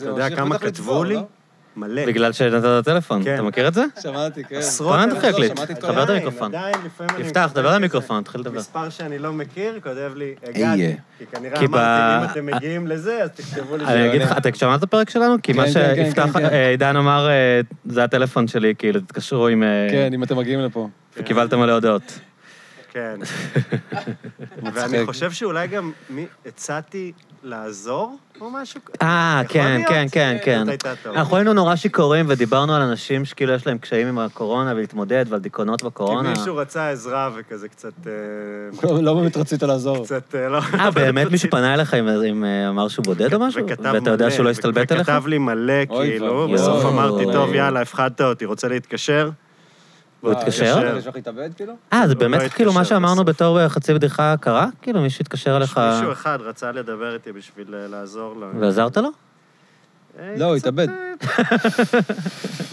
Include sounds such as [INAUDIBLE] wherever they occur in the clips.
יודע ממשיך כמה בטח כתבו לצבור, לי? לא? מלא. בגלל שנתת טלפון, כן. אתה מכיר את זה? שמעתי, כן. אה, עשרות אנשים. תתחיל להקליט. שמעתי את כל תחבר את ה... עדיין, המיקרופון. עדיין, לא לפעמים אני יפתח, מקבל דבר כזה למיקרופון, תתחיל לדבר. מספר שאני לא מכיר, כותב לי, איה. הגעתי. כי כנראה כי ב- אמרתי, אם אתם מגיעים לזה, אז תכתבו לי. אני שזה אגיד לך, עולה." אתה שמעת את הפרק שלנו? כי מה כן, כן, כן, שיפתח, כן, כן. אה, עידן אמר, אה, זה הטלפון שלי, כאילו, תתקשרו עם... אה, כן, אם אתם מגיעים לפה. [LAUGHS] וקיבלת מלא הודעות. [LAUGHS] כן. מצחיק. ואני חושב שאולי גם מי- הצעתי לעזור או משהו. אה, יכול כן, להיות? כן, כן, כן. זאת הייתה טעות. אנחנו היינו נורא שיכורים ודיברנו על אנשים שכאילו יש להם קשיים עם הקורונה ולהתמודד ועל דיכאונות כי בקורונה. מישהו רצה עזרה וכזה קצת... אה, [LAUGHS] לא- לא באמת רצית לעזור. קצת אה, לא... אה, באמת מישהו פנה אליך עם- עם אה, אמר שהוא בודד או [LAUGHS] משהו? וכתב ואתה יודע מלא, שהוא לא ו- הסתלבט עליך? וכתב לי מלא, אוי כאילו, ואבוי. בסוף יואו. אמרתי, טוב, יאללה, הפחדת אותי, רוצה להתקשר? הוא התקשר? לשלוח להתאבד, כאילו? אה, הוא זה לא באמת כאילו מה התקשר שאמרנו בסוף. בתור חצי בדיחה קרה? כאילו מישהו התקשר אליך מישהו אחד רצה לדבר איתי בשביל אה, לעזור לו. ועזרת לו? אה, לא, הוא קצת, התאבד.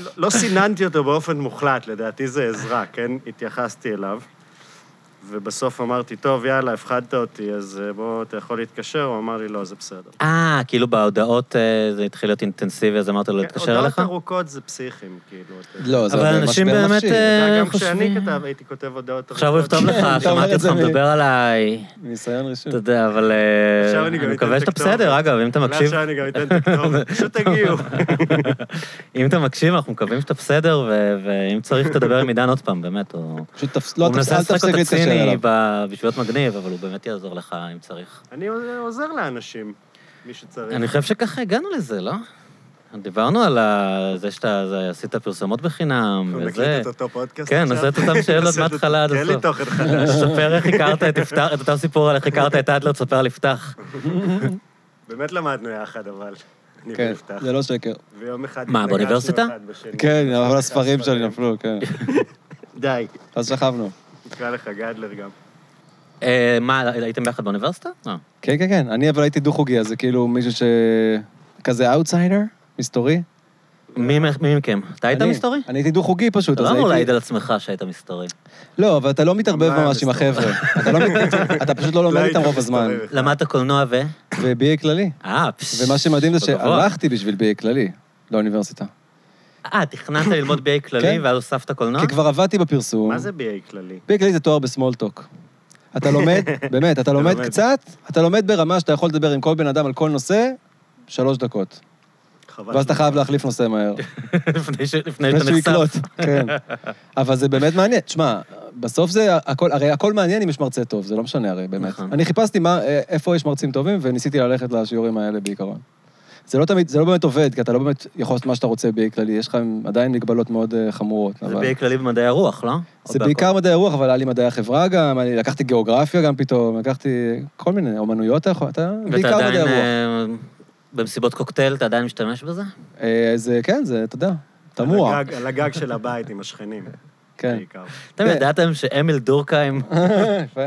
לא- לא סיננתי אותו באופן מוחלט, לדעתי זה עזרה, כן? התייחסתי אליו. ובסוף אמרתי, טוב, יאללה, הפחדת אותי, אז אה, בוא, אתה יכול להתקשר? הוא אמר לי, לא, זה בסדר. אה, כאילו בהודעות אה, זה התחיל להיות אינטנסיבי, אז אמרת לו להתקשר כן, הודעות אליך? ארוכות זה פסיכים, כאילו. אתה- לא, זה אבל משבר אנשים נפשי. באמת, אתה אה, יודע, גם חושבים- כשאני כתב, הייתי כותב הודעות עכשיו הוא [LAUGHS] יכתוב כן, אתה לך, אומר שמעתי את אותך זה מ- מדבר עליי. מניסיון ראשון. אתה יודע, אבל אה, עכשיו אני גם אתן אני מקווה את שאתה הכתובת. בסדר, אגב, אם אתה אולי מקשיב, עכשיו אני גם אתן את [LAUGHS] הכתובת, פשוט תגיעו. [LAUGHS] אם אתה מקשיב, אנחנו מקווים שאתה בסדר, ו- ואם צריך, תדבר עם עידן עוד פעם, באמת. הוא פשוט תפס- לא, הוא תפס- מנסה אל לשחק תפסיק אותה להתקשר ציני אליו. ב- בשביל להיות מגניב, אבל הוא באמת יעזור לך אם צריך. אני עוזר לאנשים, מי שצריך. אני חושב שככה הגענו לזה, לא? דיברנו על ה- זה שאתה זה- עשית פרסומות בחינם, אנחנו וזה. נקליט את אותו פודקאסט כן, עכשיו? אז זה את [LAUGHS] אותם שאלות לעשות את- מההתחלה עד כן, לי הסוף. תוכן חדש. ספר איך הכרת את יפתח, את אותו סיפור על איך הכרת את אדלר, תספר על יפתח. באמת למדנו יחד, אבל. אני כן, ויפתח. זה לא שקר. ויום אחד... מה, התנגשנו באוניברסיטה? אחד בשני. כן, אבל הספרים שלי נפלו, כן. די, אז שכבנו. נקרא לך גדלר גם. אה, מה, הייתם ביחד באוניברסיטה? לא. כן, כן, כן. אני אבל הייתי דו-חוגי, אז זה כאילו מישהו ש... כזה אאוטסיידר, מסתורי. מי מ- מי מכם? אתה היית אני- מסתורי? אני הייתי דו-חוגי פשוט, אתה אז לא הייתי... אמור להעיד על עצמך שהיית מסתורי. לא, אבל אתה לא מתערבב לא היה ממש עם מסתורי. החבר'ה. אתה לא [LAUGHS] מת- אתה פשוט לא לומד לא איתם הייתי רוב הזמן. מסתובב. למדת קולנוע ו... ו-BA כללי. אה, פשש. ומה שמדהים זה לא גבוה. שהלכתי בשביל BA כללי לאוניברסיטה. אה, תכננת ללמוד BA כללי, כן. ואז הוספת קולנוע? כי כבר עבדתי בפרסום. מה זה BA כללי? BA כללי זה תואר בסמולטוק. אתה לומד, [LAUGHS] באמת, אתה לומד לומד. קצת, אתה לומד ברמה שאתה יכול לדבר עם כל בן אדם על כל נושא, שלוש דקות. חבל. ואז אתה חייב להחליף נושא מהר. [LAUGHS] לפני ש- לפני לפני שאתה שהוא יקלוט, נחשף. [LAUGHS] כן. אבל זה באמת מעניין. תשמע, בסוף זה הכל, הרי הכל מעניין אם יש מרצה טוב, זה לא משנה הרי, באמת. נכון. אני חיפשתי מה- אה, איפה יש מרצים טובים, וניסיתי ללכת לשיעורים האלה בעיקרון. זה לא תמיד, זה לא באמת עובד, כי אתה לא באמת יכול לעשות מה שאתה רוצה ב-A כללי, יש לך עדיין מגבלות מאוד אה, חמורות. זה אבל- BA כללי במדעי הרוח, לא? או זה בהכל? בעיקר מדעי הרוח, אבל היה לי מדעי החברה גם, אני לקחתי גיאוגרפיה גם פתאום, לקחתי כל מיני אומנויות, אתה יכול, אתה ואתה בעיקר מדעי עדיין... הרוח. אה, במסיבות קוקטייל אתה עדיין משתמש בזה? אה, זה, כן, זה, אתה יודע, תמוה, על הגג- על הגג של הבית עם השכנים, [LAUGHS] [LAUGHS] כן. בעיקר. אתם כן. ידעתם שאמיל [LAUGHS] דורקheim, יפה.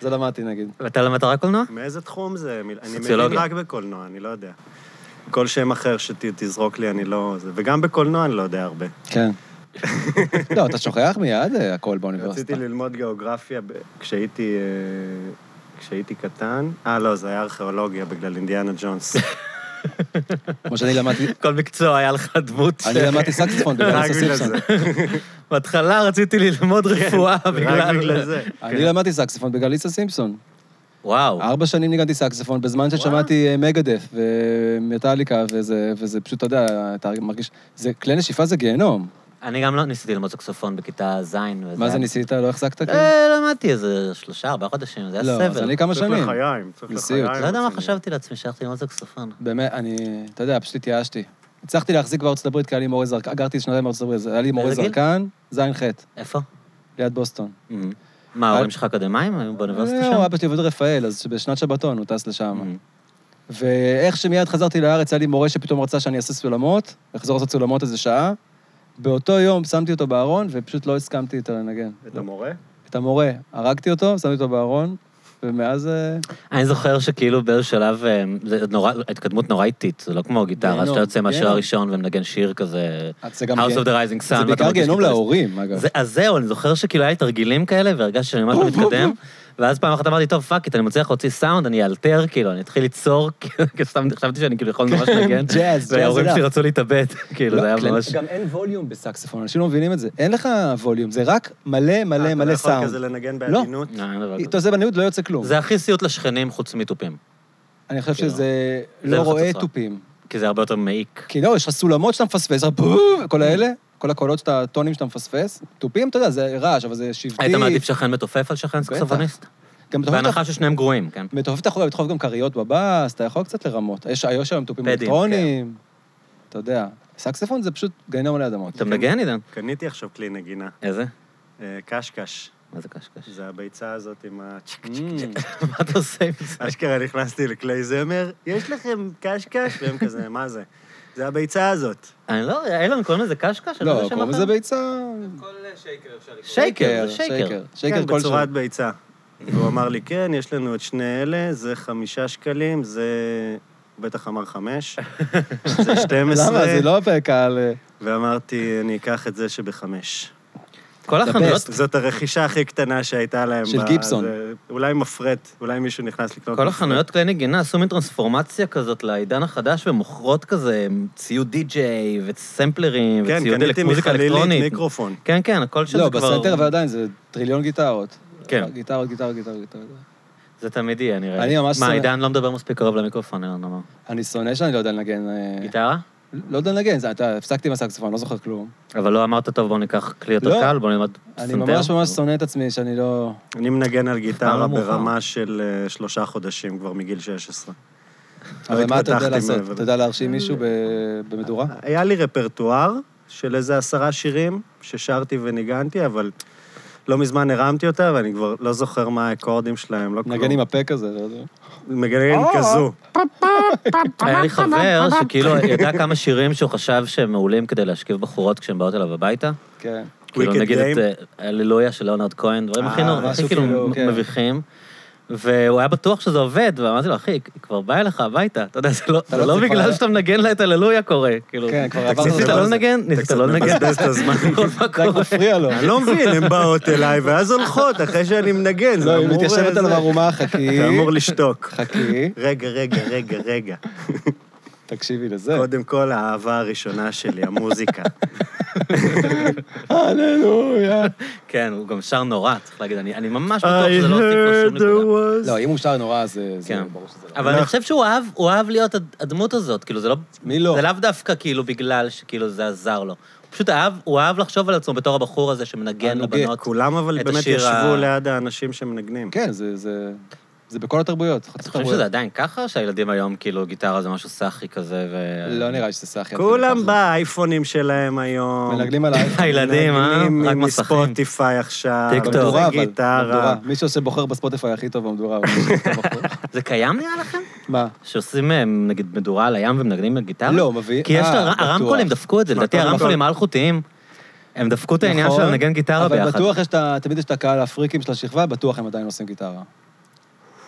זה למדתי נגיד. ואתה למדת רק קולנוע? מאיזה תחום זה? מיל- אני מבין סוציולוגיה. רק בקולנוע, אני לא יודע. כל שם אחר שתזרוק לי, אני לא... זה- וגם בקולנוע אני לא יודע הרבה. כן. לא, אתה שוכח מיד אה, הכל באוניברסיטה. רציתי ללמוד גיאוגרפיה ב- כשהייתי... אה, כשהייתי קטן. אה, לא, זה היה ארכיאולוגיה בגלל אינדיאנה ג'ונס. נכון, כמו שאני למדתי, כל מקצוע היה לך דמות. אני ש- למדתי [LAUGHS] סקספון בגלל רק אסה בגלל סימפסון. זה. בהתחלה רציתי ללמוד כן, רפואה רק בגלל [LAUGHS] בגלל... זה. אני למדתי סקספון בגלל איסה סימפסון. וואו. ארבע שנים ניגנתי סקספון, בזמן ששמעתי אה, מגדף ומטאליקה, וזה וזה פשוט, אתה יודע, אתה מרגיש... זה- כלי נשיפה זה גיהנום. אני גם לא ניסיתי ללמוד סקסופון בכיתה ז' וזה... מה היה- זה ניסית? לא החזקת? כאילו? אה, למדתי איזה שלושה, ארבעה חודשים, זה היה לא, אז סבל. אני כמה צריך שנים. לחיים, צריך נשיאות. לחיים. לא יודע מה רציני. חשבתי לעצמי, שהלכתי ללמוד סקסופון. באמת, אני, אתה יודע, פשוט התייאשתי. הצלחתי להחזיק בארצות הברית, כי היה לי מורה זרקן, גרתי שנתיים בארצות הברית, היה לי מורה באיזה גיל? זרקן, ז'-ח', איפה? ליד בוסטון. מה, ההורים שלך אקדמאים? היו באוניברסיטה Mm-hmm. אה? לא, שם? אבא שלי עובד רפאל, אז בשנת שבתון הוא טס לשם. מהמם. ואיך שמיד חזרתי לארץ, היה לי מורה שפתאום רצה שאני אעשה סולמות, אחזור לעשות סולמות איזה שעה. באותו יום שמתי אותו בארון, ופשוט לא הסכמתי איתו לנגן. את המורה? את המורה, הרגתי אותו, שמתי אותו בארון, ומאז... אה, אני זוכר שכאילו באיזה שלב, אה, זה נורא, התקדמות נורא איטית, זה לא כמו גיטרה, גיהנום, שאתה יוצא מהשיר גיהנום. הראשון ומנגן שיר כזה, זה House כן, גם... כן- גה- of the Rising Sun. זה ואתה בעיקר מרגיש גיהנום כאילו- להורים, אגב. זה- אז זהו, אני זוכר שכאילו היה לי תרגילים כאלה, והרגשתי שאני ממש לא בום, בום, מתקדם, ואז פעם אחת אמרתי, טוב, פאק איט, אני מצליח להוציא סאונד, אני אלתר, כאילו, אני אתחיל ליצור, [LAUGHS] כאילו, כי סתם חשבתי שאני כאילו יכול כן, ממש [LAUGHS] לנגן. ג'אז, ג'אז וההורים אליו. שלי רצו להתאבד, [LAUGHS] כאילו, לא, זה היה כלל- [LAUGHS] ממש... גם אין ווליום בסקספון, אנשים לא מבינים את זה. אין לך ווליום, זה רק מלא אה, מלא מלא אתה לא יכול כזה סאונד. לנגן לא. בעדינות? לא, אין דבר כזה. אתה עושה בניוד, לא יוצא כלום. זה הכי סיוט לשכנים חוץ מתופים, אני חושב כאילו, שזה זה לא לך רואה התוצאה. תופים. כי כי זה הרבה יותר מעיק. לא, יש לך סולמות שאתה מפספס, רק בום, כל האלה, כל הקולות שאתה, הטונים שאתה מפספס. תופים, אתה יודע, זה רעש, אבל זה שבטי. היית מעדיף שכן מתופף על שכן סקסופוניסט? גם אתה יכול- בהנחה ששניהם גרועים, כן. מתופף אתה יכול לדחוף גם כריות בבאס, אתה יכול קצת לרמות. יש יש היום תופים פדים, אלקטרוניים, אתה יודע. סקספון זה פשוט גיהנום על האדמות. אתה מנגן, עידן? קניתי עכשיו כלי נגינה, איזה? אה, קשקש. מה זה [LAUGHS] קשקש? [LAUGHS] זה הביצה הזאת עם ה... צ'ק, [LAUGHS] צ'ק. Mm. מה אתה עושה עם זה? אשכרה נכנסתי לכלי זמר, יש לכם קשקש? והם כזה, מה זה? זה הביצה הזאת. אני לא, אילון קוראים לזה קשקש? לא, קוראים לזה ביצה. ביצה... כל שייקר אפשר לקרוא. שייקר, זה שייקר. שייקר. שייקר כן, בצורת כלשהו. ביצה. והוא אמר לי, כן, יש לנו את שני אלה, זה חמישה שקלים, זה... הוא בטח אמר חמש, זה [LAUGHS] 12. למה? זה לא הפרק על... ואמרתי, אני אקח את זה שבחמש. כל The החנויות, best. זאת הרכישה הכי קטנה שהייתה להם. של גיבסון. זה- אולי מפרט, אולי מישהו נכנס לקנות. כל מפרט. החנויות כלי נגינה עשו מין טרנספורמציה כזאת לעידן החדש ומוכרות כזה ציוד די-ג'יי וסמפלרים כן, וציוד קניתי אלק- מוזיקה מחלילית אלקטרונית. מיקרופון. כן, כן, הכל של לא, זה כבר... בסנטר ועדיין זה טריליון גיטרות. כן. גיטרות, גיטרות, גיטרות, גיטרות. זה תמיד יהיה, נראה לי. אני ממש מה, שונא- עידן לא מדבר מספיק קרוב למיקרופון, אילון אמר. אני שונא שאני לא יודע לנגן... אה, גיטרה? לא יודע לנגן, זה- אתה הפסקתי עם הסקספון, לא זוכר כלום. אבל לא אמרת, טוב, בואו ניקח כלי יותר לא. קל, בואו נלמד אני פסנתר." ממש ממש שונא את עצמי שאני לא... אני מנגן על גיטרה לא מאוחר. ברמה של אה, שלושה חודשים כבר מגיל 16. לא אבל מה אתה יודע התפתחתי לעשות? מעבר. אה, אתה יודע להרשים מישהו ב- במדורה? היה לי רפרטואר של איזה עשרה שירים ששרתי וניגנתי, אבל לא מזמן הרמתי אותה, ואני כבר לא זוכר מה האקורדים שלהם, לא כלום. נגן עם הפה כזה, לא יודע. מנגן אה! כזו. היה לי [LAUGHS] חבר שכאילו ידע כמה שירים שהוא חשב שהם מעולים כדי להשכיב בחורות כשהן באות אליו הביתה. [LAUGHS] כן. כאילו Wicked נגיד את Game. אה, הללויה של ליאונרד כהן, דברים הכי אה, נורא- הכי משהו כאילו כאילו, כן. מביכים. והוא היה בטוח שזה עובד, ואמרתי לו, אחי, היא כבר באה אליך הביתה, אתה יודע, זה לא- זה לא לא צריך בגלל כבר- שאתה מנגן לה את הללויה קורה, כאילו. כן, כבר עברנו ניסית את לא זה. לנגן? אתה ניסית קצת לא לנגן? מבזבז את הזמן. [LAUGHS] מה זה רק קורה? מפריע לו. אני לא מבין, הן באות אליי, ואז הולכות, אחרי שאני מנגן. זה לא, היא אמור, מתיישבת אה, עליו זה- ערומה, חכי. אתה אמור לשתוק. חכי, רגע, רגע, רגע, רגע. כן. תקשיבי לזה. קודם כל, האהבה הראשונה שלי, [LAUGHS] המוזיקה. הללויה. כן, הוא גם שר נורא, צריך להגיד, אני אני ממש I בטוח שזה לא הוסיף לו heard שום there was... נקודה. לא, אם הוא שר נורא, זה זה כן. ברור שזה לא. אבל אני חושב שהוא אהב, הוא אהב להיות הד- הדמות הזאת, כאילו, זה לא... מי לא? זה לאו דווקא כאילו בגלל שכאילו זה עזר לו. הוא פשוט אהב, הוא אהב לחשוב על עצמו בתור הבחור הזה שמנגן הנוגה. לבנות. כולם אבל את באמת השיר ה- ישבו ליד האנשים שמנגנים. כן, זה- זה- זה בכל התרבויות. חצי אתה חושב תרבויות. שזה עדיין ככה, או שהילדים היום, כאילו, גיטרה זה משהו סאחי כזה, ו... לא נראה לי שזה סאחי. כן, כולם באייפונים שלהם היום. מנגלים על [LAUGHS] האייפון. הילדים, אה? מנגנים רק מסכים. מספוטיפיי עכשיו. טיקטוק. וזה במדורה, אבל. גיטרה. במדורה. מישהו שבוחר בספוטיפיי הכי טוב במדורה. הוא מישהו שאתה בוחר. זה קיים נראה לכם? מה? שעושים, אה, נגיד, מדורה על הים ומנגנים בגיטרה? לא, מביא- כי יש אה, לה- בטוח. הרמקולים דפקו את זה, מה, לדעתי אתה הרמקולים רמקול? האלחוטיים, הם דפקו את העניין נכון, של לנגן גיטרה אבל ביחד. בטוח יש את ה... תמיד יש את הקהל הפריקים של השכבה, בטוח הם עדיין עושים גיטרה.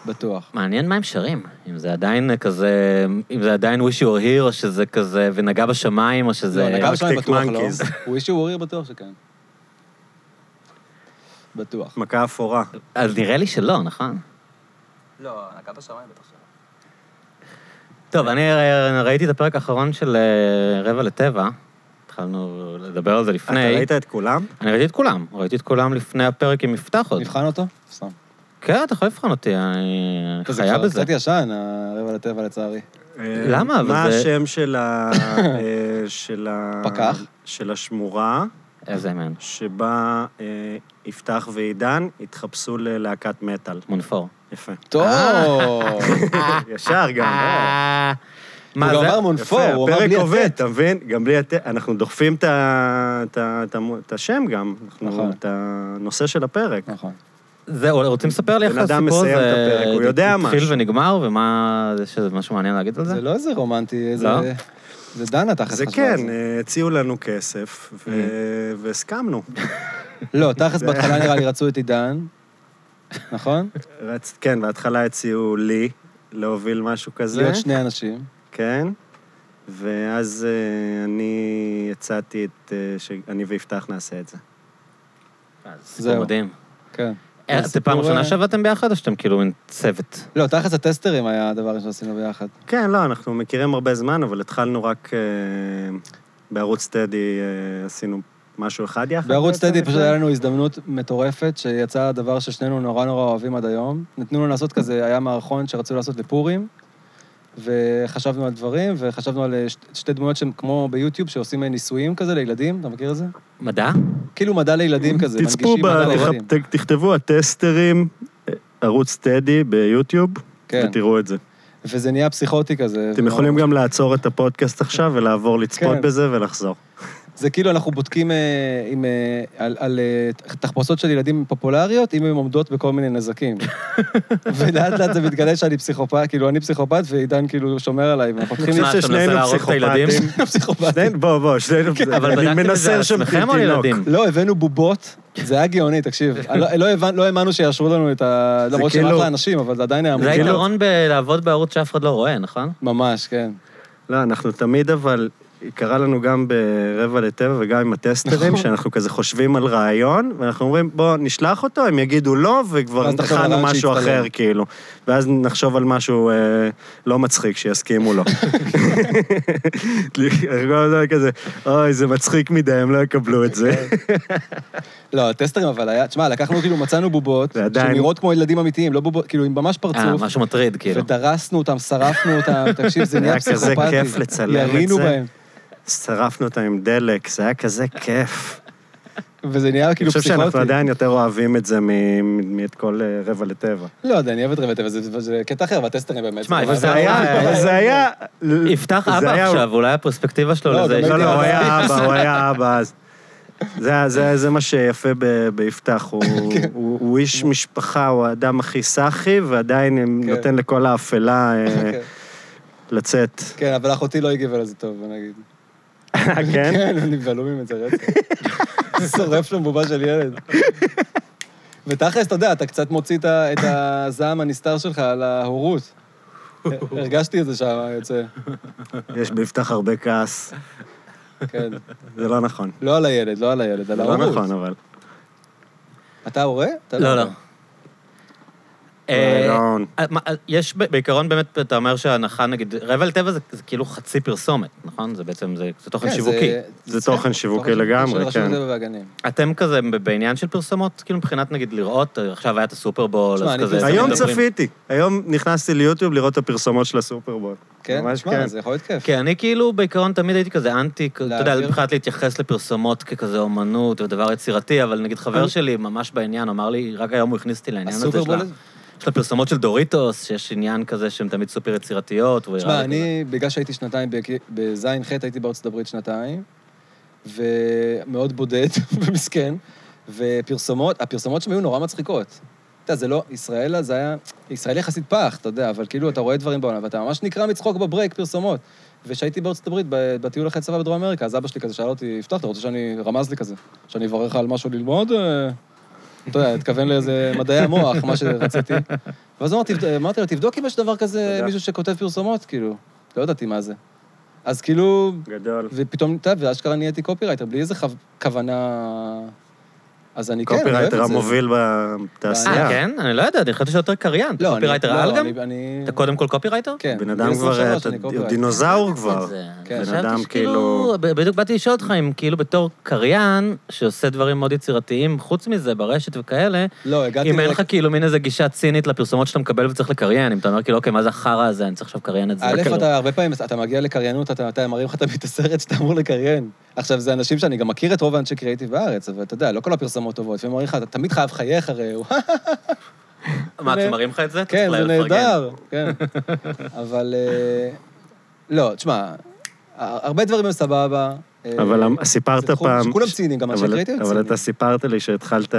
בטוח. מעניין מה הם שרים, אם זה עדיין כזה, אם זה עדיין wish you were here, או שזה כזה, ונגע בשמיים, או שזה... לא, נגב Arctic שלהם בטוח לא. Monkeys. [LAUGHS] הוא אישי ווריר בטוח שכן. בטוח. מכה אפורה. אז נראה לי שלא, נכון? לא, הנקה בשמיים בטח שלא. טוב, אני אה, ראיתי את הפרק האחרון של אה, רבע לטבע, התחלנו לדבר על זה אתה לפני. ראית את כולם? אני ראיתי את כולם, ראיתי את כולם לפני הפרק עם מפתח עוד. נבחן אותו? סתם. כן, אתה יכול לבחון אותי, אני זה חיה כבר בזה. קצת ישן, הרבע לטבע לצערי. אה, למה? אבל מה זה- השם של [LAUGHS] ה... אה, של ה... פקח? של השמורה, איזה מן, שבה אה, יפתח ועידן התחפשו ללהקת מטאל. מונפור. יפה. טוב! [LAUGHS] ישר גם. אה. אה, [LAUGHS] מה הוא גם זה? אמר מונפור, הוא אמר הפרק בלי עובד, הטט. אתה מבין? גם בלי הטט. אנחנו דוחפים את ה- את ה- את המו- את השם גם, אנחנו- נכון. את הנושא של הפרק. נכון. זה, רוצים לספר לי איך בן אדם הסיפור מסיים את הפרק, הוא יודע התחיל משהו. ונגמר, ומה, יש איזה משהו מעניין להגיד על זה? זה לא איזה רומנטי, איזה... לא? זה דנה תכלס זה חשבה כן, על זה. Mm-hmm. אה, הציעו לנו כסף, ו- והסכמנו. לא, תכלס בהתחלה נראה לי רצו את עידן, נכון? רצ- כן, בהתחלה הציעו לי להוביל משהו כזה, להיות שני אנשים. כן, ואז אה, אני הצעתי את... אה, שאני ויפתח נעשה את זה. אה, זה סיפור זהו. מדהים. כן. אה, אה, זה זה פעם סיפור, ראשונה אה, שעבדתם ביחד, או שאתם כאילו מין צוות? לא, תכלס הטסטרים היה הדבר שעשינו ביחד. כן, לא, אנחנו מכירים הרבה זמן, אבל התחלנו רק אה, בערוץ טדי, אה, עשינו משהו אחד יחד. בערוץ בעצם, טדי פשוט לפני. היה לנו הזדמנות מטורפת, שיצא דבר ששנינו נורא נורא אוהבים עד היום. נתנו לנו לעשות כזה, היה מערכון שרצו לעשות לפורים, וחשבנו על דברים, וחשבנו על אה, ש- שתי דמויות שהן כמו ביוטיוב, שעושים אה, ניסויים כזה לילדים, אתה מכיר את זה? מדע? כאילו מדע [LAUGHS] לילדים כזה, תצפו, ב... מנגישים מדע תכ- לילדים. ת- תכתבו הטסטרים, אה, ערוץ טדי ביוטיוב, כן. ותראו את זה. וזה נהיה פסיכוטי כזה. לא- אתם יכולים גם לעצור את הפודקאסט עכשיו ולעבור לצפות כן. בזה [LAUGHS] ולחזור. זה כאילו אנחנו בודקים אה, עם, אה, על, על אה, תחפושות של ילדים פופולריות, אם הן עומדות בכל מיני נזקים. ולאט לאט זה מתגלה שאני פסיכופת, כאילו אני פסיכופת ועידן כאילו שומר עליי, ואנחנו פותחים מה, חושב אתה מנסה ששנינו להרוג את הילדים? [LAUGHS] פסיכופטים. פסיכופת. שנינו, בוא, בוא, שנינו... אבל אני בדקתם את זה על מנסר שם עצמכם או על תינוק. ילדים? לא, הבאנו בובות, זה היה גאוני, תקשיב. אני לא- לא הבנ- לא האמנו שיאשרו לנו את ה... זה למרות שהם כאילו- אחלה אנשים, אבל זה עדיין היה זה כאילו- מוזר. היתרון בלעבוד בערוץ שאף אחד לא רואה, נכון? ממש, כן. לא, אנחנו תמיד, אבל קרה לנו גם ברבע לטבע וגם עם הטסטרים, נכון. שאנחנו כזה חושבים על רעיון, ואנחנו אומרים, בוא, נשלח אותו, הם יגידו לא, וכבר ואז נחשוב על התחלנו רעיון משהו שיצטלם. אחר, כאילו. ואז נחשוב על משהו אה, לא מצחיק, שיסכימו לו. [LAUGHS] כל הזמן כזה, אוי, זה מצחיק מדי, הם לא יקבלו את זה. אוקיי. לא, הטסטרים אבל היה... תשמע, לקחנו כאילו, מצאנו בובות, זה עדיין- שנראות כמו ילדים אמיתיים, לא בובות, כאילו עם ממש אה, פרצוף. משהו מטריד, כאילו. ודרסנו אותם, שרפנו [LAUGHS] אותם, תקשיב, זה נהיה היה כזה פסיכופתי. כיף לצלם את ירינו זה. בהם, שרפנו אותם עם דלק, זה היה כזה כיף. וזה נהיה אני כאילו חושב שאנחנו פסיכוטי. עדיין יותר אוהבים את זה מ- מ- מאת כל אה, רבע לטבע. לא יודע, אני אוהב את רבע טבע, זה- זה קטע אחר, והטסטרים באמת. תשמע, זה אבל ממש- זה היה, אבל זה היה... יפתח זה אבא היה- עכשיו, אולי הפרספקטיבה שלו לא, לזה... גם לא, לא, הייתי הוא אבא. היה אבא, הוא היה אבא אז. זה, ה- זה, זה מה שיפה ב, ביפתח, הוא, הוא, הוא איש משפחה, הוא האדם הכי סאחי, ועדיין כן. כן. נותן לכל האפלה אה, כן. לצאת. כן, אבל אחותי לא הגיבה לזה טוב, בוא [LAUGHS] נגיד. כן? כן, הם נבהלו ממנו רצח. שורף שם בובה של ילד. ותכלס, אתה יודע, אתה קצת מוציא את ה- את הזעם הנסתר שלך על ההורות. הרגשתי את זה שם, יוצא. יש ביפתח הרבה כעס, כן. זה לא נכון. לא על הילד, לא על הילד, על זה לא ההורות. נכון, אבל. אתה הורה? אתה לא, לא. אה, רעיון. אה, מה, אה, יש ב- בעיקרון באמת, אתה אומר שההנחה, נגיד, רבע לטבע זה זה כאילו חצי פרסומת, נכון? זה בעצם, זה זה תוכן כן, שיווקי. זה תוכן שיווקי לגמרי, של רשות כן. הטבע והגנים. אתם כזה ב- בעניין של פרסומות, כאילו מבחינת נגיד לראות, אה, עכשיו היה את הסופרבול, תשמע, אז אני כזה... פרסמתי- אתם היום מדברים- צפיתי, היום נכנסתי ליוטיוב לראות את הפרסומות של הסופרבול. כן? ממש מה, כן. זה יכול להיות כיף. כי אני כאילו בעיקרון תמיד הייתי כזה אנטי, כ- אתה יודע, להעביר? מבחינת להתייחס לפרסומות ככזה אומנות ודבר יצירתי, אבל נגיד חבר שלי ממש בעניין אמר לי, רק היום הוא הכניס אותי לעניין הזה של הסופרבול ה- הזה? יש לה פרסומות של דוריטוס, שיש עניין כזה שהן תמיד סופר יצירתיות. והוא הראה תשמע, לי כזה. אני, בגלל שהייתי שנתיים, בק- בזין ח' הייתי בארצות הברית שנתיים, ומאוד בודד [LAUGHS] ומסכן, ופרסומות, הפרסומות שם היו נורא מצחיקות. אתה יודע, זה לא, ישראל אז היה, ישראל יחסית פח, אתה יודע, אבל כאילו, אתה רואה דברים בעולם, ואתה ממש נקרע מצחוק בברייק פרסומות. וכשהייתי בארצות הברית, ב- בטיול אחרי צבא בדרום אמריקה, אז אבא שלי כזה שאל אותי, יפתח, אתה רוצה שאני, רמז לי כזה, שאני אברך לך על משהו ללמוד? אה, אתה יודע, התכוון לאיזה מדעי המוח, מה שרציתי. ואז אמרתי, אמרתי לו, תבדוק אם יש דבר כזה, תודה. מישהו שכותב פרסומות, כאילו. לא ידעתי מה זה. אז כאילו, גדול. ופתאום, אתה יודע, ואשכרה נהייתי קופירייטר, בלי איזה חו- כוונה... אז אני כן, אני אוהב את זה. קופירייטר המוביל בתעשייה. אה, כן? אני לא יודעת, אני חשבתי שאתה יותר קריין. אתה לא, אני- קופירייטר לא, על גם? אני- אני... אתה קודם כל קופירייטר? כן. בן בגיל אדם כבר, 23 אתה אני קופירייטר. דינוזאור כבר. זה- כן. אני בן אה, חשבתי אדם כאילו- כאילו- שכאילו- ב- בדיוק באתי לשאול אותך אם כאילו בתור קריין, שעושה דברים מאוד יצירתיים, חוץ מזה, ברשת וכאלה, לא, הגעתי... אם אין ל- לך כאילו מין איזה גישה צינית לפרסומות שאתה מקבל וצריך לקריין, אם אתה אומר כאילו, אוקיי, מה זה החרא הזה, אני צריך עכשיו לקריין את זה. א', כאילו. אתה הרבה פעמים, אתה מגיע לקריינות, אתה אתה מראים לך תמיד את הסרט שאתה אמור לקריין. עכשיו, זה אנשים שאני גם מכיר את רוב האנשי קריאיטיב בארץ, אבל אתה יודע, לא כל הפרסומות טובות. לפעמים אומרים לך, אתה תמיד חייב חייך [LAUGHS] הרי, וואי, מה, זה- אתם מראים לך את זה? אתה כן, צריך זה לפרגן. נהדר, כן. אבל... אה, לא, תשמע, הרבה דברים הם סבבה. אה, אבל אמ- סיפרת זה תחום פעם... שכולם ציניים, גם אנשי אבל- קריאיטיב אבל ציניים. אתה סיפרת לי שהתחלת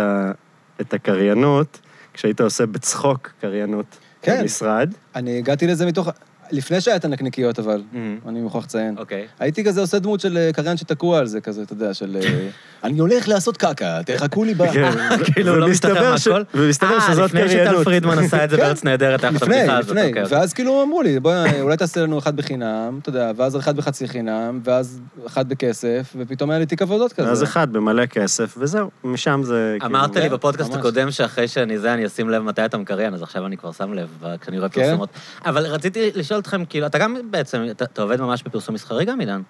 את הקריינות כשהיית עושה בצחוק קריינות כן. במשרד. [LAUGHS] אני הגעתי לזה מתוך... לפני שהיה את הנקניקיות, אבל, אמ, אני מוכרח לציין. אוקיי. הייתי כזה עושה דמות של אה, קריין שתקוע על זה, כזה, אתה יודע, של... אה, אני הולך לעשות קקה, תחכו לי ב... כן, [LAUGHS] כאילו, הוא לא משתחרר ומסתבר ש- מהכל? ומסתבר אה, שזאת לפני שטל קריינות. פרידמן עשה את זה כן. בארץ נהדרת, היה לך את לפני, הבדיחה הזאת. לפני. אוקיי, אוקיי. ואז כאילו אמרו לי, בוא, אולי תעשה לנו אחד בחינם, אתה יודע, ואז אחד בחצי חינם, ואז אחד בכסף, ופתאום היה לי תיק עבודות כזה. אז אחד במלא כסף, וזהו, משם זה... כאילו- אמרת לי כן, בפודקאסט ממש. הקודם שאחרי שאני זה, אני אשים לב מתי אתה מקריין, אז עכשיו אני כבר שם לב ב- כשאני רואה כן? פרסומות. אבל רציתי לשאול אתכם, כאילו, אתה גם בעצם, אתה אתה עובד ממש בפרסום מסחרי גם, אילן?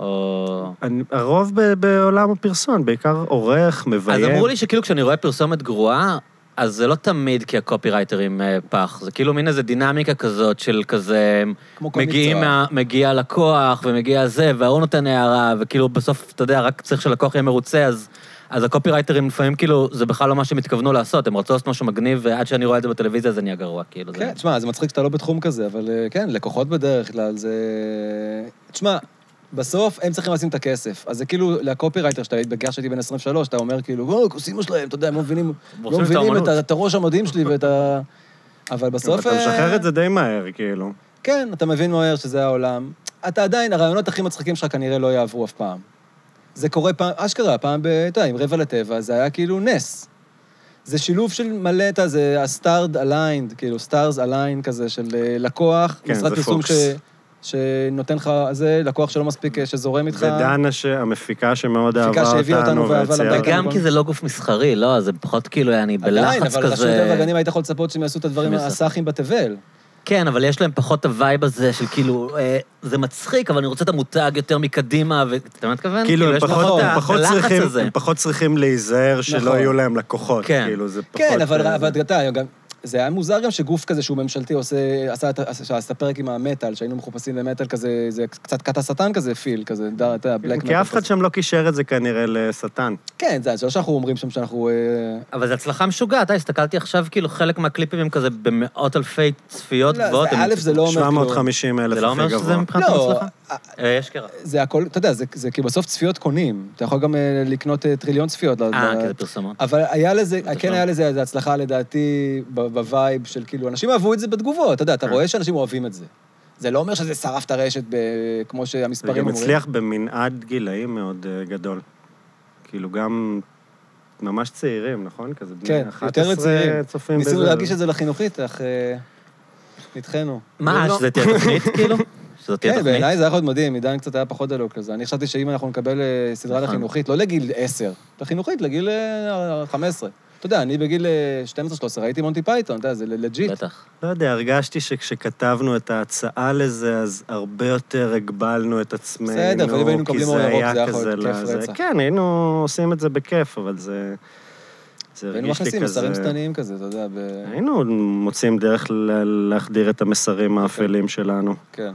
או... אני- הרוב ב- בעולם הפרסום, בעיקר עורך, אז מביים. אמרו לי שכאילו כשאני רואה פרסומת גרועה, אז זה לא תמיד כי הקופירייטרים אה, פח, זה כאילו מין איזו דינמיקה כזאת של כזה... כמו כל מגיעים, מקצוע. מה, מגיע לקוח ומגיע זה, וההוא נותן הערה, וכאילו בסוף, אתה יודע, רק צריך שלקוח יהיה מרוצה, אז, אז הקופירייטרים לפעמים כאילו, זה בכלל לא מה שהם התכוונו לעשות, הם רצו לעשות משהו מגניב, ועד שאני רואה את זה בטלוויזיה זה נהיה גרוע, כאילו. כן, תשמע, זה מצחיק שאתה לא בתחום כזה, אבל אה, כן, לקוחות בדרך כלל זה... תשמע, בסוף הם צריכים לשים את הכסף. אז זה כאילו, לקופירייטר, שאתה בגלל שהייתי בן 23, אתה אומר כאילו, וואו, כוסימו שלהם, אתה יודע, הם לא מבינים, עושים לא את מבינים את, האומנות." ה- את הראש המדהים שלי ואת ה... אבל כן, אבל בסוף... אתה משחרר אה, את זה די מהר, כאילו. כן, אתה מבין מהר שזה העולם. אתה עדיין, הרעיונות הכי מצחיקים שלך כנראה לא יעברו אף פעם. זה קורה פעם, אשכרה, פעם, ב- אתה יודע, עם רבע לטבע, זה היה כאילו נס. זה שילוב של מלא, אתה, זה ה-stars aligned, כאילו, stars aligned כזה, של אה, לקוח, כן, משרד זה פרסום ש... פוקס. שנותן לך, זה לקוח שלא מספיק, אה, שזורם איתך. ודנה, ש- המפיקה שמאוד המפיקה אהבה שהביאה אותנו אותנו, ואהבה והציעה לבית. אותנו. וגם כי זה לא גוף מסחרי, לא, זה פחות כאילו, אני עדיין, בלחץ אבל רשות כזה. הטבע והגנים היית יכול לצפות שהם יעשו את הדברים מסר. הסאחים בתבל. כן, אבל יש להם פחות הווייב הזה של כאילו, אה, זה מצחיק, אבל אני רוצה את המותג יותר מקדימה, ו... אתה מבין מה אתכוון? כאילו, הם יש פחות- פחות הם ה- פחות הלחץ צריכים- הזה. הם פחות צריכים להיזהר שלא נכון. יהיו להם לקוחות, כן. כאילו, זה פחות... כן, אבל אה, אבל אתה גם... זה היה מוזר גם שגוף כזה שהוא ממשלתי עושה, עשה את ה- עשה עשה את הפרק עם המטאל, שהיינו מחופשים במטאל כזה, זה קצת כת השטן כזה פיל, כזה, דר- אתה יודע, בלק כי אף אחד שם לא קישר את זה כנראה לשטן. כן, זה זה לא שאנחנו אומרים שם שאנחנו... אה, אבל זו הצלחה משוגעת, אה, הסתכלתי עכשיו, כאילו חלק מהקליפים הם כזה במאות אלפי צפיות לא, זה- גבוהות. הם- א', זה לא אומר... כאילו- 750 אלף זה לא אומר הכי שזה גבוה. מבחינת לא, הצלחה? אה, יש קרע. זה הכל, אתה יודע, זה- זה כאילו בסוף צפיות קונים. אתה יכול גם אה, לקנות אה, טריליון צפיות. ל- אה, ל- כי זה פרסומות. אבל היה לזה, זה כן לא. היה לזה איזו הצלחה לדעתי ב- בווייב של כאילו, אנשים אהבו את זה בתגובות, אתה יודע, כן. אתה רואה שאנשים אוהבים את זה. זה לא אומר שזה שרף את הרשת ב- כמו זה שהמספרים גם אומרים. הצליח במנעד גילאים מאוד אה, גדול. כאילו, גם ממש צעירים, נכון? כזה בני כן, 11 יותר לצעירים. צופים בזה. ניסינו להגיש את זה לחינוכית, אך אה, נדחינו. מה, לא. שזה תהיה [LAUGHS] תוכנית, כאילו? שזאת תהיה כן, תוכנית? בעיניי זה היה יכול להיות מדהים, עידן קצת היה פחות דלוק לזה. אני חשבתי שאם אנחנו נקבל אה, סדרה נכון. לחינוכית, לא לגיל 10, לחינוכית, לגיל אה, 15. אתה יודע, אני בגיל אה, 12-13 ראיתי מונטי פייתון, אתה יודע, זה לג'יט. בטח. לא יודע, הרגשתי שכשכתבנו את ההצעה לזה, אז הרבה יותר הגבלנו את עצמנו. בסדר, אבל אם היינו כי מקבלים זה אור ירוק, היה זה היה כזה יכול להיות לא- כיף זה- רצח. כן, היינו עושים את זה בכיף, אבל זה... זה והיינו הרגיש לי מכניסים כזה... מסרים שטניים כזה, אתה יודע, ב- היינו מוצאים דרך ל- להחדיר את אוקיי. המסרים האפלים שלנו. כן.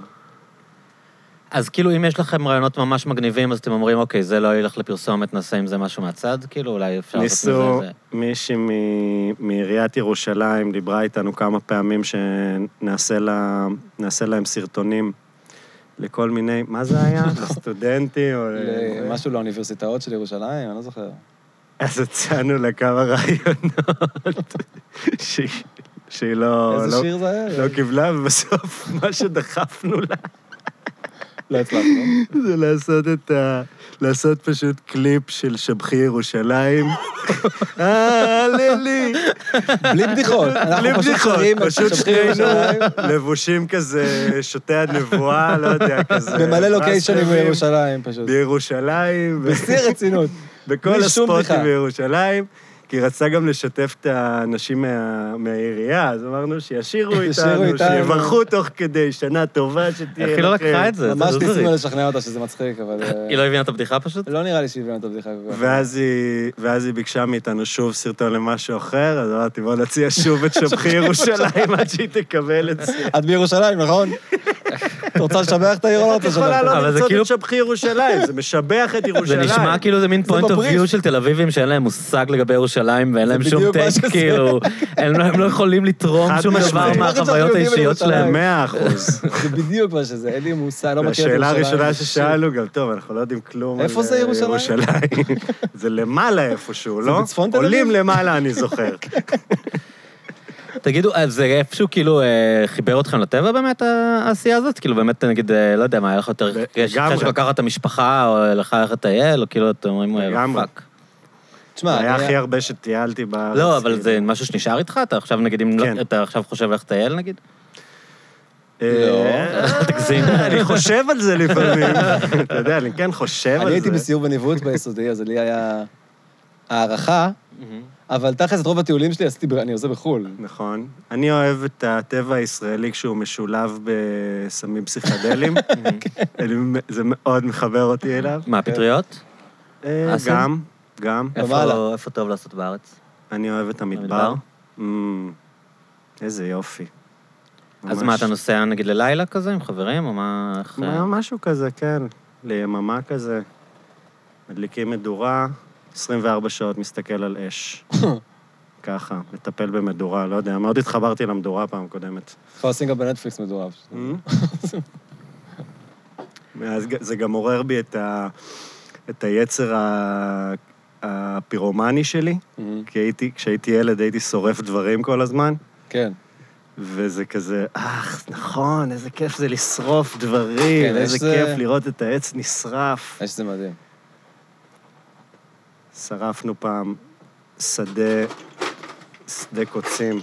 אז כאילו, אם יש לכם רעיונות ממש מגניבים, אז אתם אומרים, אוקיי, זה לא ילך לפרסומת, נעשה עם זה משהו מהצד, כאילו, אולי אפשר לעשות ניסו, מזה... זה. מישהי מ- מעיריית ירושלים דיברה איתנו כמה פעמים שנעשה לה, נעשה להם סרטונים לכל מיני, מה זה [LAUGHS] היה? לא. לסטודנטים או... ל- משהו לאוניברסיטאות של ירושלים, אני לא זוכר. אז הצענו לה כמה רעיונות [LAUGHS] שהיא- שהיא לא... איזה לא- שיר זה היה? לא קיבלה, ובסוף [LAUGHS] מה שדחפנו לה לא הצלחנו. [LAUGHS] זה לעשות את ה... לעשות פשוט קליפ של שבחי [LAUGHS] ירושלים. אה, ללי. בלי בדיחות. אנחנו [LAUGHS] בלי פשוט בדיחות, שרים את פשוט "שבחי ירושלים". שנינו לבושים כזה, שוטי הנבואה, לא יודע, כזה. במלא לוקיישנים מסטרים בירושלים פשוט. בירושלים, ו- בשיא הרצינות. בכל בלי שום הספוטים בדיחה. בירושלים. כי היא רצתה גם לשתף את האנשים מה- מהעירייה, אז אמרנו [LAUGHS] שישירו ישירו איתנו, איתנו. שיברכו תוך כדי, שנה טובה שתהיה לכם. איך היא לא לקחה את זה? זה ממש לוזרית. ניסינו לשכנע אותה שזה מצחיק, אבל... אה, היא לא הבינה את הבדיחה פשוט? לא נראה לי שהיא הבינה את הבדיחה כל כך. ואז היא, ואז היא ביקשה מאיתנו שוב סרטון למשהו אחר, אז אמרתי, בוא נציע שוב את שבחי [LAUGHS] ירושלים עד שהיא תקבל את זה. את בירושלים, נכון? את רוצה לשבח את העיר או לא את רוצה לשבח? יכולה אותה? אבל לא זה למצוא כאילו- את שבחי ירושלים, זה משבח את זה ירושלים. נשמע כאילו זה מין פוינט אוף בבריף. ויו של תל אביבים שאין להם מושג לגבי ירושלים ואין להם שום בדיוק מה טייק, שזה. כאילו, הם לא- הם לא יכולים לתרום חד שום דבר משמעית. מהחוויות האישיות שלהם. מאה אחוז. זה בדיוק מה שזה, אין לי מושג, לא מכיר את ירושלים. השאלה הראשונה ששאלנו גם, טוב, אנחנו לא יודעים כלום איפה על זה אה, ירושלים?" ירושלים. [LAUGHS] זה למעלה איפשהו, [LAUGHS] לא? בצפון תל אביב? כן, עולים למעלה, אני זוכר. תגידו, אז זה איפשהו כאילו אה, חיבר אתכם לטבע באמת, ה- העשייה הזאת? כאילו באמת, נגיד, אה, לא יודע, מה, היה לך יותר לגמרי. קשה שלקחת את המשפחה, או לך ללכת לטייל, או כאילו, אתם אומרים, אה, לגמרי. פאק. תשמע, זה היה אני- הכי הרבה שטיילתי בארץ. לא, אבל כאילו. זה משהו שנשאר איתך? אתה עכשיו, נגיד, אם כן. לא, אתה עכשיו חושב ללכת לטייל, נגיד? לא. אה, אל [LAUGHS] תגזים. אני חושב על זה לפעמים. [LAUGHS] אתה יודע, אני כן חושב אני על הייתי זה. בסיור בניווט ביסודי, אז לי היה הערכה, אבל תכלס את רוב הטיולים שלי עשיתי, ב- אני עושה בחו"ל. נכון. אני אוהב את הטבע הישראלי כשהוא משולב [LAUGHS] בסמים פסיכדליים. כן. אני- זה מאוד מחבר אותי אליו. מה, פטריות? אה, אסם? גם, גם. ומעלה. איפה איפה טוב לעשות בארץ? אני אוהב את המדבר. המדבר? אמ, איזה יופי. אז מה, ממש. אתה נוסע נגיד ללילה כזה עם חברים, או מה... איך, אה, מה- משהו כזה, כן. ליממה כזה. מדליקים מדורה, 24 שעות מסתכל על [COUGHS] אש. ככה, מטפל במדורה, לא יודע, מאוד התחברתי למדורה פעם [COUGHS] קודמת. יכול לשים גם בנטפליקס מדורב. אז ג- זה גם עורר בי את, ה... את היצר ה... הפירומני שלי, Mm-hmm. מהמם. כי הייתי, כשהייתי ילד הייתי שורף דברים כל הזמן, כן. וזה כזה, אך, נכון, איזה כיף זה לשרוף דברים, כן, יש אה, איזה זה- כיף לראות את העץ נשרף. האש זה מדהים. שרפנו פעם שדה, שדה קוצים.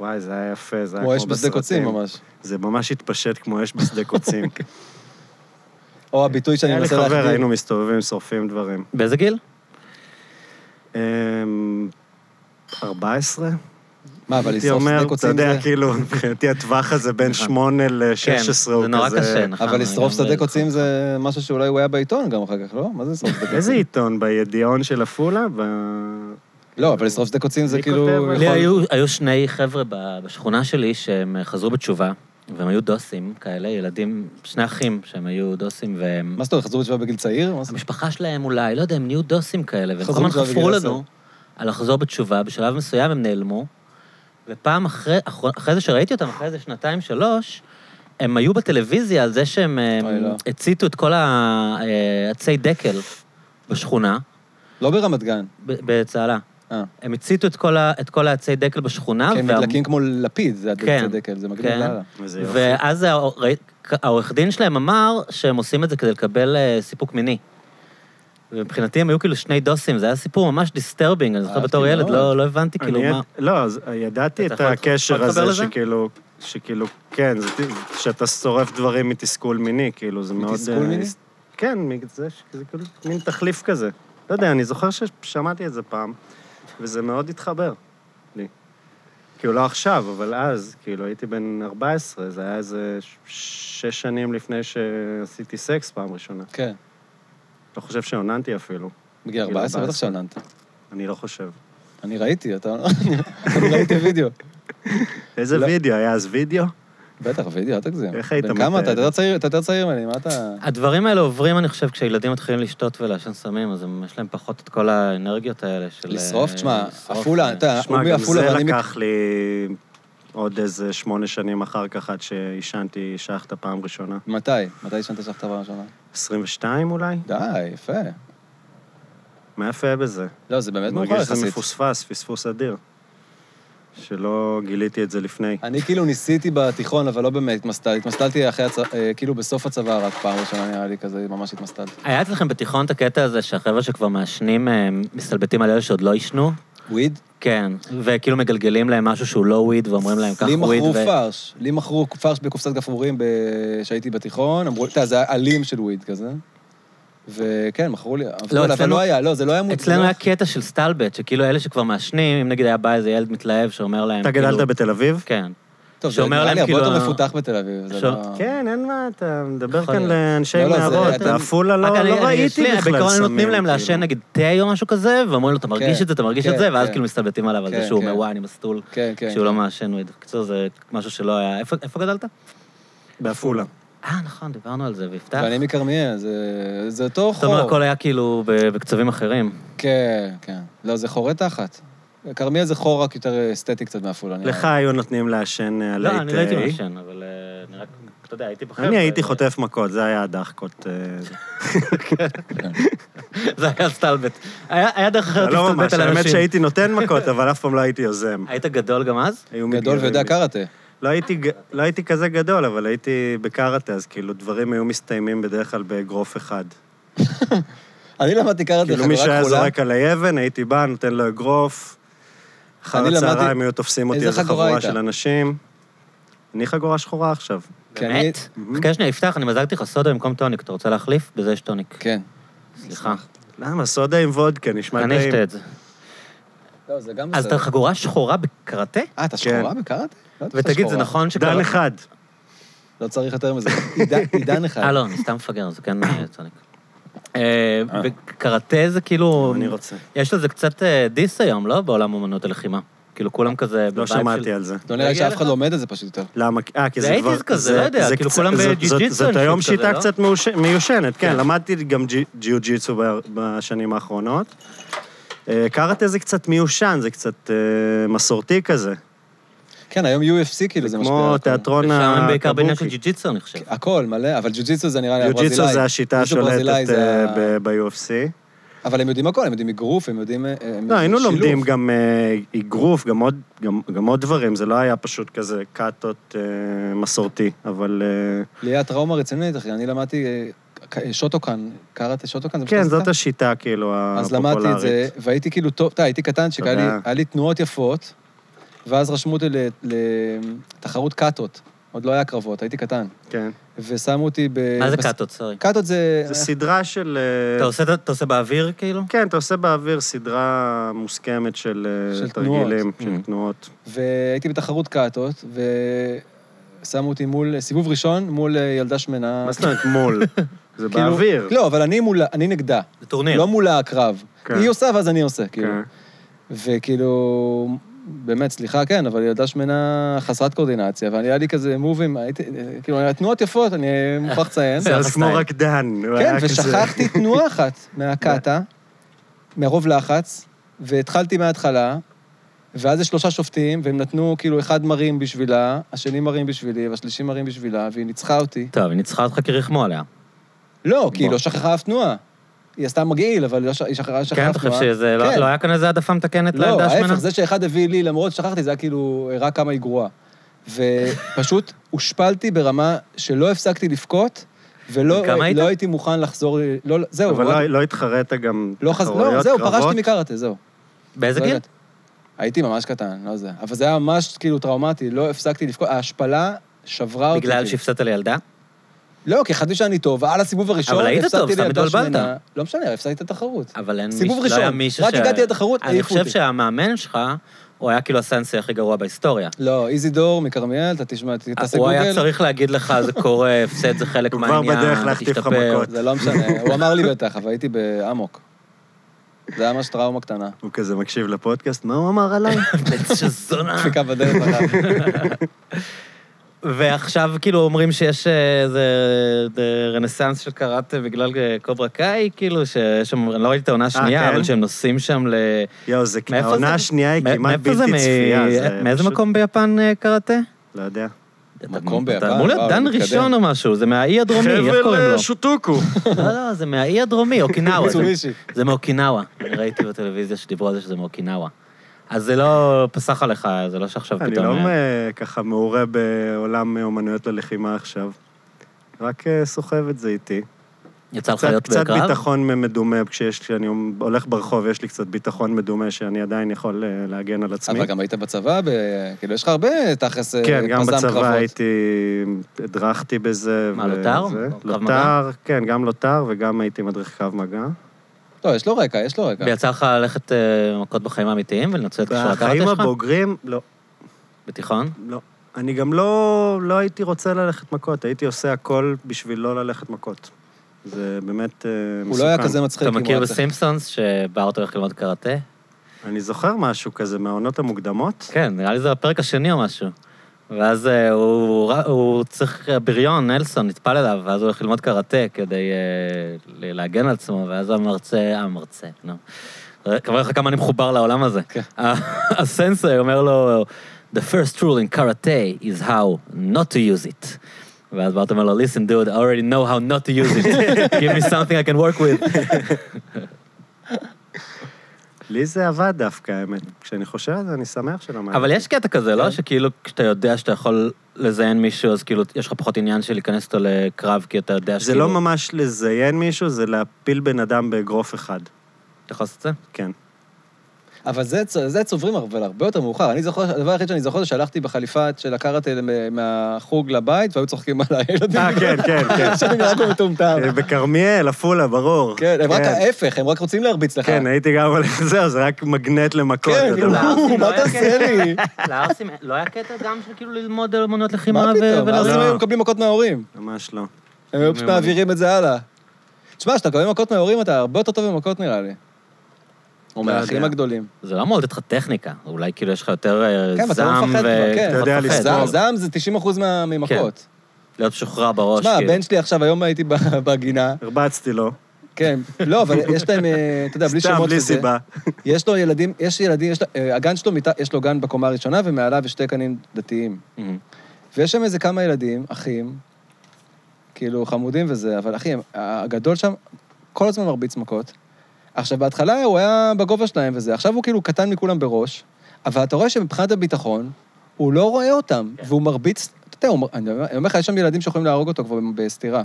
וואי, זה היה יפה, זה היה כמו כמו אש בסרטים. בשדה קוצים כן. ממש. זה ממש התפשט כמו אש בשדה [LAUGHS] קוצים. או הביטוי שאני היה לי מנסה להחדיר. חבר, היינו מסתובבים, שורפים דברים. באיזה גיל? אמ, 14? מה, אבל הייתי לשרוף שדה אומר, אתה קוצים יודע, זה... נכון. כן, כאילו, מבחינתי הטווח הזה בין 8 ל-16 הוא כזה... זה נורא קשה, נכון. אבל לשרוף לגמרי. שדה קוצים זה משהו שאולי הוא היה בעיתון גם אחר כך, לא? מה זה לשרוף שדה קוצים? איזה עיתון? בידיעון של עפולה? ב... לא, אבל לשרוף שדה קוצים זה מי כאילו... כותב על לי יכול- היו, היו שני חבר'ה ב- בשכונה שלי שהם אה, חזרו בתשובה, והם היו דוסים כאלה, ילדים, שני אחים שהם היו דוסים, והם... מה זאת אומרת, חזרו בתשובה בגיל צעיר? מה זאת אומרת? המשפחה שלהם אולי, לא יודע, הם נהיו דוסים כאלה, והם חזרו כל הזמן בתשובה חפרו בגיל לנו על לחזור בתשובה, בשלב מסוים הם נעלמו, ופעם אחרי, אחר- אחרי זה שראיתי אותם, אחרי זה שנתיים, שלוש, הם היו בטלוויזיה על זה שהם אה, אוי, לא. הציתו את כל ה- אה, עצי דקל בשכונה, לא ברמת גן. ב- בצהלה. אה. הם הציתו את כל ה- את כל העצי דקל בשכונה, כי הם וה- נדלקים כמו לפיד, זה כן, הדקל, זה מגניב לא, כן. לאללה. איזה יופי. ואז העור- ראי- העורך דין שלהם אמר שהם עושים את זה כדי לקבל אה, סיפוק מיני. ומבחינתי הם היו כאילו שני דוסים, זה היה סיפור ממש דיסטרבינג, אני זוכר אהבתי בתור ילד, מאוד. לא לא הבנתי אני כאילו יד- מה... לא, אז ידעתי אתה את יכול- הקשר יכול להתחבר הזה לזה? שכאילו, שכאילו, כן, זה ת- שאתה שורף דברים מתסכול מיני, כאילו, זה מאוד... מתסכול אה, מיני? כן, מזה ש- זה כאילו מין תחליף כזה. לא יודע, אני זוכר ששמעתי את זה פעם, וזה מאוד התחבר לי. כאילו, לא עכשיו, אבל אז, כאילו, הייתי בן 14, זה היה איזה ש- שש שנים לפני שעשיתי סקס פעם ראשונה. כן. לא חושב שהוננתי אפילו, בגיל כאילו 14 בטח שעוננת. אני לא חושב. אני ראיתי, אתה... אני לא ראיתי וידאו. איזה לא. וידאו? היה אז וידאו? בטח, וידאו, אל תגזים. איך היית בן כמה אתה? מתאר? אתה יותר צעיר- אתה יותר צעיר ממני, מה אתה... הדברים האלה עוברים, אני חושב, כשילדים מתחילים לשתות ולעשן סמים, אז הם- יש להם פחות את כל האנרגיות האלה של... אה, לשרוף? תשמע, לשרוף, עפולה, אה, אתה... הוא שמע, גם מעפולה, זה ואני... מק- לקח לי עוד איזה שמונה שנים אחר כך, עד שעישנתי שחטה פעם ראשונה. מתי? מתי עישנת שחטה פעם ראשונה? 22 אולי? די, יפה. מה יפה בזה? לא, זה באמת מאוחר מרגיש שזה יחסית. מפוספס, פספוס אדיר. שלא גיליתי את זה לפני. אני כאילו ניסיתי בתיכון, אבל לא באמת התמסטל. התמסטלתי אחרי הצ... אה, כאילו בסוף הצבא רק פעם ראשונה, נראה לי, כזה, ממש התמסטלתי. היה אצלכם בתיכון את הקטע הזה שהחבר'ה שכבר מעשנים, אה, מסתלבטים על אלה שעוד לא עישנו? וויד? כן, וכאילו מגלגלים להם משהו שהוא לא וויד, ואומרים להם, קח לי וויד. מכרו ו- פרש. לי מכרו פרש בקופסת גפרורים ב- כשהייתי בתיכון. אמרו, אתה יודע, זה היה עלים של וויד כזה. וכן, מכרו לי. אבל אבל אצלנו- לא היה, לא, זה לא היה מוצלח. אצלנו היה קטע של סטלבט, שכאילו אלה שכבר מעשנים, אם נגיד היה בא איזה ילד מתלהב שאומר להם, אתה כאילו... גדלת בתל אביב? כן. טוב, זה שאומר נראה להם לי הרבה כאילו יותר ה- מפותח בתל אביב. זה שא- לא- כן, אין מה, אתה מדבר יכול כאן להיות. לאנשי לא, לא, זה- מערות, אתה- בעפולה רק לא אני- לא אני- ראיתי לי- בכלל סמים. בעיקרון נותנים להם כאילו. לעשן נגיד תה או משהו כזה, ואומרים לו, אתה מרגיש כן, את זה, אתה מרגיש את כן, זה, ואז כן. כאילו מסתלבטים עליו על כן, זה שהוא כן. אומר, וואי, אני מסטול, כן, כן. שהוא לא מעשן וויד. בקיצור, זה משהו שלא היה... איפה איפה גדלת? בעפולה. אה, נכון, דיברנו על זה, ויפתח. ואני מכרמיאל, זה- זה אותו זאת אומרת, חור. הכל היה כאילו ב- בקצבים אחרים. כן, כן. לא, זה חורי תחת. כרמיאל זה חור רק יותר אסתטי קצת מעפולה. נראה לי. לך היו נותנים לעשן אה, לא, עלי אני לא הייתי תה. מעשן, אבל אה, אני רק... אתה אתה יודע, הייתי בחבר'ה. אני הייתי חוטף מכות, זה היה הדחקות. אה, זה. זה היה סטלבט. היה היה דרך אחרת לא ממש, להסתלבט על האמת אנשים. שהייתי נותן מכות, אבל אף פעם לא הייתי יוזם. היית גדול גם אז? היו גדול מתגרים ויודע בי. קראטה. לא הייתי, ג- לא הייתי כזה גדול, אבל הייתי בקראטה, אז כאילו דברים היו מסתיימים בדרך כלל באגרוף אחד. אני למדתי קראטה כאילו מי לחגורה שהיה כחולה. זורק עלי אבן, הייתי בא, נותן לו אגרוף. אחר אני למדתי- הצהריים היו תופסים אותי איזה איזה חגורה חבורה הייתה? של אנשים. אני חגורה שחורה עכשיו. כי כן, אני- באמת? חכה שנייה, יפתח, אני מזגתי לך סודה במקום טוניק, אתה רוצה להחליף? בזה יש טוניק. כן. סליחה. למה? סודה עם וודקה, נשמע טעים. אני אשתה את זה. לא, זה גם אז בסדר. אתה חגורה שחורה בקראטה? אה, כן. אתה שחורה בקראטה? לא יודעת שאתה ותגיד, זה שחורה. נכון שקראטה... דן אחד. לא צריך יותר מזה. עידן- [LAUGHS] עידן אחד. אה, לא, אני סתם מפגר, זה כן אה, טוניק. אה, בקראטה זה כאילו... אני רוצה. יש לזה קצת אה, דיס היום, לא? בעולם אמנות הלחימה. כאילו, כולם כזה... לא בווייב של- שמעתי על זה. לא נראה לי מגיע שאף אחד לך? לא עומד על זה פשוט יותר. למה? אה, כי זה זה כבר... 80s כזה, לא יודע, זה כאילו קצת- כולם זאת- זאת- בג'יוג'יצו זאת אני היום חושב כזה, שיטה לא? קצת מאוש- מיושנת, כן. כן. למדתי גם ג'י- ג'יוג'יצו ב- בשנים האחרונות. אה, קראטה זה קצת מיושן, זה קצת אה, מסורתי כזה. כן, היום UFC כאילו זה משפיע. על כמו הכל. תיאטרון ושם הם בעיקר בעניין של הקבוקי. ג'י-ג'יצו, אני חושב. הכל מלא, אבל ג'ו-ג'יצו זה נראה לי הברזילאי. ג'יוג'יצו זה השיטה ג'ו-ג'יצו ברזילאי השולטת זה אה, ה- ב- ב-UFC. אבל הם יודעים הכל, הם יודעים אגרוף, הם יודעים... אה, הם יודעים לא, היינו שילוב. לומדים גם אה, אגרוף, גם עוד- גם- גם עוד דברים, זה לא היה פשוט כזה קאטות אה, מסורתי, אבל... אה, לי היה טראומה רצינית, אחי, אני למדתי אה, ק- אה, שוטוקן, קראטה שוטוקן? זה מה כן, שאתה זאת עשית? השיטה, כאילו, אז למדתי את זה, הפופולרית. והייתי כאילו טוב, אתה, הייתי קטנצ'יק, היה לי- תודה. היה לי תנועות יפות, ואז רשמו אותי ל- לתחרות קאטות, עוד לא היה קרבות, הייתי קטן, כן. ושמו אותי ב... מה זה בס- קאטות, סורי? קאטות זה... זה סדרה של... אה, אתה עושה את ה- אתה עושה באוויר, כאילו? כן, אתה עושה באוויר סדרה מוסכמת של, אה, של תרגילים, תנועות. Mm. של תנועות. והייתי בתחרות קאטות, ושמו אותי מול, סיבוב ראשון, מול אה, ילדה שמנה. מה זאת אומרת [LAUGHS] מול? זה כאילו- באוויר. לא, אבל אני מולה, אני נגדה. זה טורניר. לא מול הקרב. כן. היא עושה ואז אני עושה, כאילו. כן. וכאילו, באמת, סליחה, כן, אבל ילדה שמנה חסרת קואורדינציה, והיה לי כזה מובים, הייתי, אה, כאילו, היה תנועות יפות, אני מוכרח לציין. זה אז כמו הסטייל. רקדן. הוא כן, היה כזה- ושכחתי תנועה אחת מהקאטה, מרוב לחץ, והתחלתי מההתחלה, ואז יש שלושה שופטים, והם נתנו כאילו אחד מרים בשבילה, השני מרים בשבילי, והשלישי מרים בשבילה, והיא ניצחה אותי. טוב, היא ניצחה אותך כי ריחמו עליה. לא, כי היא בוא. לא שכחה אף תנועה. היא עשתה מגעיל, אבל לא ש- היא שכחה שכחה כן, אף אתה חושב תנועה. שזה... לא כן. לא היה כאן איזה העדפה מתקנת לא, לעמדה השמנה? ההפך, זה שאחד הביא לי, למרות ששכחתי, זה היה כאילו, הראה כמה היא גרועה. ופשוט [LAUGHS] הושפלתי ברמה שלא הפסקתי לבכות, ולא וכמה היית? לא הייתי מוכן לחזור, ל- לא, זהו, אבל לא, לא- לא התחרית גם לא, חז... לא, תחרויות, זהו, קרבות? פרשתי מקראטה, זהו. באיזה לא גיל? יודעת. הייתי ממש קטן, לא זה. אבל זה היה ממש כאילו טראומטי, לא הפסקתי לבכות, ההשפלה שברה אותי. בגלל כאילו. שהפסדת לילדה? לא, כי חשבתי שאני טוב, ועל הסיבוב הראשון אבל היית הפסדתי טוב, סתם לילדה התבלבלת. שמנה. לא משנה, הפסדתי את התחרות. אבל אין סיבוב מישהו- לא היה ראשון. מישהו רק הגעתי לתחרות, אני העיפו חושב אותי. שהמאמן שלך, הוא היה כאילו הסנסי הכי גרוע בהיסטוריה. לא, איזי דור מכרמיאל, אתה תשמע, תעשה הוא גוגל. היה צריך להגיד לך, זה קורה, הפסד זה חלק [LAUGHS] הוא כבר מהעניין, בדרך להחטיף לך תשתפר." [LAUGHS] מכות. זה לא משנה, הוא אמר לי בטח, אבל הייתי באמוק. זה היה ממש טראומה קטנה. הוא כזה מקשיב לפודקאסט, מה הוא אמר [LAUGHS] עליי? בן של אה. זונה. דפיקה בדלת אחת. ועכשיו כאילו אומרים שיש אה, איזה אה, רנסאנס של קראטה בגלל אה, קוברה קאי, כאילו, שיש שם, אני לא ראיתי את העונה השנייה, כן? אבל שהם נוסעים שם ל... יואו, זה... מאיפה זה? העונה השנייה היא מא- כמעט מאיפה זה? בלתי מ- אה, צפייה. זה מאיזה פשוט- מקום ביפן אה, קראטה? לא יודע. מקום אתה- ביפן, אתה אמור להיות וואו, דן מתקדם. ראשון או משהו, זה מהאי הדרומי, איך קוראים חבל לו? אה, שוטוקו. לא, לא, זה מהאי הדרומי, אוקינאווה. זה- מיצובישי. זה מאוקינאווה. אני ראיתי בטלוויזיה שדיברו על זה שזה מאוקינאווה. אז זה לא פסח עליך, זה לא שעכשיו [LAUGHS] אני פתאום... לא אה, אה, ככה מעורה בעולם אומנויות ללחימה עכשיו. רק אה, סוחב את זה איתי. יצא לך קצת, להיות קצת בקרב? ביטחון מדומה, כשיש, כשאני הולך ברחוב, יש לי קצת ביטחון מדומה שאני עדיין יכול אה, להגן על עצמי. אבל גם היית בצבא, ב- כאילו, יש לך הרבה תכלס אה, כן, גם פזם בצבא קרבות. הייתי, הדרכתי בזה. מה, וזה. לוטר? קרב לוטר, כן, גם לוטר וגם הייתי מדריך קרב מגע. לא, יש לו רקע, יש לו רקע. ויצא לך ללכת אה, מכות בחיים האמיתיים ולנצל את כישור הקראטה בחיים שלך? הבוגרים, לא, בתיכון? לא. אני גם לא, לא הייתי רוצה ללכת מכות, הייתי עושה הכל בשביל לא ללכת מכות. זה באמת אה, מסוכן. הוא לא היה כזה מצחיק. אתה אם הוא מכיר היה צריך. בסימפסונס שבארט הולך ללמוד קראטה? אני זוכר משהו כזה מהעונות המוקדמות. כן, נראה לי זה הפרק השני או משהו. ואז אה, הוא, הוא, הוא צריך, אה, בריון, נלסון, נטפל אליו, ואז הוא הולך ללמוד קראטה כדי אה, ל- להגן על עצמו, ואז המרצה, המרצה, נו. רק אומר לך כמה אני מחובר לעולם הזה. אה, כן. [LAUGHS] ה- הסנסei אומר לו, The first rule in karate is how not to use it. ואז באתם לו, listen dude, I already know how not to use it. Give me something I can work with. לי זה עבד דווקא, האמת. כשאני חושב על זה, אני שמח שלמדתי. אבל יש קטע כזה, כן. לא? שכאילו כשאתה יודע שאתה יכול לזיין מישהו, אז כאילו יש לך פחות עניין של להיכנס איתו לקרב, כי אתה יודע זה שכאילו... כאילו- לא ממש לזיין מישהו, זה להפיל בן אדם באגרוף אחד. אתה יכול לעשות את זה? כן. אבל זה, צ- זה צוברים אבל הרבה יותר מאוחר. אני זוכר, הדבר היחיד שאני זוכר זה שהלכתי בחליפה של הקראטה למ- מהחוג לבית, והיו צוחקים עליי הילדים. אה, כן, כן, [LAUGHS] כן. אה, שאני נראה כמו מטומטם. בכרמיאל, עפולה, ברור. כן, הם רק ההפך, הם רק רוצים להרביץ לך. כן, הייתי [LAUGHS] גם הולך לזה, זה רק מגנט למכות. כן, אתה כאילו, יודע. לא, מה לא היה תעשה לי? לערסים לא היה קטע גם של כאילו ללמוד על אמנות מה לחימה פתאום? אז הם לא. היו מקבלים מכות מההורים. ממש לא. הם היו פשוט מעולים. מעבירים את זה הלאה. תשמע, כשאתה מקבל מכות מההורים, אתה הרבה יותר טוב במכות, נראה לי. או לא מהאחים יודע. הגדולים. זה לא אמור לתת לך טכניקה, אולי כאילו יש לך יותר אה, כן, אבל אתה לא זעם ו... מפחד כבר, כן. אתה יודע פחות לסבול. זעם- פחד. זעם זה 90% מה- ממכות. לא? להיות משוחרר בראש, כאילו. תשמע, הבן שלי עכשיו, היום הייתי ב- [LAUGHS] בגינה, הרבצתי לו. כן, לא, אבל יש להם, אה, אתה יודע, בלי סתם, שמות בלי וזה. סיבה. יש לו ילדים, יש ילדים, יש לו- אה, הגן שלו, מתח- יש לו גן בקומה הראשונה, ומעליו יש שתי קנים דתיים. מהמם. ויש שם איזה כמה ילדים, אחים, כאילו חמודים וזה, אבל אחי, הם- הגדול שם כל הזמן מרביץ מכות. עכשיו, בהתחלה הוא היה בגובה שלהם וזה, עכשיו הוא כאילו קטן מכולם בראש, אבל אתה רואה שמבחינת הביטחון, הוא לא רואה אותם, כן. והוא מרביץ, אתה יודע, הוא מר- אני אומר אני אומר לך, יש שם ילדים שיכולים להרוג אותו כבר בסטירה.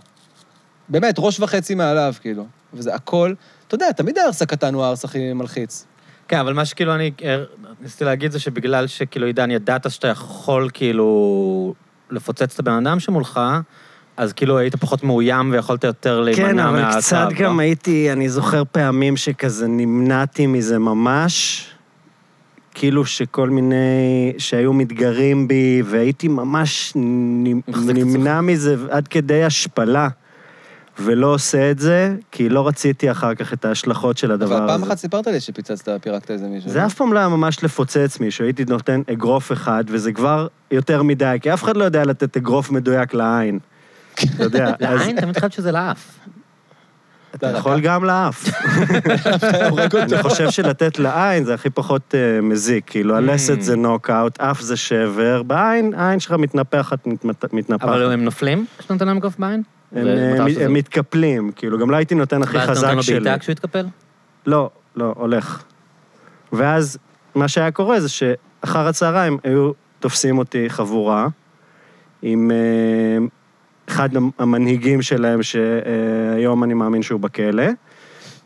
באמת, ראש וחצי מעליו, כאילו. וזה הכל, אתה יודע, תמיד הארס הקטן הוא הארס הכי מלחיץ. כן, אבל מה שכאילו אני אה, ניסיתי להגיד זה שבגלל שכאילו, עידן, ידעת שאתה יכול כאילו לפוצץ את הבן אדם שמולך, אז כאילו היית פחות מאוים ויכולת יותר להימנע כן, מהצו. אבל קצת גם הייתי, אני זוכר פעמים שכזה נמנעתי מזה ממש, כאילו שכל מיני, שהיו מתגרים בי, והייתי ממש נ- מחזיק את נמנע מזה עד כדי השפלה, ולא עושה את זה, כי לא רציתי אחר כך את ההשלכות של הדבר הזה. אבל פעם אחת סיפרת לי שפיצצת, פירקת איזה מישהו. זה אף פעם לא היה ממש לפוצץ מישהו, הייתי נותן אגרוף אחד, וזה כבר יותר מדי, כי אף אחד לא יודע לתת אגרוף מדויק לעין. אתה יודע, אז [LAUGHS] לעין, לא, תמיד חשבתי שזה לאף. אתה יכול גם לאף. הורג אותו. אני חושב שלתת לעין זה הכי פחות אה, מזיק, כאילו Mm. הלסת זה נוקאוט, אף זה שבר, בעין, העין שלך מתנפחת, מתמת- מתנפחת. אבל הם נופלים כשאתה נותן להם אגרוף בעין? אה. הם, ומתי אה, מ- שזה- הם מתקפלים, כאילו, גם לא הייתי נותן הכי ואז אתה חזק נותן לו שלי. בעיטה כשהוא יתקפל? לא, לא, הולך. ואז מה שהיה קורה זה שאחר הצהריים היו תופסים אותי חבורה עם אה, אחד המ- המנהיגים שלהם, שהיום אני מאמין שהוא בכלא,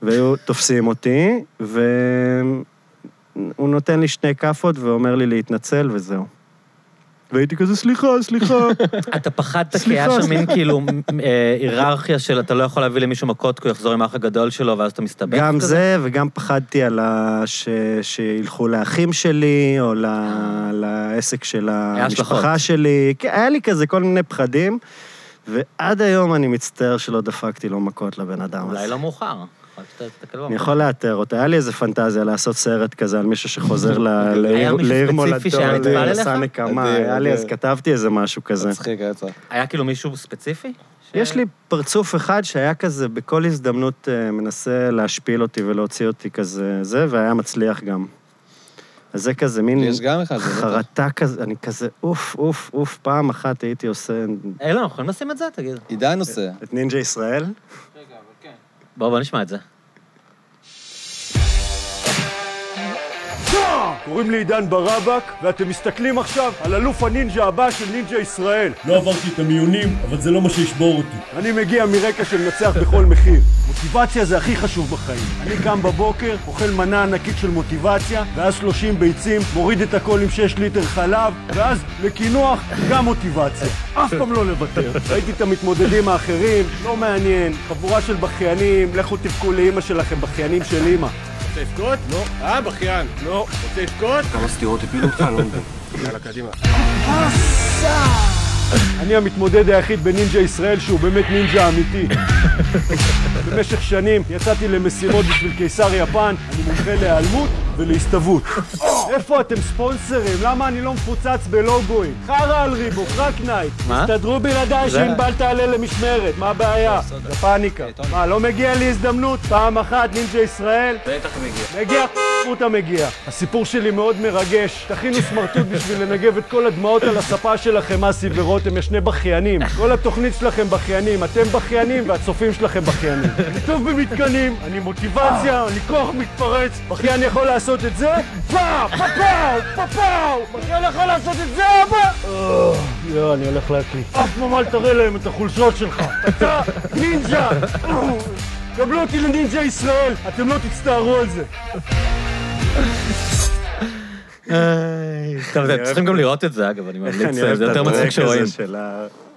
והיו תופסים אותי, והוא נותן לי שני כאפות ואומר לי להתנצל וזהו. והייתי כזה, סליחה, סליחה. אתה פחדת כי סליחה, היה שם סליחה. מין כאילו אה, היררכיה של אתה לא יכול להביא למישהו מכות כי הוא יחזור עם האח הגדול שלו ואז אתה מסתבך. גם כזה? זה, וגם פחדתי על ה... ש... שילכו לאחים שלי, או ל... לעסק של המשפחה השלכות. שלי. כן, היה לי כזה כל מיני פחדים, ועד היום אני מצטער שלא דפקתי לו מכות לבן אדם הזה. אולי לא מאוחר. יכול להיות שאתה תסתכל אני במוח. יכול לאתר אותה. היה לי איזה פנטזיה לעשות סרט כזה על מישהו [LAUGHS] שחוזר ל... לעיר, מישהו לעיר ספציפי מולדתו, שהיה נטפל אליך? לעשה נקמה. אדיר, היה לי, אז אדיר. כתבתי איזה משהו כזה. [LAUGHS] מצחיק, היה צריך. היה כאילו מישהו ספציפי? ש- יש לי פרצוף אחד שהיה כזה, בכל הזדמנות אה, מנסה להשפיל אותי ולהוציא אותי כזה, זה, והיה מצליח גם. אז זה כזה מין יש גם אחד. זה לא טוב. חרטה כזה, אני כזה, אוף, אוף, אוף, פעם אחת הייתי עושה אילון, אה, לא, אנחנו יכולים לשים את זה? תגיד. עידן עושה. את נינג'ה [LAUGHS] ישראל. רגע, אבל כן. בואו, בואו נשמע את [LAUGHS] זה. קוראים לי עידן ברבק, ואתם מסתכלים עכשיו על אלוף הנינג'ה הבא של נינג'ה ישראל. לא עברתי את המיונים, אבל זה לא מה שישבור אותי. אני מגיע מרקע של מנצח בכל מחיר. מוטיבציה זה הכי חשוב בחיים. אני קם בבוקר, אוכל מנה ענקית של מוטיבציה, ואז 30 ביצים, מוריד את הכל עם 6 ליטר חלב, ואז לקינוח, גם מוטיבציה. אף פעם לא לוותר. ראיתי את המתמודדים האחרים, לא מעניין, חבורה של בכיינים, לכו תבכו לאימא שלכם, בכיינים של אימא. אני המתמודד היחיד בנינג'ה ישראל שהוא באמת נינג'ה אמיתי. במשך שנים יצאתי למשימות בשביל קיסר יפן, אני מומחה להיעלמות ולהסתוות. איפה אתם ספונסרים? למה אני לא מפוצץ בלוגוים? חרא על ריבוק, רק נייק. מה? תסתדרו בלעדיי שענבל תעלה למשמרת, מה הבעיה? זה פאניקה. מה, לא מגיע לי הזדמנות? פעם אחת נינג'ה ישראל? בטח מגיע. מגיע? סמוטה מגיע. הסיפור שלי מאוד מרגש. תכינו סמרטוט בשביל לנגב את כל הדמעות על הספה שלכם, אסי ורותם, יש שני בכיינים. כל התוכנית שלכם בכיינים, אתם בכיינים והצופים שלכם בכיינים. אני טוב במתקנים, אני מוטיבציה, אני כוח מתפרץ. בכיין יכול לעשות את זה? פאו! פאפאו! פאפאו! בכיין יכול לעשות את זה? אבא! אה, לא, אני הולך להקליט. אף ממה תראה להם את החולשות שלך. אתה נינג'ה! אה, קבלו אותי לנינג'ה ישראל, אתם לא תצטערו על זה. טוב, אתם צריכים גם לראות את זה, אגב, אני ממליץ, אני אוהב זה את יותר מצחיק כן. הברק שרואים. הזה של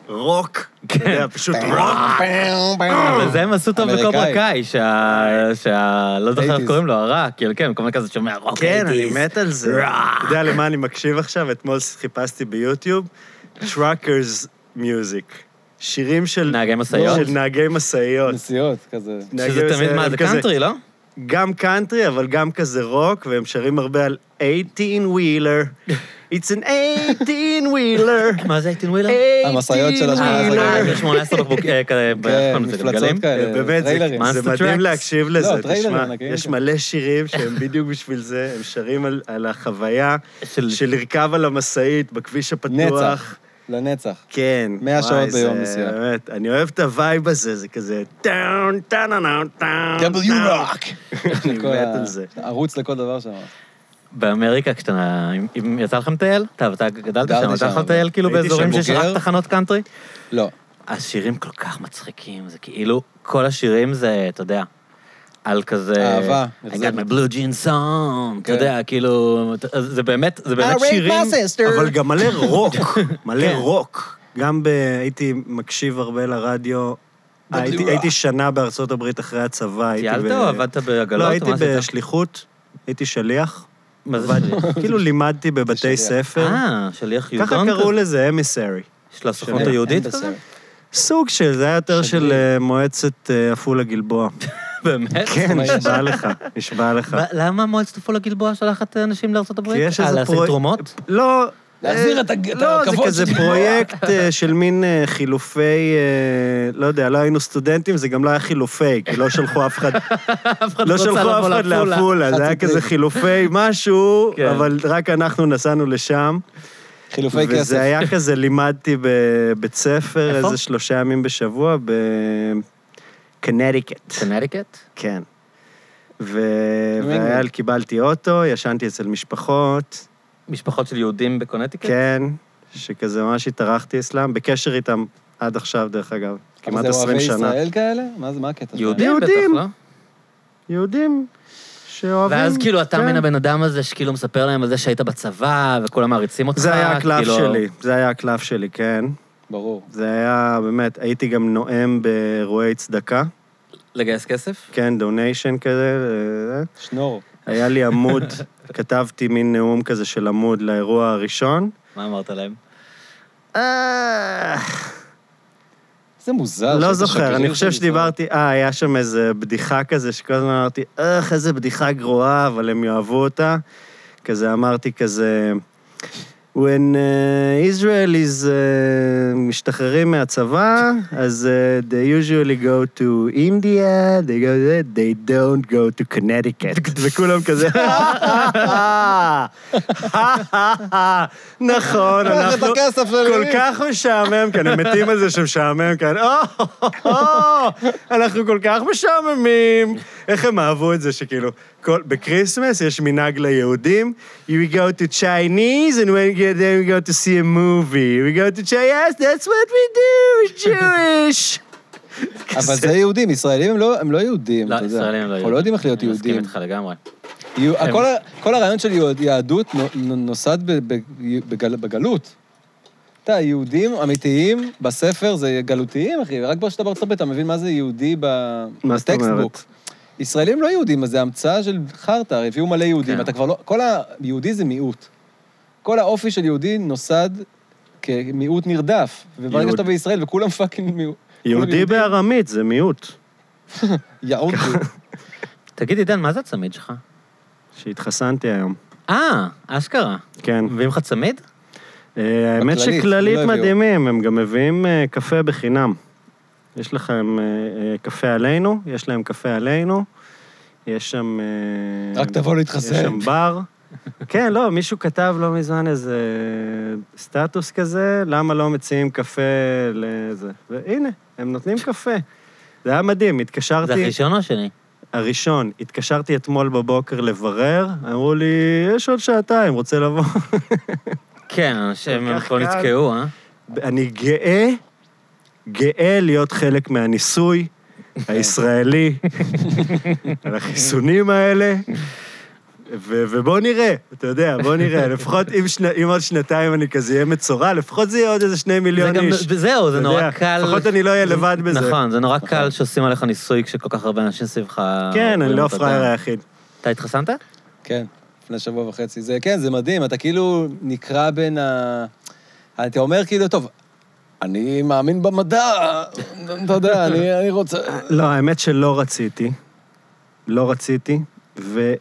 הרוק. אתה יודע, [LAUGHS] פשוט רוק. אבל זה הם עשו טוב אמריקאי. בקוברה קאי, שה... שה... לא זוכר איך 80s. קוראים לו, הרע, כאילו, כן, כל מיני כזה שומע רוק כן, אני 80s. מת על זה. רוק. אתה יודע למה אני מקשיב עכשיו? אתמול חיפשתי ביוטיוב, Truckers Music. שירים של... נהגי משאיות? של נהגי משאיות. נסיעות, כזה. נהגי שזה תמיד, משאיות מה, זה כזה- קאנטרי, לא? גם קאנטרי, אבל גם כזה רוק, והם שרים הרבה על [LAUGHS] 18-wheeler. It's an 18-wheeler. מה זה הייטין ווילר? 18 המשאיות של השמונה אה, עשרה wheeler. גלגלים. 18 בקבוק, אה, כזה, כן, איך קוראים לזה, גלגלים? מפלצות כאלה, אה, באמת, זה- טריילרים. מה? זה Monster מדהים Trucks? להקשיב לזה, לא, טריילרים תשמע, ענקיים יש כאלה. מלא שירים שהם בדיוק בשביל זה, הם שרים על- על החוויה של- של לרכב על המשאית בכביש הפתוח. נצח, לנצח. כן. מאה וואי, שעות ביום זה נסיעה. באמת, אני אוהב את הווייב הזה, זה כזה טאון, טאנאנאון, טאון. [LAUGHS] אני כל מת ה- על זה. ערוץ לכל דבר שם. באמריקה, כשאתה... אם- אם יצא לכם טייל? אתה אתה גדלת גרתי שם, אתה שם, יכול לטייל כאילו הייתי באזורים שם שיש רק בוגר. תחנות קאנטרי? לא. השירים כל כך מצחיקים, זה כאילו, כל השירים זה, אתה יודע, על כזה... אהבה, I אכזבת. got my blue jean song, אתה כן. יודע, כאילו, אתה- אז זה באמת, זה באמת שירים... אבל גם מלא [LAUGHS] רוק, כן. מלא רוק. גם ב... הייתי מקשיב הרבה לרדיו. הייתי הייתי שנה בארצות הברית אחרי הצבא, הייתי טיילת או עבדת בעגלות? לא, או הייתי מה עשית? בשליחות, הייתי שליח. מה זה עבדתי. שליח? כאילו לימדתי בבתי שליח. ספר. אה, שליח יהודון? ככה קראו כזה? לזה, אמיסרי. של הסוכנות היהודית כזה? סוג של, זה היה יותר של אה, מועצת אה, עפולה [LAUGHS] גלבוע. [LAUGHS] באמת? כן, נשבע לך, נשבע לך. ב- למה מועצת עפולה גלבוע שולחת אנשים אה, לארצות הברית? כי יש איזה אה, להשיג פרוי- תרומות? לא... להחזיר אה, את הג- את לא, זה הכבוד כזה של גלבוע. פרויקט אה, של מין אה, חילופי... אה, לא יודע, לא היינו סטודנטים, זה גם לא היה חילופי, כי לא שלחו אף אחד... [LAUGHS] אף אחד לא רוצה שלחו אף לבוא אחד לעפולה. לעפולה, זה היה חצי כזה טריק. [LAUGHS] חילופי משהו, כן. אבל רק אנחנו נסענו לשם. חילופי כסף. וזה היה כזה, לימדתי בבית ספר איפה? איזה שלושה ימים בשבוע בקנדיקט, קנדיקט? כן. ו... אנגלד. והיה, קיבלתי אוטו, ישנתי אצל משפחות, משפחות של יהודים בקונטיקט? כן, שכזה ממש התארחתי אצלם, בקשר איתם עד עכשיו, דרך אגב, אבל כמעט 20 זה שנה. אוהבי ישראל כאלה? מה זה, מה הקטע? שלהם? יהודים בטח, יהודים. לא? יהודים שאוהבים... ואז כאילו אתה כן. מן הבן אדם הזה שכאילו מספר להם על זה שהיית בצבא וכולם מעריצים אותך. זה היה הקלף כאילו- שלי, זה היה הקלף שלי, כן. ברור. זה היה, באמת, הייתי גם נואם באירועי צדקה, לגייס כסף? כן, דוניישן כזה, אה, שנור. היה לי [LAUGHS] עמוד, כתבתי מין נאום כזה של עמוד לאירוע הראשון. מה אמרת להם? אה, זה מוזר. לא שאתה זוכר, שגריר אני של חושב ישראל. שדיברתי, אה, היה שם איזה בדיחה כזה, שכל הזמן אמרתי, איך, איזה בדיחה גרועה, אבל הם יאהבו אותה. כזה אמרתי כזה, When uh, Israel is uh, משתחררים מהצבא, אז uh, they usually go to India, they go there, they don't go to [LAUGHS] Connecticut. וכולם כזה, [LAUGHS] קח נכון, את אנחנו הכסף אה, שלי. כל כך משעמם כאן, הם מתים על זה שמשעמם כאן, או, אנחנו כל כך משעממים. איך הם אהבו את זה שכאילו, כל- בקריסמס יש מנהג ליהודים, you go to Chinese and when you get there you go to see a movie, we go to Chinese, yes, that's what we do, we're Jewish. אבל זה יהודים, ישראלים הם לא- הם לא יהודים, לא, אתה יודע. ישראלים הם לא יהודים. אנחנו לא יודעים איך להיות אני מסכים יהודים. איתך לגמרי. יהיו- הכל ה- כל הרעיון של יהוד- יהדות נו- נוסד ב- ב- בגל- בגלות. אתה, יהודים אמיתיים בספר זה גלותיים, אחי, רק בו שאתה בארצות הברית אתה מבין מה זה יהודי ב- מה זאת בטקסטבוק. אומרת? ישראלים לא יהודים, אז זה המצאה של חרטא, הרי הביאו מלא יהודים, כן. אתה כבר לא... כל ה... יהודי זה מיעוט. כל האופי של יהודי נוסד כמיעוט נרדף, וברגע יהוד- שאתה בישראל וכולם פאקינג מיעוט. יהודי בארמית זה מיעוט, יעוד. תגיד, עידן, מה זה הצמיד שלך? שהתחסנתי היום. אה, אשכרה. כן. מביאים לך צמיד? אה, האמת בכללית, שכללית לא הביאו. מדהימים, הם גם מביאים אה, קפה בחינם. יש לכם אה, אה, קפה עלינו, יש להם קפה עלינו, יש שם... אה, רק תבוא להתחסן. יש שם בר. כן, לא, מישהו כתב לא מזמן איזה סטטוס כזה, למה לא מציעים קפה לזה. והנה, הם נותנים קפה. זה היה מדהים, זה התקשרתי, הראשון או השני? הראשון, התקשרתי אתמול בבוקר לברר, אמרו לי, יש עוד שעתיים, רוצה לבוא. כן, אנשים הם כך כבר קל. נתקעו, אה? אני גאה, גאה להיות חלק מהניסוי הישראלי, על החיסונים האלה, ו- ובוא נראה, אתה יודע, בוא נראה, לפחות אם, שנ- אם עוד שנתיים אני כזה אהיה מצורע, לפחות זה יהיה עוד איזה שני זה מיליון גם- איש. וזהו, זה אתה נורא יודע, קל. לפחות אני לא אהיה לבד בזה. נכון, זה נורא קל שעושים עליך ניסוי כשכל כך הרבה אנשים סביבך... כן, אני רואים לא אותו. הפראייר היחיד. אתה התחסנת? כן, לפני שבוע וחצי. זה, כן, זה מדהים, אתה כאילו נקרע בין ה... אתה אומר כאילו, טוב, אני מאמין במדע, אתה יודע, אני, אני [LAUGHS] רוצה... לא, האמת שלא רציתי. לא רציתי, ו...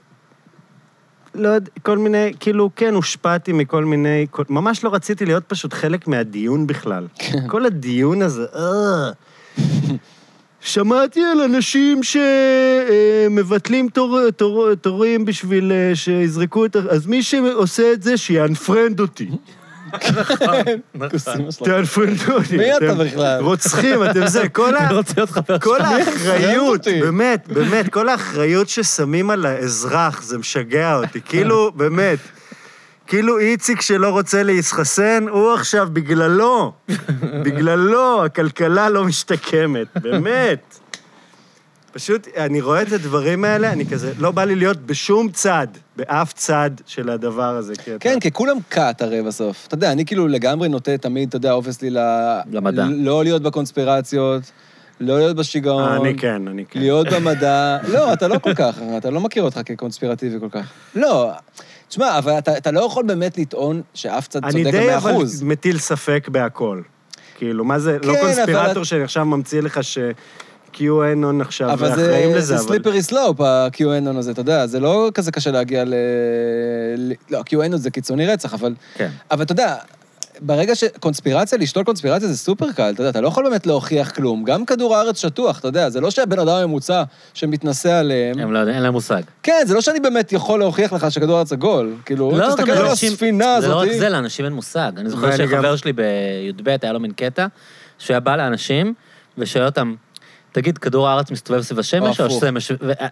לא יודע, כל מיני, כאילו, כן, הושפעתי מכל מיני... כל- ממש לא רציתי להיות פשוט חלק מהדיון בכלל. כל הדיון הזה, אה... שמעתי על אנשים שמבטלים תור, תור, תורים בשביל אה, שיזרקו את... ה- אז מי שעושה את זה, שיאנפרנד אותי. כוסים שלו. תאנפרנד אותי. מי אתה אתם בכלל? רוצחים, אתם זה. כל ה... אני רוצה להיות חבר כל האחריות, אותי? באמת, באמת, כל האחריות ששמים על האזרח, זה משגע אותי. כאילו, באמת, כאילו איציק שלא רוצה להתחסן, הוא עכשיו בגללו, בגללו הכלכלה לא משתקמת, באמת. פשוט, אני רואה את הדברים האלה, אני כזה, לא בא לי להיות בשום צד, באף צד של הדבר הזה. כי אתה- כן, כי כולם כת הרי בסוף. אתה יודע, אני כאילו לגמרי נוטה תמיד, אתה יודע, אובייסלי ל... למדע. ל- לא להיות בקונספירציות, לא להיות בשיגעון. אני כן, אני כן. להיות במדע... לא, אתה לא כל כך, אתה לא מכיר אותך כקונספירטיבי כל כך. לא, תשמע, אבל אתה, אתה לא יכול באמת לטעון שאף צד אני צודק די במאה אבל אחוז. מטיל ספק בהכל. כאילו, מה זה, לא כן, אבל- קונספירטור שאני עכשיו ממציא לך ש-QAnon עכשיו אבל אחראים זה, לזה, זה אבל... סליפרי סלופ, ה-QAnon הזה, אתה יודע, זה לא כזה קשה להגיע ל... ל- לא, QAnon זה קיצוני רצח, אבל... כן. אבל אתה יודע, ברגע ש... קונספירציה, לשתול קונספירציה זה סופר קל, אתה יודע, אתה לא יכול באמת להוכיח כלום. גם כדור הארץ שטוח, אתה יודע, זה לא שהבן אדם הממוצע שמתנשא עליהם... הם לא יודעים, אין להם מושג. כן, זה לא שאני באמת יכול להוכיח לך שכדור הארץ עגול. כאילו, אם תסתכל גם על לאנשים- הספינה הזאת... לא, זה לא רק זה, לאנשים אין מושג. אני זוכר ואני גם- שחבר שלי בי"ב, היה לו מין קטע, שהוא היה בא לאנשים ושואל אותם, תגיד, כדור הארץ מסתובב סביב השמש או הפוך. השמש... ו- אה,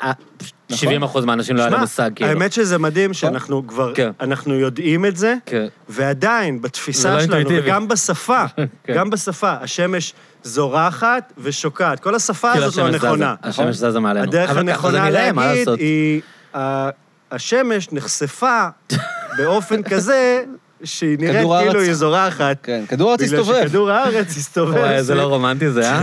אה, 70 אחוז מהאנשים לא היה להם מושג, כאילו. נכון. האמת שזה מדהים שאנחנו כבר, כן. אנחנו יודעים את זה, כן. ועדיין, זה לא בתפיסה שלנו, אינטואיטיבי. וגם בשפה, [LAUGHS] כן. גם בשפה, השמש זורחת ושוקעת. כל השפה כאילו הזאת לא השמש זזה, נכונה. השמש זזה מעלינו. הדרך אבל ככה זה הנכונה נראה, מה להגיד לעשות? היא, ה- השמש נחשפה באופן כזה שהיא נראית כדור הארץ- כאילו היא זורחת. כן, כדור הארץ בגלל הסתובב. שכדור הארץ הסתובב. וואי, זה לא רומנטי זה, אה?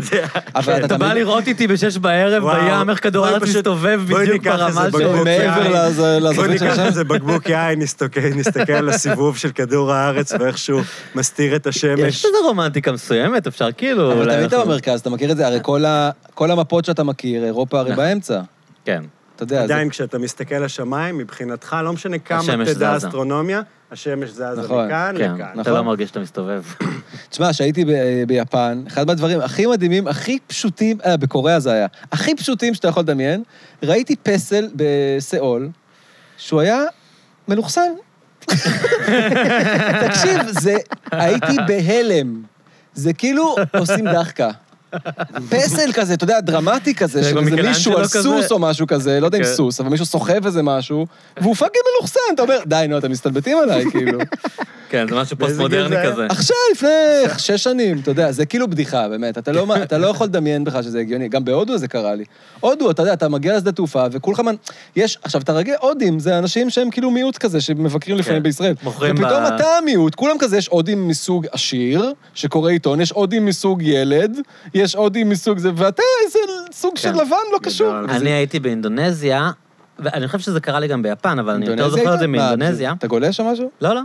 אבל אתה אתה בא תמיד- לראות איתי בשש בערב וואו. בים, איך כדור בואי הארץ פשוט- מסתובב בואי בדיוק ניקח איזה ברמה בקבוק שלו. יין. אוקיי, מעבר לזה- בוא לזווית של ניקח השמש. איזה בקבוק יין, נסתכל נסתכל על הסיבוב של כדור הארץ ואיך שהוא מסתיר את יש השמש. איזו רומנטיקה מסוימת, אפשר כאילו... אבל אולי תמיד אתה אנחנו- במרכז, אתה מכיר את זה, הרי כל ה- כל המפות שאתה מכיר, אירופה הרי נכון. באמצע. כן. אתה יודע, זה... עדיין כשאתה מסתכל לשמיים, מבחינתך, לא משנה כמה השמש תדע זזה. אסטרונומיה, השמש זזה נכון, מכאן כן, לכאן. אתה לא מרגיש [LAUGHS] שאתה מסתובב. תשמע, כשהייתי ב- ביפן, אחד מהדברים הכי מדהימים, הכי פשוטים, אה, בקוריאה זה היה, הכי פשוטים שאתה יכול לדמיין, ראיתי פסל בסיאול, שהוא היה מלוכסן. [LAUGHS] תקשיב, זה, הייתי בהלם. זה כאילו עושים דחקה. פסל כזה, אתה יודע, דרמטי כזה, זה של גם איזה מישהו על מיכלאנג'לו כזה. סוס או משהו כזה, לא יודע אם כן. סוס, אבל מישהו סוחב איזה משהו, והוא פאקינג מלוכסן, אתה אומר, די, נו, אתם מסתלבטים עליי, כאילו. כן, זה באיזה משהו גיל פוסט-מודרני זה היה? כזה. עכשיו, לפני שש שנים, אתה יודע, זה כאילו בדיחה, באמת. אתה לא, אתה לא יכול לדמיין בכלל שזה הגיוני. גם בהודו זה קרה לי. הודו, אתה יודע, אתה מגיע לשדה תעופה, וכולך... מנ- יש... עכשיו, אתה רגיל, הודים זה אנשים שהם כאילו מיעוט כזה, שמבקרים לפעמים בישראל. כן, מוכרים ופתאום ב- אתה המיעוט, כולם כזה, יש הודים מסוג עשיר, שקורא עיתון, יש הודים מסוג ילד, יש הודים מסוג זה, ואתה איזה סוג של כן. לבן לא קשור. גדול. אני הייתי באינדונזיה, ואני חושב שזה קרה לי גם ביפן, אבל אני יותר אינדונזיה זוכר את זה הייתה? מה, מאינדונזיה. אתה גולש שם משהו? לא, לא,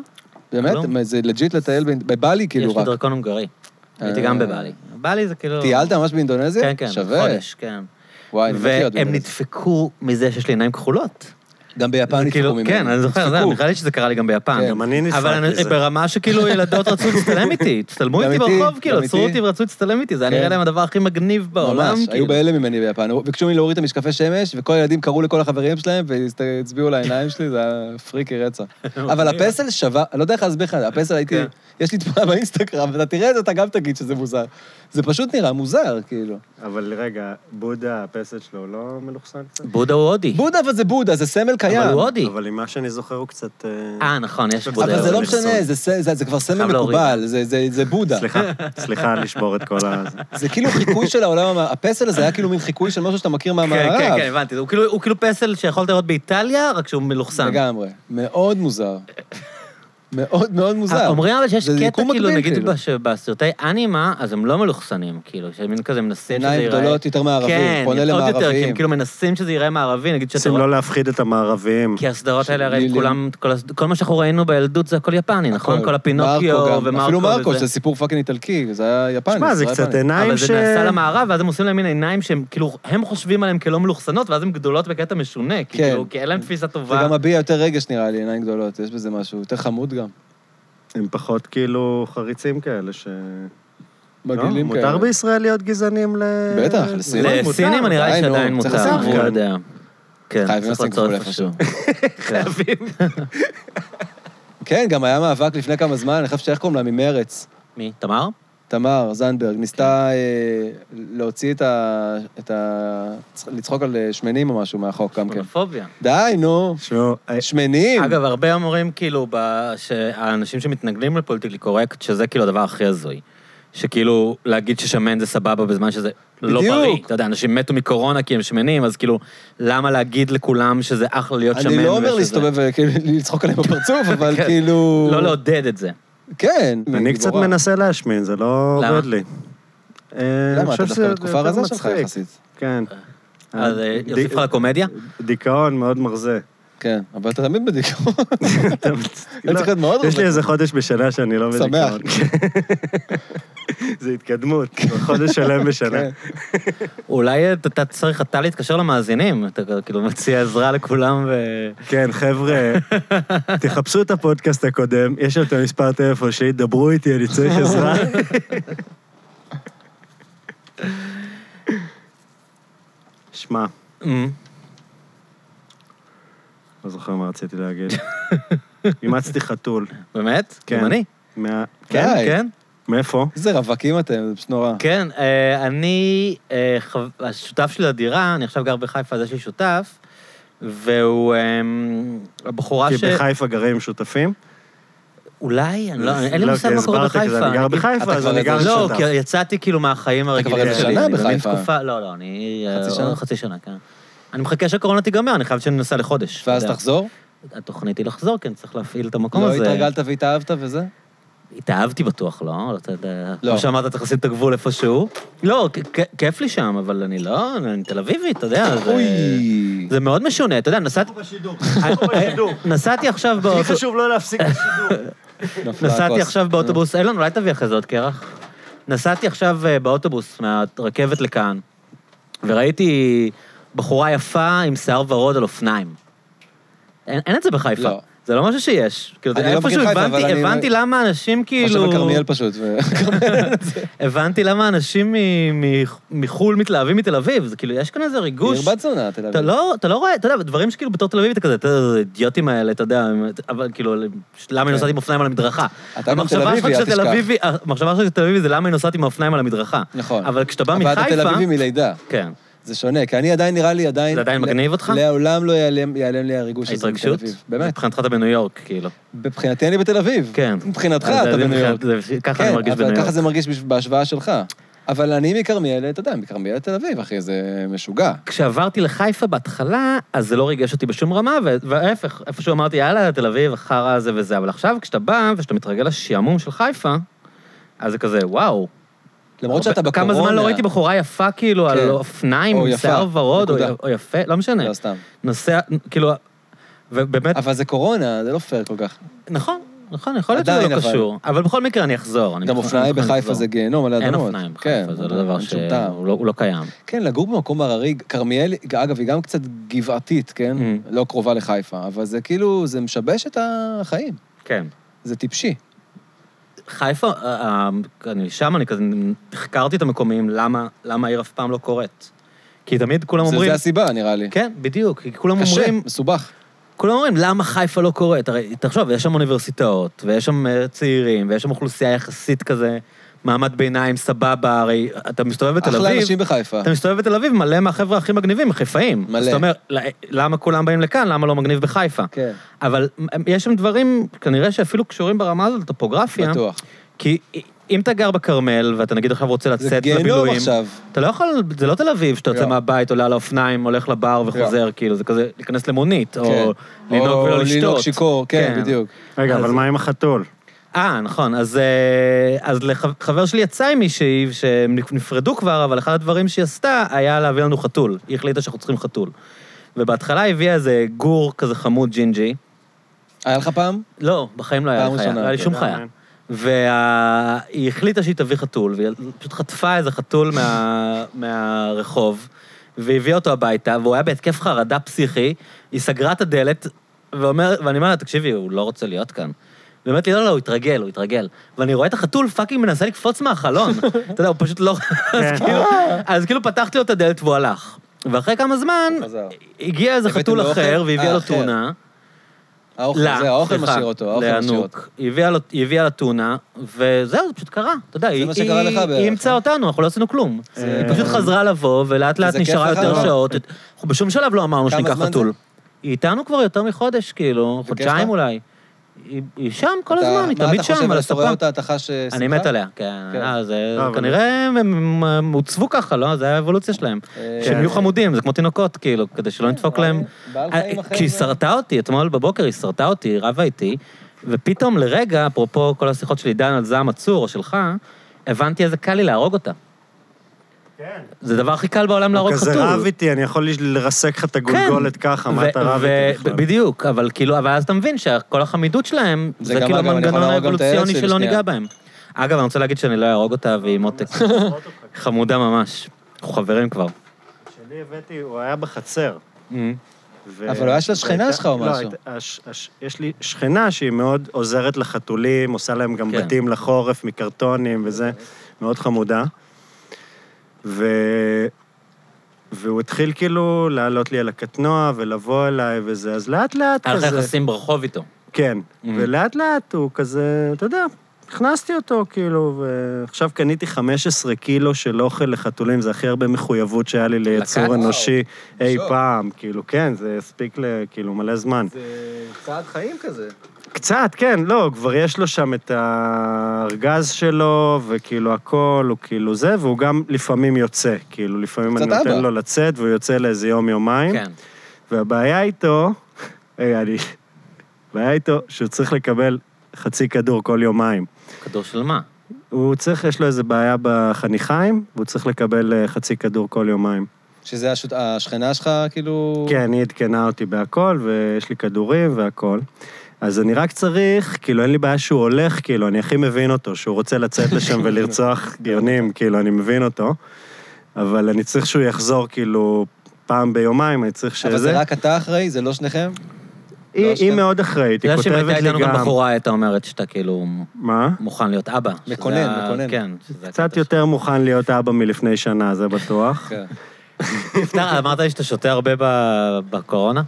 באמת? לא. מה, זה לג'יט לטייל באינד- בבלי, כאילו יש לי רק. דרכון הונגרי. הייתי גם אה. בבלי. בבלי זה כאילו... טיילת ממש באינדונזיה? כן, כן, שווה. חודש, כן. וואי, אני מת להיות והם באינדונזיה. נדפקו מזה שיש לי עיניים כחולות. גם ביפן כאילו, נדפקו ממנו. כן, אני זוכר, זה, נדפקו. נראה לי שזה קרה לי גם ביפן. כן. גם אני נדפק אבל אני- מזה. ברמה שכאילו ילדות רצו להצטלם איתי, הצטלמו גם איתי איתי, ברחוב, כאילו, גם עצרו איתי. אותי ורצו להצטלם איתי, זה היה כן. נראה להם הדבר הכי מגניב בעולם. ממש, היו כאילו. בהלם ממני ביפן. ביקשו ממני להוריד את המשקפי שמש, וכל הילדים קראו לכל החברים שלהם והצביעו לעיניים שלי, זה היה פריקי [LAUGHS] רצח. אבל הפסל שווה, אני לא יודע איך להסביר לך, הפסל הייתי, כן. יש לי תמונה באינסטגרם, ואתה תראה את זה, אתה גם תגיד שזה מוזר. זה פשוט נראה מוזר, כאילו. נכון. אבל רגע, בודה, הפסל שלו לא מלוכסן קצת? בודה הוא הודי. בודה, אבל זה בודה, זה סמל קיים. אבל הוא הודי. אבל ממה שאני זוכר הוא קצת... אה, אה, נכון, יש בודה. אבל זה לא הודי. משנה, זה ס- זה- זה כבר סמל חייב להוריד. מקובל, זה- זה- זה בודה. סליחה, סליחה לשבור את כל ה... זה. זה כאילו חיקוי של העולם, המע- הפסל הזה היה כאילו מין חיקוי של משהו שאתה מכיר כן, מהמערב. כן, כן, הבנתי. הוא כאילו- הוא כאילו פסל שיכולת לראות באיטליה, רק שהוא מלוכסן. לגמרי. מאוד מוזר. מאוד מאוד מוזר. אה, אומרים אבל שיש זה קטע, יקום כאילו, מקביל, נגיד כאילו. שבסרטי אנימה, אז הם לא מלוכסנים, כאילו, שמין כזה מנסים שזה ייראה... עיניים גדולות יותר מערבים, פונה כן, עוד יותר, כי הם למערבים. כאילו מנסים שזה ייראה מערבי, נגיד שאתה... רוצים לא להפחיד את המערבים. כי הסדרות האלה, הרי לילים. כולם, כל הס- כל מה שאנחנו ראינו בילדות זה הכל יפני, נכון? הכל. כל הפינוקיו מרקו גם. ומרקו אפילו מרקו, וזה. שזה סיפור פאקינג איטלקי, זה היה יפני. שמע, זה סדרה קצת יפנית. עיניים אבל ש... זה נעשה למערב, ואז הם עושים להם מין עיניים שהם, כאילו, הם חושבים עליהם כלא מלוכסנות, ואז הן גדולות בקטע משונה, כי כן. כאילו, כי אין להם תפיסה זה טובה. גם מביע יותר רגש, נראה לי, עיניים גדולות, יש בזה משהו, יותר חמוד גם. הם פחות כאילו חריצים כאלה ש... לא, מגעילים כאלה. מותר בישראל להיות גזענים ל... בטח, לסינים. לא, מותר. לסינים נראה לי די, נו, שעדיין צריך מותר, לשים אני לא כאן. יודע. כן, חייבים צריך לשים לעצור גבול איפשהו. איפשהו. [LAUGHS] כן, גם היה מאבק לפני כמה זמן, אני חושב שאיך קוראים לה? ממרץ. מי? תמר? תמר זנדברג ניסתה כן. אה, להוציא את ה... את ה... לצחוק על אה, שמנים או משהו מהחוק גם כן. פוביה. די, נו. שמעו, אה, שמנים. אגב, הרבה אומרים, כאילו, ב- שהאנשים שמתנגדים לפוליטיקלי קורקט, שזה כאילו הדבר הכי הזוי. שכאילו, להגיד ששמן זה סבבה בזמן שזה לא בדיוק. בריא. אתה יודע, אנשים מתו מקורונה כי הם שמנים, אז כאילו, למה להגיד לכולם שזה אחלה להיות שמן? אני לא אומר ושזה- להסתובב [LAUGHS] ולצחוק עליהם בפרצוף, אבל [LAUGHS] כן. כאילו... לא לעודד את זה. כן. אני קצת גיבורה. מנסה להשמין, זה לא למה? עובד לי. אה, אני למה? חושב אתה דווקא שזה בתקופה יותר הרזה שלך מצחיק. יחסית. כן. אז אה, ד- יוסיף לך לקומדיה? דיכאון מאוד [LAUGHS] מרזה. כן, אבל אתה תמיד בדיכאון. לא, צריך להיות מאוד יש לי רזה. איזה חודש בשנה שאני לא שמח. בדיכאון. [LAUGHS] זה [LAUGHS] התקדמות, חודש שלם בשנה. כן. אולי אה, אתה- אתה צריך אתה להתקשר למאזינים, אתה כאילו מציע עזרה לכולם ו... כן, חבר'ה, תחפשו את הפודקאסט הקודם, יש שם את המספר טלפון שלי, דברו איתי, אני צריך עזרה. שמע, אמ, לא זוכר מה רציתי להגיד. אימצתי חתול. באמת? כן. גם אני. מה... כן, די. כן. מאיפה? [LAUGHS] איזה רווקים אתם, זה פשוט נורא. כן, אה, אני, אה, חב- השותף שלי לדירה, אני עכשיו גר בחיפה, אז יש לי שותף, והוא אמ, הבחורה כי ש... בחיפה גרים שותפים? אולי, אני לא, אין לי לא, מושג כי מה קורה הסברת, כי בחיפה. אני גר אגיד- בחיפה, אתה אז כבר אני גר איזה- לא, שותף. כי יצאתי כאילו מהחיים הרגילים איזה שלי. שנה אני במין בחיפה. תקופה- לא, לא, אני... חצי אה, שנה? חצי שנה, כן. אני מחכה שהקורונה תיגמר, אני חייב שאני נוסע לחודש. ואז אתה יודע. תחזור? התוכנית היא לחזור, כן, צריך להפעיל את המקום לא הזה. התרגלת והתאהבת וזה? התאהבתי בטוח, לא? לא, אתה יודע, לא. כמו שאמרת, צריך לשים את הגבול איפשהו. לא, כ- כ- כיף לי שם, אבל אני לא, אני תל אביבית, אתה יודע. זה- אוי. זה מאוד משונה, אתה יודע, נסעתי... בשידור. נסעתי עכשיו הכי באוטו- חשוב לא להפסיק בשידור. [LAUGHS] נפלה נסעתי הכוס. עכשיו באוטובוס, אילון, אולי תביא אחרי זה עוד קרח? נסעתי עכשיו אה, באוטובוס מהרכבת לכאן, וראיתי בחורה יפה עם שיער ורוד על אופניים. אין אין את זה בחיפה. לא. זה לא משהו שיש. כאילו, אני לא מכיר איפשהו חיפה, הבנתי- אבל אני- הבנתי למה אנשים עכשיו כאילו... בכרמיאל אה. פשוט. [LAUGHS] ו- הבנתי למה אנשים מ- מ- מחו"ל מתלהבים מתל אביב, זה כאילו, יש כאן איזה ריגוש. עיר בת זונה, תל אתה אביב. לא, אתה לא רואה, אתה יודע, דברים שכאילו בתור תל אביב אתה כזה, אתה יודע, זה האידיוטים האלה, אתה יודע, הם- אבל כאילו, למה היא נוסעת עם אופניים על המדרכה? כן. אתה גם המחשבה תל אביבי, שלך אל כשתל תשכח. אביבי- המחשבה שלך כשתל אביבי זה למה היא נוסעת עם האופניים על המדרכה. נכון. אבל כשאתה בא אבל אתה תל מחיפה... אביבי מלידה. כן. זה שונה, כי אני עדיין, נראה לי, עדיין... זה עדיין ל- מגניב אותך? לעולם לא ייעלם ייעלם לי הריגוש הזה מתל ההתרגשות? אביב. באמת. מבחינתך אתה בניו יורק, כאילו. מבחינתי אני בתל אביב. כן. מבחינתך אז אתה זה- בניו יורק. זה- ככה אני כן, מרגיש בניו אבל ככה יורק. זה מרגיש בש- בהשוואה שלך. אבל אני מכרמיאל, אתה יודע, מכרמיאל לתל אביב, אחי, זה משוגע. כשעברתי לחיפה בהתחלה, אז זה לא ריגש אותי בשום רמה, ו- וההפך, איפשהו אמרתי, יאללה, תל אביב, החרא הזה וזה, אבל עכשיו כשאתה בא ושאתה מתרגל לשעמום של חיפה, אז זה כזה, וואו. למרות הרבה- שאתה בקורונה... כמה זמן לא ראיתי בחורה יפה, כאילו, על כן. אופניים, או עם יפה, שיער ורוד, או נקודה. או יפה, לא משנה. לא, סתם. נוסע, כאילו, ובאמת, אבל זה קורונה, זה לא פייר כל כך. נכון. נכון, יכול להיות שזה עדיין, לא אבל- קשור. אבל בכל מקרה אני אחזור. אני גם מוכן- אופניים אני מוכן בחיפה לחזור. זה גיהנום על האדמות. לא- אין אופניים כן, בחיפה, זה לא דבר אין ש... שום טעם. הוא לא- הוא לא קיים. כן, לגור במקום הררי, כרמיאל, אגב, היא גם קצת גבעתית, כן? Mm. לא קרובה לחיפה, אבל זה כאילו, זה משבש את החיים. כן. זה טיפשי. חיפה, אה, אה, אני שם, אני כזה החקרתי את המקומיים, למה למה העיר אף פעם לא קורית. כי תמיד כולם זה אומרים... זה הסיבה, נראה לי. כן, בדיוק. כי כולם קשה, אומרים... מסובך. כולם אומרים, למה חיפה לא קורית? הרי תחשוב, יש שם אוניברסיטאות, ויש שם אה, צעירים, ויש שם אוכלוסייה יחסית כזה, מעמד ביניים סבבה, הרי אתה מסתובב בתל אחלה אביב, אנשים בחיפה. אתה מסתובב בתל אביב, מלא מהחבר'ה הכי מגניבים, חיפאים. מלא. אז אתה אומר, "ל- למה כולם באים לכאן, למה לא מגניב בחיפה? כן, אבל אה, יש שם דברים, כנראה שאפילו קשורים ברמה הזאת לטופוגרפיה. בטוח. כי אם אתה גר בכרמל, ואתה נגיד עכשיו רוצה זה לצאת גיהנום לבילויים, עכשיו. אתה לא יכול, זה לא תל אביב, שאתה יוצא לא. מהבית, עולה על האופניים, הולך לבר וחוזר, כאילו, זה כזה להיכנס למונית, או כן. לנהוג או ולא לשתות. לנהוג שיכור, כן, בדיוק. רגע, אז- אבל מה עם החתול? אה, נכון, אז, אה, אז לח- חבר שלי יצא עם מישהי, שהם נפרדו כבר, אבל אחד הדברים שהיא עשתה היה להביא לנו חתול. היא החליטה שאנחנו צריכים חתול. ובהתחלה היא הביאה איזה גור כזה חמוד ג'ינג'י. היה לך פעם? לא, בחיים לא היה פעם לי חיה, ראשונה, לא היה לי אתה שום יודע, חיה. כן. והיא החליטה שהיא תביא חתול, והיא פשוט חטפה איזה חתול מה... מהרחוב, והביאה אותו הביתה, והוא היה בהתקף חרדה פסיכי, היא סגרה את הדלת, ואומר, ואני אומר לה, תקשיבי, הוא לא רוצה להיות כאן. והיא אומרת לי, לא, לא, הוא התרגל, הוא התרגל. ואני רואה את החתול פאקינג מנסה לקפוץ מהחלון. אתה יודע, הוא פשוט לא... אז כאילו- אז כאילו פתחתי לו את הדלת והוא הלך. ואחרי כמה זמן, הוא חזר. הגיע איזה הבאתם חתול לו אחר, אוכל? והביאה אה, לו אחר. תאונה. האוכל, לה, זה האוכל לא, סליחה, משאיר אותו, האוכל משאיר אותו. לענוג. היא הביאה לו- היא הביאה לה טונה, וזהו, זה פשוט קרה. אתה יודע, היא מה שקרה היא- לך בערך, היא אימצה אה? אותנו, אנחנו לא עשינו כלום. היא פשוט חזרה לבוא, ולאט לאט וזה כיף נשארה לך, יותר אבל? שעות. אנחנו בשום שלב לא אמרנו כמה שניקח זמן חתול. זה? היא איתנו כבר יותר מחודש, כאילו, וכיף חודשיים לך? אולי. היא- היא שם כל אתה- הזמן, היא תמיד מה אתה שם, חושב על על הסורר הספה. אותה, אתה חש אה, שמחה? אני מת עליה, כן. כן. אה, זה לא, אבל- כנראה הם- הם הם הוצבו ככה, לא? זה האבולוציה שלהם. אה, שהם יהיו חמודים, זה כמו תינוקות, כאילו, כדי שלא נדפוק בעל- להם. אה, בעל חיים אחר כשהיא זה- שרטה אותי, אתמול בבוקר היא שרטה אותי, היא רבה איתי, ופתאום לרגע, אפרופו כל השיחות של עידן על זעם עצור או שלך, הבנתי איזה קל לי להרוג אותה. כן. זה הדבר הכי קל בעולם הוא להרוג חתול. כן. כזה רב איתי, אני יכול לרסק לך את הגולגולת ככה, מה ו- אתה רב ו- איתי ב- בכלל? בדיוק, אבל כאילו, אבל אז אתה מבין שכל החמידות שלהם, זה גם, זה, כאילו אגב, אני יכול המנגנון להרוג גם את הילד האבולוציוני שלי שלא בשנייה. ניגע בהם. אגב, אני רוצה להגיד שאני לא אהרוג אותה, והיא [LAUGHS] מותק. חמודה ממש. אנחנו חברים כבר. שלי הבאתי, הוא היה בחצר. ו- אבל הוא היה של השכנה והייתה- שלך או לא, משהו? הייתה- הש- הש- יש לי שכנה שהיא מאוד עוזרת לחתולים, עושה להם גם כן. בתים לחורף מקרטונים וזה, מאוד חמודה. ו... והוא התחיל כאילו לעלות לי על הקטנוע ולבוא אליי וזה, אז לאט-לאט היה לך כזה... יחסים ברחוב איתו. כן, Mm-hmm. ולאט-לאט הוא כזה, אתה יודע, הכנסתי אותו כאילו, ועכשיו קניתי 15 קילו של אוכל לחתולים, זה הכי הרבה מחויבות שהיה לי ליצור וואו, אנושי אי שוק. פעם, כאילו, כן, זה הספיק לכאילו מלא זמן. זה צעד חיים כזה. קצת, כן, לא, כבר יש לו שם את הארגז שלו, וכאילו הכל, הוא כאילו זה, והוא גם לפעמים יוצא, כאילו, לפעמים קצת אני נותן אבא. לו לצאת, והוא יוצא לאיזה יום-יומיים. כן. והבעיה איתו, היי, אני... הבעיה איתו שהוא צריך לקבל חצי כדור כל יומיים. כדור של מה? הוא צריך, יש לו איזה בעיה בחניכיים, והוא צריך לקבל אה, חצי כדור כל יומיים. שזה השות- השכנה שלך, כאילו... כן, היא עדכנה אותי בהכל, ויש לי כדורים והכל. אז אני רק צריך, כאילו, אין לי בעיה שהוא הולך, כאילו, אני הכי מבין אותו, שהוא רוצה לצאת [LAUGHS] לשם ולרצוח יונים, כאילו, אני מבין אותו. אבל אני צריך שהוא יחזור, כאילו, פעם ביומיים, אני צריך שזה... אבל זה רק אתה אחראי, זה לא שניכם? היא, לא היא שני- מאוד אחראית, אתה היא יודע שאם כותבת לי גם... הייתה איתנו גם בחורה, הייתה אומרת שאתה כאילו מה? מוכן להיות אבא. שזה מקונן, ה- מקונן. כן. שזה קצת הקטע יותר מוכן להיות אבא מלפני שנה, זה בטוח. כן. שלך. נפטר, אמרת לי שאתה שותה הרבה ב- בקורונה?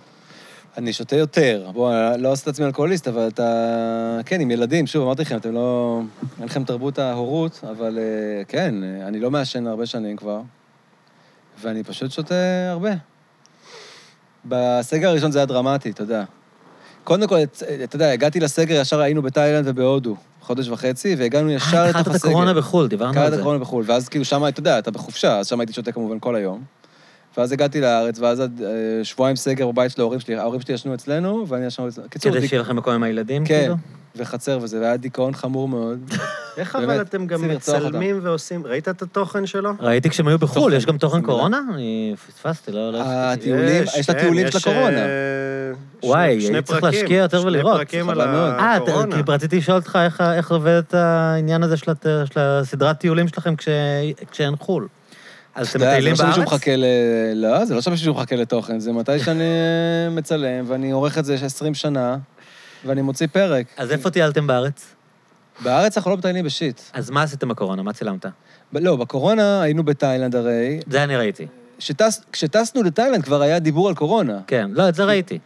אני שותה יותר. בוא, אני לא עושה את עצמי אלכוהוליסט, אבל אתה... כן, עם ילדים, שוב, אמרתי לכם, אתם לא... אין לכם תרבות ההורות, אבל אה, כן, אה, אני לא מעשן הרבה שנים כבר, ואני פשוט שותה הרבה. בסגר הראשון זה היה דרמטי, אתה יודע. קודם כל, את- אתה יודע, הגעתי לסגר, ישר היינו בתאילנד ובהודו, חודש וחצי, והגענו ישר אה, לתוך הסגר. התחלת את הקורונה בחו"ל, דיברנו קרה על את זה. הקורונה בחו"ל, ואז כאילו שם, אתה יודע, אתה בחופשה, אז שם הייתי שותה כמובן כל היום. ואז הגעתי לארץ, ואז עד אה, שבועיים סגר בבית של ההורים שלי, ההורים שלי ישנו אצלנו, ואני ישנו אצלנו. קיצור, כדי דיק- שיהיה לכם מקום עם הילדים, כן, כאילו? וחצר וזה, והיה דיכאון חמור מאוד. איך באמת, אבל אתם גם רוצים לרצוח אותם. מצלמים ועושים... ראית את התוכן שלו? ראיתי כשהם היו בחו"ל, תוכן, יש גם תוכן מילה. קורונה? אני פספסתי, לא... לא- הטיולים, יש את הטיולים של כן, יש, הקורונה. אה, שני- וואי, שני צריך פרקים, להשקיע יותר ולראות, שני פרקים על חבל מאוד. אה, ת- הקורונה. כי רציתי לשאול אותך איך ה- איך עובד העניין הזה של הת- של הסדרת טיולים שלכם כש- כשאין חו"ל. אז אתם אתה יודע, מטיילים זה לא שמישהו בארץ? מחכה ל... לא, זה לא שמישהו מחכה לתוכן, זה מתי שאני אה, מצלם, ואני עורך את זה 20 שנה, ואני מוציא פרק. אז איפה טיילתם בארץ? בארץ אנחנו לא מטיילים בשיט. אז מה עשיתם בקורונה? מה צילמת? ב- לא, בקורונה היינו בתאילנד הרי. זה אני ראיתי. שטס- כשטסנו לתאילנד כבר היה דיבור על קורונה. כן, לא, את זה ראיתי.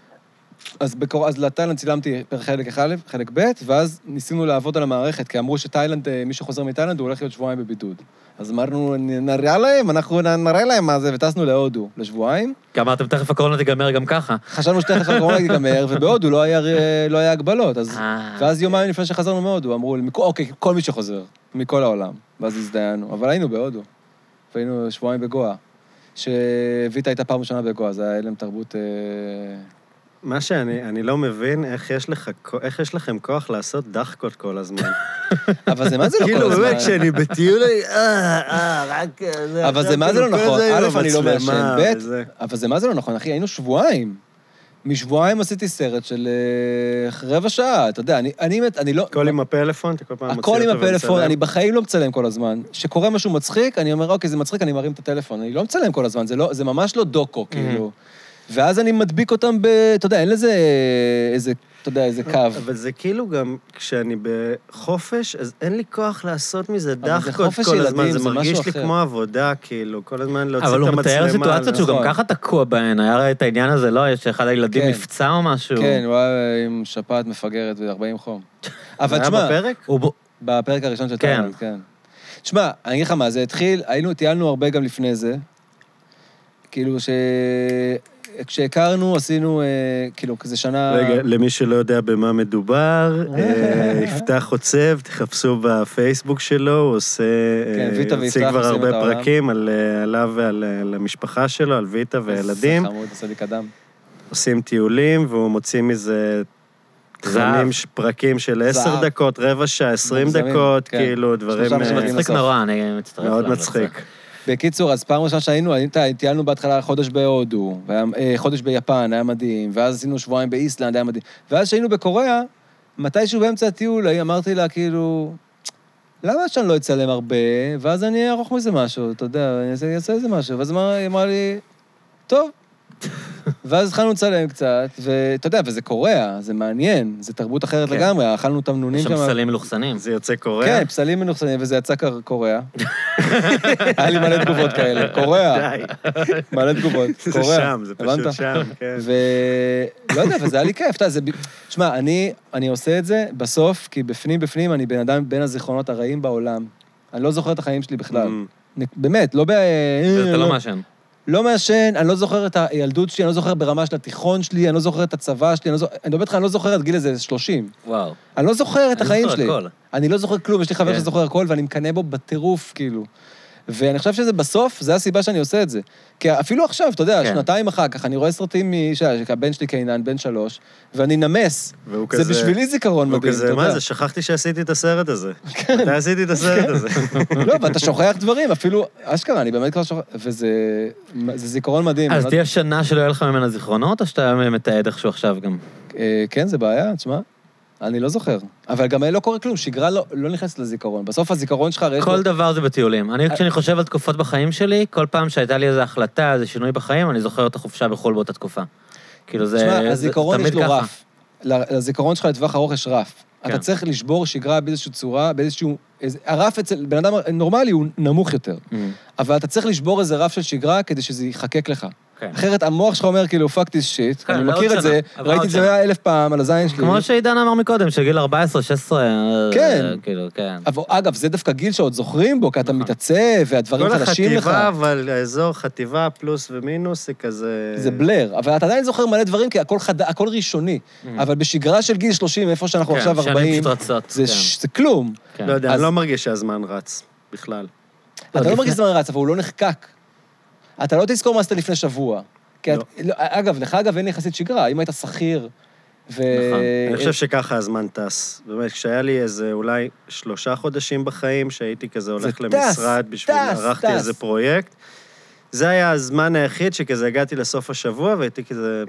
אז, בקור... אז לתאילנד צילמתי פרק חלק א', חלק ב', ואז ניסינו לעבוד על המערכת, כי אמרו שתאילנד, אה, מי שחוזר מתאילנד, הוא הולך להיות שבועיים בבידוד. אז אמרנו, "נ- נראה להם, אנחנו נ- נראה להם מה זה, וטסנו להודו לשבועיים. כי אמרתם, תכף הקורונה תיגמר גם ככה. חשבנו שתכף הקורונה תיגמר, ובהודו לא היה, אה, לא היה הגבלות. אז... אה. ואז יומיים לפני שחזרנו מהודו, אמרו, "מכו- אוקיי, כל מי שחוזר, מכל העולם. ואז הזדיינו, אבל היינו בהודו. והיינו שבועיים בגואה. שוויטה הייתה פעם ראשונה בגואה, זה היה הלם תרבות... אה, מה שאני אני לא מבין, איך יש לך כו- איך יש לכם כוח לעשות דחקות כל הזמן. אבל זה [LAUGHS] מה זה לא כל כאילו, הזמן? באמת, כשאני בטיול, אני, אה, אה, רק... אה, זה, אבל זה עכשיו מה זה לא כאילו, כל נכון? זה עם א', אני לא המצלמה מעשן, ב', וזה. אבל זה מה זה לא נכון, אחי, היינו שבועיים. משבועיים עשיתי סרט של אה, רבע שעה, אתה יודע, אני, אני, מת- אני לא... הכל עם הפלאפון, אתה כל פעם מוציא הכל אותו עם הפלאפון, ומצלם. אני בחיים לא מצלם כל הזמן. כשקורה משהו מצחיק, אני אומר, אוקיי, זה מצחיק, אני מרים את הטלפון. אני לא מצלם כל הזמן, זה, לא, זה ממש לא דוקו, Mhm. כאילו. ואז אני מדביק אותם ב... אתה יודע, אין לזה איזה, אתה יודע, איזה קו. אבל זה כאילו גם, כשאני בחופש, אז אין לי כוח לעשות מזה אבל זה דחקות חופש כל ילדים, הזמן. זה זה מרגיש משהו לי אחר. כמו עבודה, כאילו, כל הזמן להוציא את אבל המצלמה. הוא מתאר סיטואציות שהוא גם נכון. ככה תקוע בהן. היה הרי את העניין הזה, לא? שאחד הילדים כן. נפצע או משהו. כן, הוא היה עם שפעת מפגרת ו-40 חום. אבל זה תשמע, היה בפרק? הוא בו- בפרק הראשון של כן. תאילנד, כן. תשמע, אני אגיד לך מה, זה התחיל, היינו, טיילנו הרבה גם לפני זה. כאילו ש... כשהכרנו, עשינו, אה, כאילו, כזה שנה... רגע, למי שלא יודע במה מדובר, אה, יפתח חוצב, תחפשו בפייסבוק שלו, הוא עושה... כן, אה, ויטה הוציא ויפתח כבר עושים את הרבה העולם. פרקים על, אה, עליו ועל אה, על המשפחה שלו, על ויטה וילדים. זה חמוד, עשה לי קדם. עושים טיולים, והוא מוציא מזה תכנים, ש- פרקים של עשר זהב. דקות, רבע שעה, עשרים מוגזמים, דקות, כן. כאילו, דברים שלושה אה, זה משפטים מצחיק לסוף. נורא, אני מצטרף. מאוד אליו, מצחיק. בסדר. בקיצור, אז פעם ראשונה שהיינו, היינו- תה- טיילנו בהתחלה חודש בהודו, והיה- אה, חודש ביפן, היה מדהים, ואז עשינו שבועיים באיסלנד, היה מדהים. ואז כשהיינו בקוריאה, מתישהו באמצע הטיול, היא- אמרתי לה, כאילו, למה שאני לא אצלם הרבה, ואז אני אערוך מזה משהו, אתה יודע, אני אעשה- אעשה איזה משהו. ואז אמר- היא אמרה לי, טוב. ואז התחלנו לצלם קצת, ואתה יודע, וזה קוריאה, זה מעניין, זה תרבות אחרת כן. לגמרי, אכלנו תמנונים יש שם. שם סלים מלוכסנים. זה יוצא קוריאה? כן, פסלים מנוכסנים, וזה יצא קר- קוריאה. היה לי מלא תגובות כאלה, קוריאה, די, מלא תגובות, [LAUGHS] זה קוריאה. שם, זה פשוט הבנת? שם, כן. ולא יודע, וזה היה לי כיף, אתה יודע, זה... ב- תשמע, אני, אני עושה את זה בסוף, כי בפנים בפנים אני בן אדם בין הזיכרונות הרעים בעולם. אני לא זוכר את החיים שלי בכלל. Mm. אני- באמת, לא ב... אתה לא מעשן. לא מעשן, אני לא זוכר את הילדות שלי, אני לא זוכר ברמה של התיכון שלי, אני לא זוכר את הצבא שלי, אני לא זוכר... אני מדבר איתך, אני לא זוכר את גיל איזה 30. וואו. אני לא זוכר את אני החיים זוכר שלי. הכל. אני לא זוכר כלום, יש לי חבר כן. שזוכר הכל, ואני מקנא בו בטירוף, כאילו. ואני חושב שזה בסוף, זו הסיבה שאני עושה את זה. כי אפילו עכשיו, אתה יודע, כן. שנתיים אחר כך, אני רואה סרטים משל, הבן שלי קינן, בן שלוש, ואני נמס. והוא זה כזה... בשבילי זיכרון הוא מדהים, כזה, אתה מה יודע. כן. זה, שכחתי שעשיתי את הסרט הזה. מתי עשיתי את הסרט הזה? [LAUGHS] לא, ואתה שוכח דברים, אפילו, אשכרה, אני באמת כבר שוכח, וזה זה זיכרון מדהים. אז אני לא- תהיה שנה שלא יהיה לך ממנה זיכרונות, או שאתה מתעד איכשהו עכשיו גם? אה, כן, זה בעיה, תשמע. אני לא זוכר. אבל גם לא קורה כלום, שגרה לא- לא נכנסת לזיכרון. בסוף הזיכרון שלך, הרי יש לו- כל דבר זה בטיולים. אני, כשאני חושב על תקופות בחיים שלי, כל פעם שהייתה לי איזו החלטה, איזה שינוי בחיים, אני זוכר את החופשה בחו"ל באותה תקופה. כאילו זה... תשמע, זה הזיכרון תמיד יש לו ככה. רף. ל- לזיכרון שלך לטווח ארוך יש רף. כן. אתה צריך לשבור שגרה באיזושהי צורה, באיזשהו... איזה- הרף אצל בן אדם נורמלי הוא נמוך יותר. Mm, אבל אתה צריך לשבור איזה רף של שגרה כדי שזה ייחקק לך. כן. אחרת המוח שלך אומר כאילו, fuck this shit, כן, אני לעוד מכיר שנה, את זה, עברה עוד ראיתי את זה שנה. מאה אלף פעם על הזין שלי. כמו שעידן אמר מקודם, שגיל 14, 16, כן. אה, כאילו, כן. אבל אגב, זה דווקא גיל שעוד זוכרים בו, כי נכון. אתה מתעצב, והדברים כל חדשים לך. החטיבה, אבל האזור חטיבה פלוס ומינוס, היא כזה... זה בלר, אבל אתה עדיין זוכר מלא דברים, כי הכל חד... הכל ראשוני. אבל בשגרה של גיל 30, איפה שאנחנו Mm. כן, עכשיו שנים 40, פשוט רצות, זה כן. ש- זה כלום. כן. לא יודע, אז- אני לא מרגיש שהזמן רץ, בכלל. אתה לפני- לא מרגיש זמן רץ, אבל הוא לא נחקק. אתה לא תזכור מה עשית לפני שבוע. כי את- לא, אגב, לך אגב אין יחסית שגרה, אם היית שכיר ו... נכון. אה, אני חושב שככה הזמן טס. באמת, כשהיה לי איזה אולי שלושה חודשים בחיים, שהייתי כזה הולך טס, למשרד בשביל, טס, ערכתי טס. איזה פרויקט, זה היה הזמן היחיד שכזה הגעתי לסוף השבוע והייתי כזה,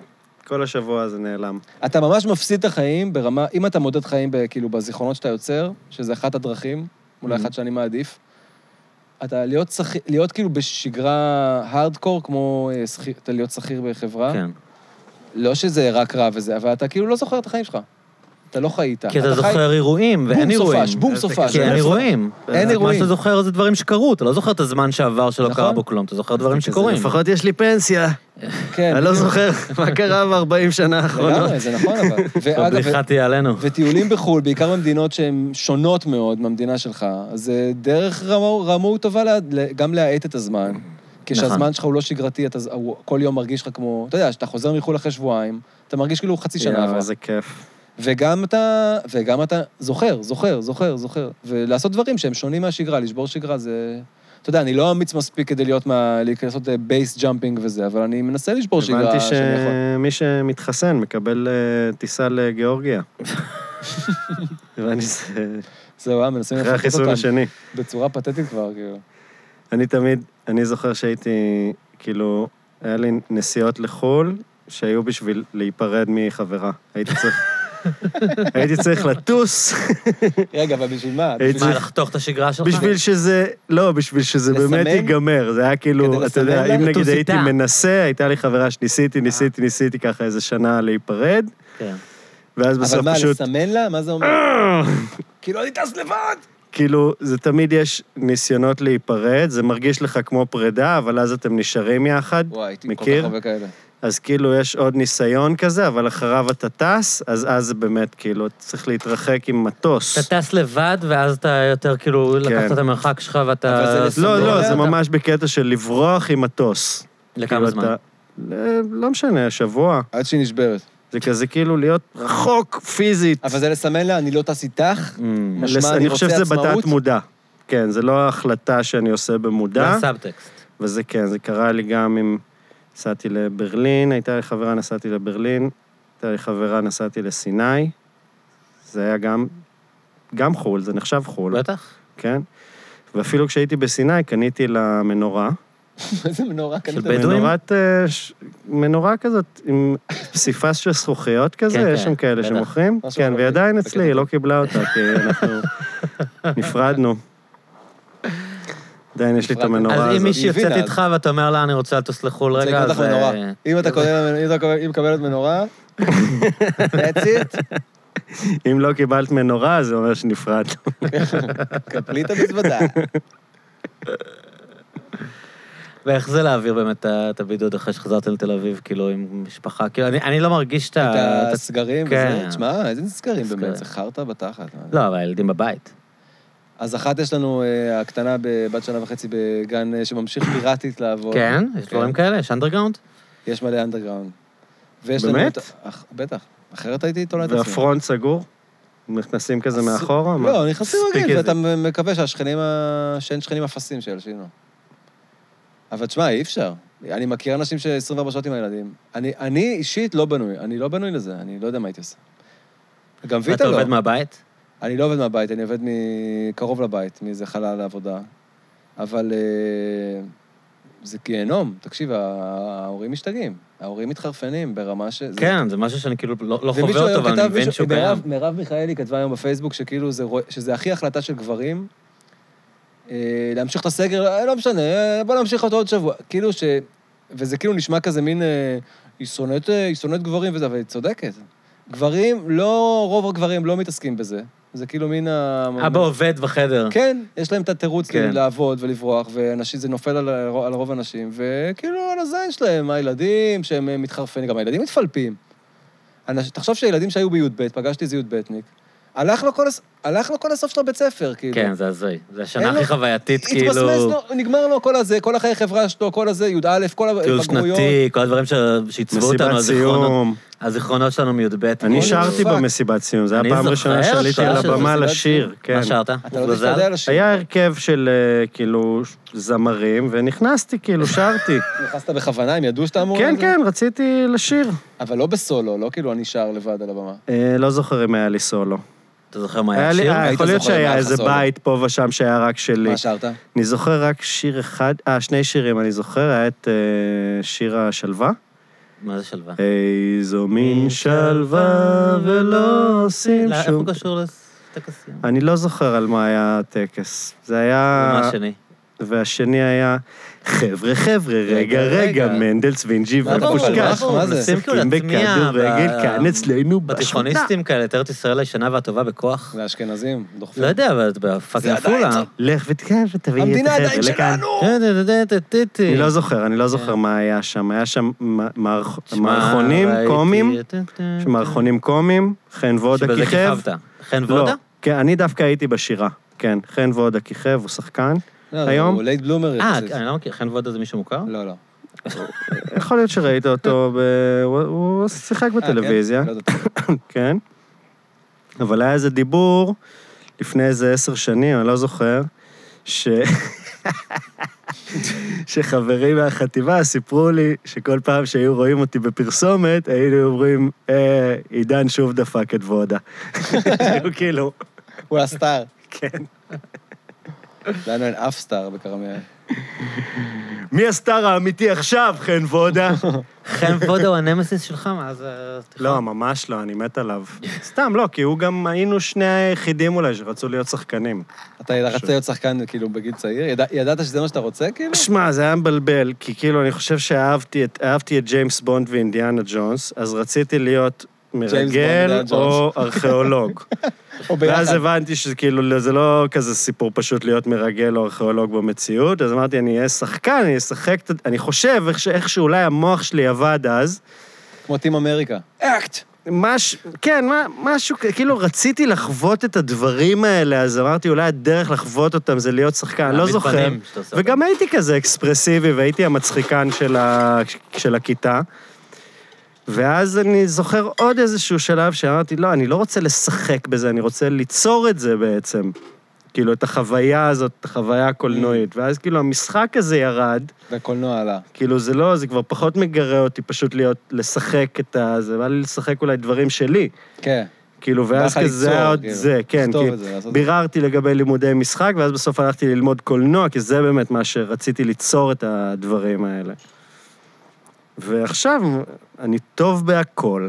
כל השבוע זה נעלם. אתה ממש מפסיד את החיים ברמה, אם אתה מודד חיים ב- כאילו בזיכרונות שאתה יוצר, שזה אחת הדרכים, Mm. אולי אחת שאני מעדיף, אתה להיות, שכיר, להיות כאילו בשגרה הארדקור, כמו אה, שכיר, אתה להיות שכיר בחברה, כן. לא שזה רק רע וזה, אבל אתה כאילו לא זוכר את החיים שלך. אתה לא חיית. כי אתה חי- זוכר אירועים, ואין בום אירועים. סופש, בום אז סופש. כי אין איפה? אירועים. אין מה אירועים. שאתה זוכר זה דברים שקרו, אתה לא זוכר את הזמן שעבר שלא נכון. קרה בו כלום, אתה זוכר דברים שקורים. לפחות יש לי פנסיה. כן, [LAUGHS] אני לא בדיוק. זוכר מה קרה ב-40 שנה לא. האחרונות. לגמרי, זה נכון [LAUGHS] אבל. ואגב, הבדיחה תהיה עלינו. וטיולים בחו"ל, בעיקר במדינות שהן שונות מאוד מהמדינה שלך, זה דרך רמו, רמו טובה לה, לה- גם להאט את הזמן. נכון. כשהזמן שלך הוא לא שגרתי, אתה, ז- הוא כל יום מרגיש לך כמו... אתה יודע, כשאתה חוזר מחו"ל אחרי שבועיים, אתה מרגיש כאילו חצי שנה יאללה, עברה. איזה כיף. וגם אתה, וגם אתה זוכר, זוכר, זוכר, זוכר. ולעשות דברים שהם שונים מהשגרה, לשבור שגרה זה... אתה יודע, אני לא אמיץ מספיק כדי להיות מה... להיכנס לעשות בייס ג'אמפינג וזה, אבל אני מנסה לשבור שגרה הבנתי שאני יכול. שמי שמתחסן מקבל אה, טיסה [LAUGHS] לגאורגיה. הבנתי שזה זהו, אה, מנסים אחרי לפחות החיסון אותם השני. בצורה פתטית כבר, כאילו. אני תמיד, אני זוכר שהייתי, כאילו, היה לי נסיעות לחו"ל שהיו בשביל להיפרד מחברה. הייתי צריך... [LAUGHS] הייתי צריך לטוס, רגע, אבל בשביל מה? הייתי מה, צריך- לחתוך את השגרה שלך? בשביל שזה, לא, בשביל שזה לסמן? באמת ייגמר. זה היה כדי כאילו, אתה יודע, לסמן לא, לה? אם נגיד לטוס הייתי איתה. מנסה, הייתה לי חברה שניסיתי, ניסיתי, ניסיתי ככה איזה שנה להיפרד, כן. ואז אבל בסוף מה, פשוט אה. לסמן לה? מה זה אומר? כאילו, אני טס לבד! כאילו, זה תמיד יש ניסיונות להיפרד, זה מרגיש לך כמו פרידה, אבל אז אתם נשארים יחד. וואי, הייתי כל מכיר? כך הרבה כאלה. אז כאילו, יש עוד ניסיון כזה, אבל אחריו אתה טס, אז אז זה באמת, כאילו, צריך להתרחק עם מטוס. אתה טס לבד, ואז אתה יותר כאילו, לקחת את המרחק שלך ואתה... כן. אבל זה לסמן. לא, אתה- לא, זה אתה- ממש בקטע של לברוח עם מטוס. לכמה כאילו, זמן? אתה- ל- לא משנה, שבוע. עד שהיא נשברת. זה כזה כאילו להיות רחוק פיזית. אבל זה לסמן לה, אני לא טס איתך? Mm. משמע, לס- אני אני חושב רוצה שזה בתת עצמאות? [LAUGHS] מודע. כן, זה לא החלטה שאני עושה במודע. זה הסאבטקסט. וזה כן, זה קרה לי גם אם נסעתי לברלין, הייתה לי חברה, נסעתי לברלין, הייתה לי חברה, נסעתי לסיני. זה היה גם, גם חו"ל, זה נחשב חו"ל, בטח. כן? ואפילו כשהייתי בסיני, קניתי לה מנורה. איזה מנורה קנית. בדואים? מנורת, אה, ש- מנורה כזאת, עם פסיפס של זכוכיות כזה, כן, יש כן, שם כאלה בטח. שמוכרים. משהו כן, ערבי, והיא עדיין בקטע אצלי, היא לא טוב. קיבלה אותה, כי [LAUGHS] אנחנו נפרדנו. עדיין יש לי את נפרדתם. המנורה הזאת. אז אם מישהי היא הבינה, יוצאת אז- נכון, איתך ואתה אומר לה, אני רוצה לטוס לחו"ל רוצה רגע, לקנות אז... לך מנורה. אה, אם אתה קונה- אם אתה קונה- אם מקבלת מנורה, that's it, אם לא קיבלת מנורה, זה אומר שנפרד. לא, קפלי את [LAUGHS] המזוודה. ואיך זה להעביר באמת את הבידוד אחרי שחזרתם לתל אביב, כאילו, עם משפחה? כאילו, אני- אני לא מרגיש את ה... את את הסגרים כן. וזה, תשמע, איזה סגרים סגרים. באמת, זה חרטא בתחת. מה? ה- לא, אבל הילדים בבית. אז אחת יש לנו, אה, הקטנה בבת שנה וחצי בגן אה, שממשיך פיראטית לעבוד. כן? יש דברים כאלה? יש אנדרגראונד? יש מלא אנדרגראונד. ויש באמת? לנו את- אח- בטח. אחרת הייתי תולה את עצמי. והפרונט סגור? נכנסים כזה אז- מאחורה? מה? לא לא, נכנסים Speak רגיל, it. ואתה מקווה שהשכנים, ה- שאין שכנים אפסים שילשינו. אבל תשמע, אי אפשר. אני מכיר אנשים ש-24 שעות עם הילדים. אני, אני אישית לא בנוי, אני לא בנוי לזה, אני לא יודע מה הייתי עושה. גם ואתה ויטה לא. עובד מהבית? אני לא עובד מהבית, אני עובד מקרוב לבית, מאיזה חלל לעבודה. אבל אה, זה גיהנום. תקשיב, ה- ההורים משתגעים, ההורים מתחרפנים ברמה ש... זה- כן, זה משהו שאני כאילו לא לא חווה ומישהו אותו, היום אבל אני כתב, מבין מישהו- שהוא קיים. מירב- מירב מיכאלי כתבה היום בפייסבוק שכאילו זה, רוא- שזה הכי החלטה של גברים, אה, להמשיך את הסגר, אה, לא משנה, אה, בוא נמשיך אותו עוד שבוע. כאילו ש... וזה כאילו נשמע כזה מין, אה, היא שונאת, אה, היא שונאת גברים וזה, אבל היא צודקת. גברים, לא, רוב הגברים לא מתעסקים בזה. זה כאילו מין ה... אבא עובד בחדר. כן, יש להם את התירוץ אה. כן. לעבוד ולברוח, ואנשים, זה נופל על, על רוב האנשים, וכאילו על הזין שלהם, הילדים, שהם אה, מתחרפנים, גם הילדים מתפלפים. אנש, תחשוב שילדים שהיו בי"ב, פגשתי איזה י"בניק, הלך לו כל, הס- הלך לו כל הסוף של הבית ספר, כאילו. כן, זה הזוי. זה השנה אין לו- הכי חווייתית, כאילו... התמסמס לו, נגמר לו כל הזה, כל החיי חברה שלו, כל הזה, י"א, כל טיול הבגרויות. כאילו שנתי, כל הדברים ש- שעיצבו מסיבת אותנו, הזיכרונות- סיום. הזיכרונות שלנו מי"ב. כאילו. אני שרתי במסיבת סיום, זו אני הייתה פעם זוכר ראשונה שעליתי שעה על של הבמה מסיבת לשיר, סיום. כן. מה שרת? אתה לא יודע לשיר. היה הרכב של אה, כאילו זמרים, ונכנסתי, כאילו, [LAUGHS] שרתי. נכנסת בכוונה, הם ידעו שאתה אמור... כן, לזה? כן, רציתי לשיר. אבל לא בסולו, לא כאילו אני שר לבד על הבמה. אה, לא זוכר אם היה לי סולו. אתה זוכר מה היה היה לי, השיר? אה, היית יכול להיות זוכר אם היה שהיה לך איזה סולו. בית פה ושם שהיה רק שלי. מה שרת? אני זוכר רק שיר אחד, אה, שני שירים אני זוכר, היה את אה, שיר השלווה, מה זה שלווה? איזו מין שלווה ולא עושים לא, איך שום... הוא קשור לטקסים? אני לא זוכר על מה היה הטקס. זה היה... מה השני? והשני היה, חבר'ה, חבר'ה, רגע, רגע, רגע, רגע." מנדל סווינג'י לא, ברור, ופושקש. ברור, מה זה? מנסים כאילו משחקים להטמיע בכדורגל ב- כאן אצלנו בשכונה. בתיכוניסטים כאלה, את ארץ ישראל הישנה והטובה בכוח. לאשכנזים, דוחפים. לא יודע, אבל בפאקינג עפולה. לך ותקרב ותביא את המדינה החבר'ה עדיין לכאן. אני לא זוכר, אני לא זוכר מה היה שם. היה שם מ- מערכ- כן. תשמע, מערכונים ראיתי- קומיים, מערכונים קומיים, חן וודה שבזה כיכב. כיכבת. חן לא, וודה? כן, אני דווקא הייתי בשירה. כן, חן וודה כיכב, הוא שחקן. לא, היום? נכון. הוא לייט בלומר אה, יחסית. אני לא מכיר, חן וודה זה מישהו מוכר? לא, לא. אה, יכול להיות שראית אותו, ב- הוא- הוא שיחק אה, כן? בטלוויזיה. לא ידעתי. כן. אבל היה איזה דיבור לפני איזה עשר שנים, אני לא זוכר, ש... שחברים מהחטיבה סיפרו לי שכל פעם שהיו רואים אותי בפרסומת, היינו אומרים, אה, עידן שוב דפק את וודה. היו [LAUGHS] כאילו, [LAUGHS] הוא הסטאר. כן. [LAUGHS] לנו אין אף סטאר בכרמיאל. מי הסטאר האמיתי עכשיו, חן וודה? חן וודה הוא הנמסיס שלך אה, מאז התיכון? לא, ממש לא, אני מת עליו. סתם, לא, כי הוא גם, היינו שני היחידים אולי שרצו להיות שחקנים. אתה רצית להיות שחקן, כאילו, בגיל צעיר? ידע- ידעת שזה מה שאתה רוצה, כאילו? שמע, זה היה מבלבל, כי כאילו, אני חושב שאהבתי את, אהבתי את ג'יימס בונד ואינדיאנה ג'ונס, אז רציתי להיות בונד ואינדיאנה מרגל כן, או ג'ונס. ארכיאולוג. או ביחד? ואז הבנתי שכאילו, זה לא כזה סיפור פשוט להיות מרגל או ארכיאולוג במציאות, אז אמרתי, אני אהיה שחקן, אני אשחק, את ה- אני חושב איך, ש- איך שאולי המוח שלי עבד אז, כמו טים אמריקה. מש... כן, מה, משהו, כ- כאילו רציתי לחוות את הדברים האלה, אז אמרתי, אולי הדרך לחוות אותם זה להיות שחקן, אני לא להעמיד זוכר. פנים שאתה עושה וגם הייתי כזה אקספרסיבי, והייתי המצחיקן של, ה... של הכיתה. ואז אני זוכר עוד איזשהו שלב שאמרתי, לא, אני לא רוצה לשחק בזה, אני רוצה ליצור את זה בעצם. כאילו, את החוויה הזאת, את החוויה Mm. הקולנועית. ואז כאילו המשחק הזה ירד, והקולנוע עלה. כאילו, זה לא, זה כבר פחות מגרה אותי פשוט להיות, לשחק את ה... זה בא לי לשחק אולי דברים שלי. כן. כאילו, בא ואז לך כזה ליצור, היה עוד כאילו. זה, כן, לכתוב כי את זה, לעשות- ביררתי לגבי לימודי משחק, ואז בסוף הלכתי ללמוד קולנוע, כי זה באמת מה שרציתי ליצור את הדברים האלה. ועכשיו, אני טוב בהכל.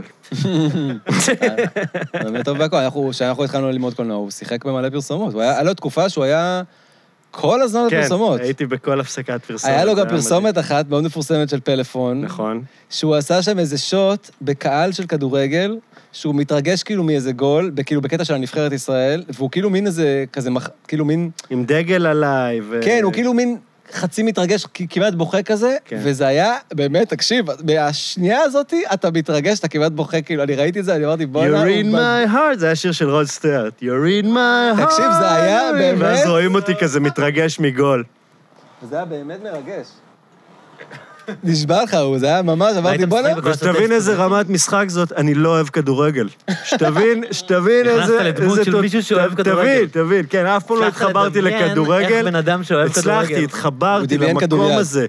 באמת טוב בהכל. אנחנו- כשאנחנו התחלנו ללמוד קולנוע, הוא שיחק במלא פרסומות. הוא היה היה לו תקופה שהוא היה כל הזמן כן, בפרסומות. הייתי בכל הפסקת פרסומת. היה לו זה גם פרסומת מדהים. אחת מאוד מפורסמת של פלאפון, נכון. שהוא עשה שם איזה שוט בקהל של כדורגל, שהוא מתרגש כאילו מאיזה גול, כאילו בקטע של הנבחרת ישראל, והוא כאילו מין איזה, כזה, מח- כאילו מין, עם דגל עליי, ו... כן, הוא כאילו מין חצי מתרגש, כ- כמעט בוכה כזה, כן. וזה היה, באמת, תקשיב, מהשנייה הזאת אתה מתרגש, אתה כמעט בוכה, כאילו, אני ראיתי את זה, אני אמרתי, בואנה, You're לא הוא in בג- my heart, זה היה שיר של רוד סטיארט. You're in my heart. תקשיב, זה היה באמת- ואז רואים אותי כזה מתרגש מגול. זה היה באמת מרגש. [LAUGHS] נשבע לך, הוא, זה היה ממש, אמרתי, ראיתם בואנה, משחק בכל ושתבין איזה רמת משחק זאת, אני לא אוהב כדורגל. [LAUGHS] שתבין, שתבין נכנסת איזה... לדמות איזה של תות- מישהו שאוהב ת- כדורגל. תבין, תבין, כן, אף פעם לא הצלחת התחברתי לדמיין איך לכדורגל. בן אדם שאוהב כדורגל. הצלחתי, הוא התחברתי דמיין למקום כדוריד. הזה.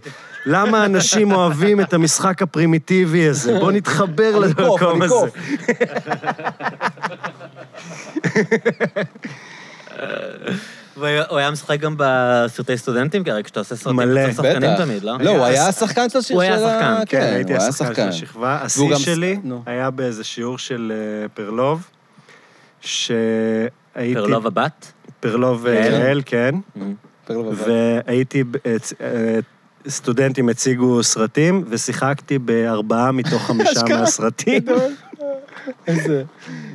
למה אנשים אוהבים את המשחק הפרימיטיבי הזה? בוא נתחבר אני קוף, למקום אני הזה. קוף. והוא היה משחק גם בסרטי סטודנטים, כי הרי כשאתה עושה סרטים, מלא. אתה עושה שחקנים תמיד, לא? לא, הוא היה השחקן של השיר הוא היה של ה- שחקן, כן, הייתי הוא היה השחקן של השכבה. והוא השיא גם- שלי נו. היה באיזה שיעור של אה, פרלוב, שהייתי... פרלוב הבת? פרלוב אה, יעל. יעל, כן. פרל בבת. והייתי, ב- הצ- אה, סטודנטים הציגו סרטים, ושיחקתי [LAUGHS] בארבעה מתוך חמישה אשכרה. מהסרטים. איזה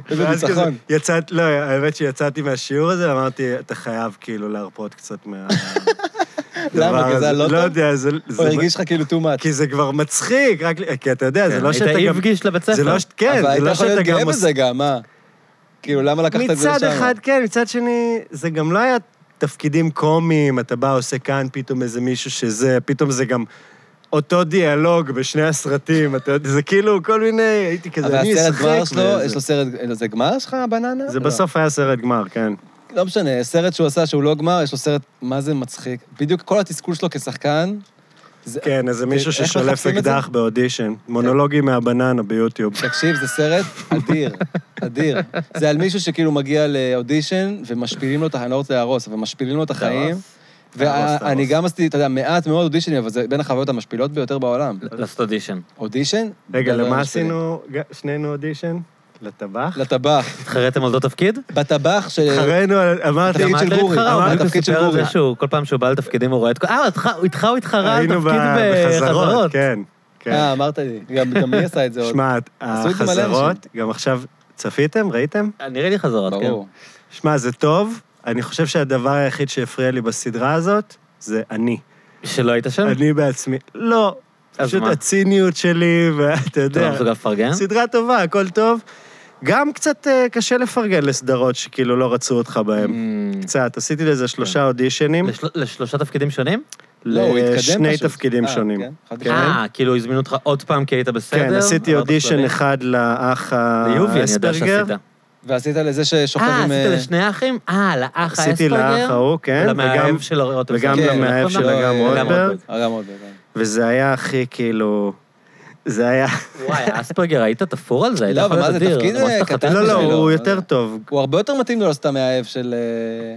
איזה ואז כזה ניצחון. יצאת, לא, האמת שיצאתי מהשיעור הזה, אמרתי, אתה חייב כאילו להרפות קצת מה... [LAUGHS] למה? כי זה היה לא לא טוב? יודע, זה... זה- הוא הרגיש לך כן, כאילו too much. כי זה כבר מצחיק, רק... כי אתה יודע, זה לא שאתה גם... היית איבגיש לבית ספר. זה לא ש... כן, אבל זה היית לא יכול שאתה להיות גם... גאה עוש- בזה גם, מה? כאילו, למה לקחת את זה לשם? מצד אחד כן, מצד שני, זה גם לא היה תפקידים קומיים, אתה בא, עושה כאן פתאום איזה מישהו שזה, פתאום זה גם אותו דיאלוג בשני הסרטים, אתה יודע, זה כאילו כל מיני, הייתי אבל כזה, אני הסרט אשחק. גמר שלו, וזה." יש לו סרט... אה, זה גמר שלך, הבננה? זה לא. בסוף היה סרט גמר, כן. לא משנה, סרט שהוא עשה שהוא לא גמר, יש לו סרט, מה זה מצחיק. בדיוק כל התסכול שלו כשחקן, זה- כן, איזה מישהו אה, איך ששולף מחפשים את זה? כן. אקדח באודישן. מונולוגים מהבננה ביוטיוב. תקשיב, זה סרט [LAUGHS] אדיר, אדיר. זה על מישהו שכאילו מגיע לאודישן ומשפילים לו את ה... אני לא רוצה להרוס, אבל משפילים לו את החיים. הרסת, ואני הרסת. גם עשיתי, אתה יודע, מעט מאוד אודישנים, אבל זה בין החוויות המשפילות ביותר בעולם. לעשות אודישן. אודישן? רגע, דבר למה משפיל. עשינו ג- שנינו אודישן? לטבח? לטבח. התחרתם על אותו תפקיד? בטבח של... אה, אחרינו, על- אמרתי, תפקיד גם של את לא גורי, התחרה, הוא אמרת, בדיוק תפקיד של סיפר על זה גורי. שהוא, כל פעם שהוא בא לתפקידים הוא רואה את כל... אה, אותך- איתך הוא התחרה על היינו ב- תפקיד בחזרות. כן, אה, כן. אמרת לי. גם- גם מי עשה את זה עוד? שמע, עשו את זה מלא החזרות, גם עכשיו צפיתם? ראיתם? נראה לי חזרות, כן. ברור. שמע, זה טוב. אני חושב שהדבר היחיד שהפריע לי בסדרה הזאת זה אני. שלא היית כן. שם? אני בעצמי. לא, אז פשוט מה? הציניות שלי, ואתה אתה יודע. לא מסוגל כן. לפרגן? סדרה טובה, הכל טוב. גם קצת אה, קשה לפרגן לסדרות שכאילו לא רצו אותך בהן. Mm, קצת, עשיתי לזה שלושה אודישנים, לשל- לשלושה תפקידים שונים? כן. לא, הוא התקדם פשוט. לשני תפקידים אה, שונים. כן? חד כן. משמעית. אה, אה, כאילו הזמינו אותך עוד פעם כי היית בסדר? כן, עשיתי עברת אודישן שלבים. אחד לאח ליובי, אני יודע האספרגר. שעשית. ועשית לזה ששוכב עם... אה, אה, עשית לשני האחים? אה, לאח האספרגר? עשיתי לאח ההוא, כן, וגם- ולמאהב של רותם. וגם זאב. כן, למאהב נכון, של לא, נכון. אגם אה, אגם רוטברג, אגם רוטברג. כן. וזה היה הכי כאילו... זה היה... וואי, אספרגר, היית תפור על זה? היית לא, אבל יכול להיות מה זה, אדיר. תפקיד, למרות אה, שאתה קטן חתן לא, לא, בשבילו, הוא אבל- יותר טוב. הוא הרבה יותר מתאים לו לא סתם מהאב של... אה,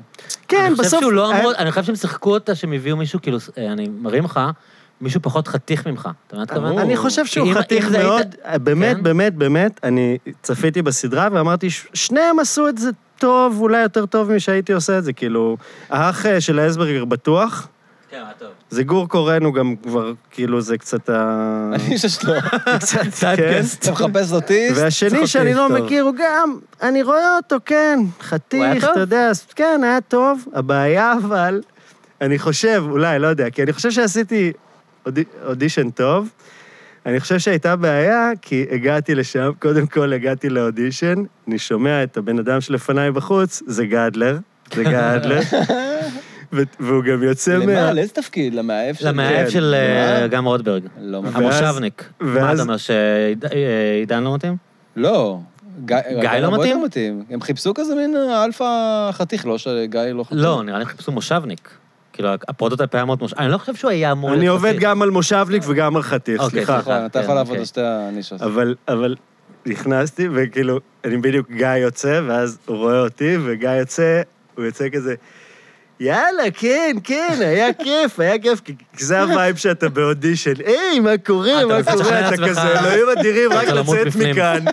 כן, אני חושב בסוף... שהוא לא אמור, אה, אני חושב שהם שיחקו אותה, שהם הביאו מישהו, כאילו, אה, אני מרים לך, מישהו פחות חתיך ממך. אתה מבין מה ברור. הכוונה? אני חושב כי שהוא אם- חתיך אם זה היית- מאוד, באמת, כן? באמת, באמת, אני צפיתי בסדרה ואמרתי, "ש- שניהם עשו את זה טוב, אולי יותר טוב משהייתי עושה את זה, כאילו, האח אה, של האסברגר בטוח, כן, מה טוב. זה גור קורן, הוא גם כבר, כאילו, זה קצת ה... אני [LAUGHS] שלו. קצת, כן. סאדקאסט. אתה מחפש אותי? והשני צחוק שאני לא טוב. מכיר, הוא גם, אני רואה אותו, כן, הוא היה חתיך, טוב? אתה יודע, אז כן, היה טוב. הבעיה, אבל, אני חושב, אולי, לא יודע, כי אני חושב שעשיתי אודי- אודישן טוב. אני חושב שהייתה בעיה, כי הגעתי לשם, קודם כל הגעתי לאודישן, אני שומע את הבן אדם שלפניי בחוץ, זה גדלר, זה [LAUGHS] גדלר, ו- והוא גם יוצא למה? לאיזה תפקיד? למאהב של... למאהב אה, כן. של אה, מה? אגם רוטברג. לא, מה- ואז- המושבניק. מה ואז- אתה אומר, שעידן לא מתאים? לא. גיא גיא הרבה לא יותר מתאים? מתאים. הם חיפשו כזה מין אה, אלפא חתיך, לא שגיא לא חתיך. לא, נראה לי חיפשו מושבניק. כאילו, הפרוטוטייפ היה מאוד מושבניק. אני לא חושב שהוא היה אמור... אני להיות עובד חסיד. גם על מושבניק וגם על חתיך, אוקיי, סליחה. נכון, אתה כן, יכול לעבוד אוקיי. על שתי הנישות. אבל, אבל נכנסתי, וכאילו, אני בדיוק, גיא יוצא, ואז הוא רואה אותי, וגיא יוצא, הוא יוצא כזה, יאללה, כן, כן, היה כיף, היה כיף, כי כי זה הווייב שאתה באודישן. היי, מה קורה, אתה מה מצליח קורה, לשכנע אתה עצמך. כזה, אלוהים אדירים, רק רוצה למות לצאת בפנים. מכאן.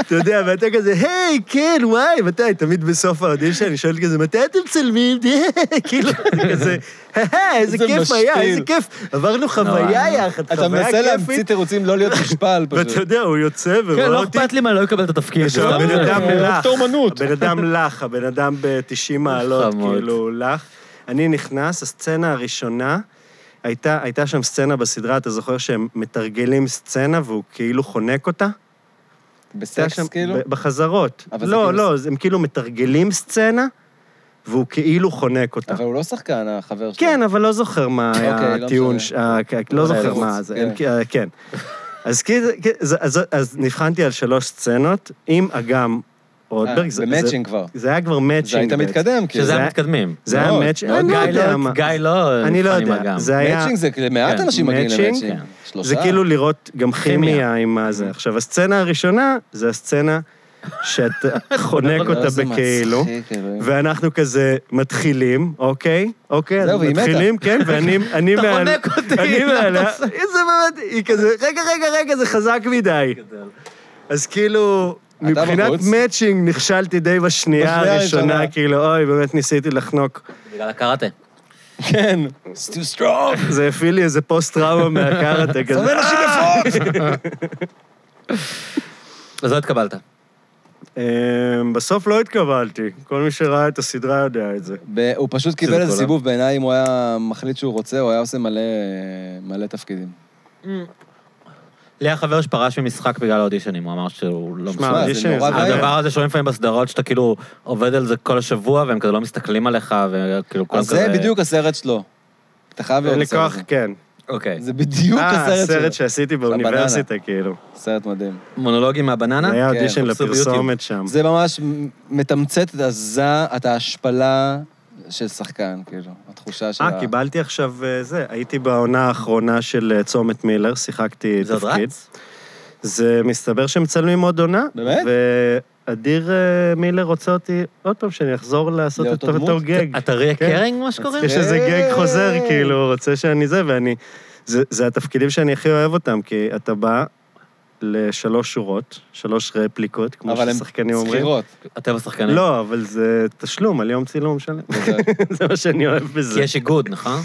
אתה יודע, ואתה כזה, היי, כן, וואי, מתי? תמיד בסוף האודישן, אני שואל כזה, מתי אתם מצלמים? [LAUGHS] כאילו, אני כזה, "אה, איזה זה כיף היה, משפיל. איזה כיף. עברנו חוויה נורא. יחד, אתה חוויה מנסה להמציא כיפית. תירוצים לא להיות מושפל [LAUGHS] ואתה פשוט. יודע, הוא יוצא ורואה כן, לא אותי. אכפת לי אם אני לא אקבל את התפקיד. עכשיו, סתם הבן זה. אדם לח, אומנות. הבן אדם לח, הבן אדם ב-90 מעלות, חמוד. כאילו, לח. אני נכנס, הסצנה הראשונה, הייתה, הייתה שם סצנה בסדרה, אתה זוכר שהם מתרגלים סצנה והוא כאילו חונק אותה? הייתה בסקס שם- כאילו? ב- בחזרות. אבל זה לא, כאילו- לא, אז הם כאילו מתרגלים סצנה, והוא כאילו חונק אותה. אבל הוא לא שחקן, החבר שלו. כן, אבל לא זוכר מה היה אוקיי, לא הטיעון, ש- משנה. ה- כ- לא אולי זוכר לא. מה זה, כן. הם כ- אה, כן. [LAUGHS] אז כאילו- כ- זה- אז- אז נבחנתי על שלוש סצנות, עם אגם רוטברג. זה- זה- אה, במצ'ינג כבר. זה היה כבר מאצ'ינג. אז היית בעצם. מתקדם, כאילו. זה שזה היה- המתקדמים. זה היה מאוד. מאצ'ינג, לא, אני לא גיא יודע לא, מה. גיא לא, אני לא נבחן עם יודע, אגם. זה היה... מצ'ינג זה, כאילו, מעט כן, אנשים מגיעים מצ'ינג, למצ'ינג. כן. שלושה. זה כאילו לראות גם כימיה כימיה. Mm-hmm. עם מה זה. עכשיו, הסצנה הראשונה, זה הסצנה [LAUGHS] שאתה חונק לא, אותה זה בכאילו. מצחיק, כאילו. אלוהים. ואנחנו כזה מתחילים, אוקיי? אוקיי, אז זהו, והיא מתה. מתחילים, כן, [LAUGHS] ואני... אני אתה מעל- חונק אותי, אני מה אתה מעלה... עושה? זה באמת... היא כזה, רגע, רגע, רגע, זה חזק מדי. אז כאילו, אתה מבחינת בחוץ? מאצ'ינג נכשלתי די בשנייה בשנייה הראשונה, הראשונה. כאילו, אוי, באמת ניסיתי לחנוק. בגלל הקראטה. כן. It's too strong. זה הפעיל לי איזה [LAUGHS] פוסט-טראומה מהקראטה כזה. אנשים בפרוק. אז לא התקבלת. אמ, בסוף לא התקבלתי, כל מי שראה את הסדרה יודע את זה. ב- הוא פשוט קיבל איזה כולם. סיבוב בעיניי, אם הוא היה מחליט שהוא רוצה, הוא היה עושה מלא, מלא תפקידים. לי היה חבר שפרש ממשחק בגלל האודישנים, הוא אמר שהוא לא שמע, מסוגל. זה אודישן, נורא זה- בעיה. הדבר הזה שרואים לפעמים בסדרות, שאתה כאילו עובד על זה כל השבוע, והם כזה לא מסתכלים עליך, וכאילו כולם אז כזה... זה בדיוק הסרט שלו. אתה חייב אין לראות לי את הסרט כוח, הזה. כן. אוקיי. זה בדיוק אה, הסרט הסרט שלו. שעשיתי באוניברסיטה, כאילו. סרט מדהים. מונולוגים מהבננה? היה כן, אודישן חפשו ביוטיוב. לפרסומת שם. זה ממש מ- מתמצת את הזע, את ההשפלה של שחקן, כאילו. התחושה של אה, קיבלתי עכשיו אה, זה. הייתי בעונה האחרונה של אה, צומת מילר, שיחקתי זה עוד תפקיד. רץ? זה מסתבר שמצלמים עוד עונה. באמת? ו- אדיר אה, מילר רוצה אותי עוד פעם שאני אחזור לעשות את לאותו אותו דמות? "אה!" גג. אתה ריה כן. קרינג, מה שקוראים? יש איזה גג חוזר, כאילו, הוא רוצה שאני זה, ואני... זה, זה התפקידים שאני הכי אוהב אותם, כי אתה בא לשלוש שורות, שלוש רפליקות, כמו אבל הן ששחקנים אומרים. שכירות. כן. אתם השחקנים. לא, אבל זה תשלום על יום צילום שלם. [LAUGHS] זה מה שאני אוהב כי בזה. יש איגוד, נכון?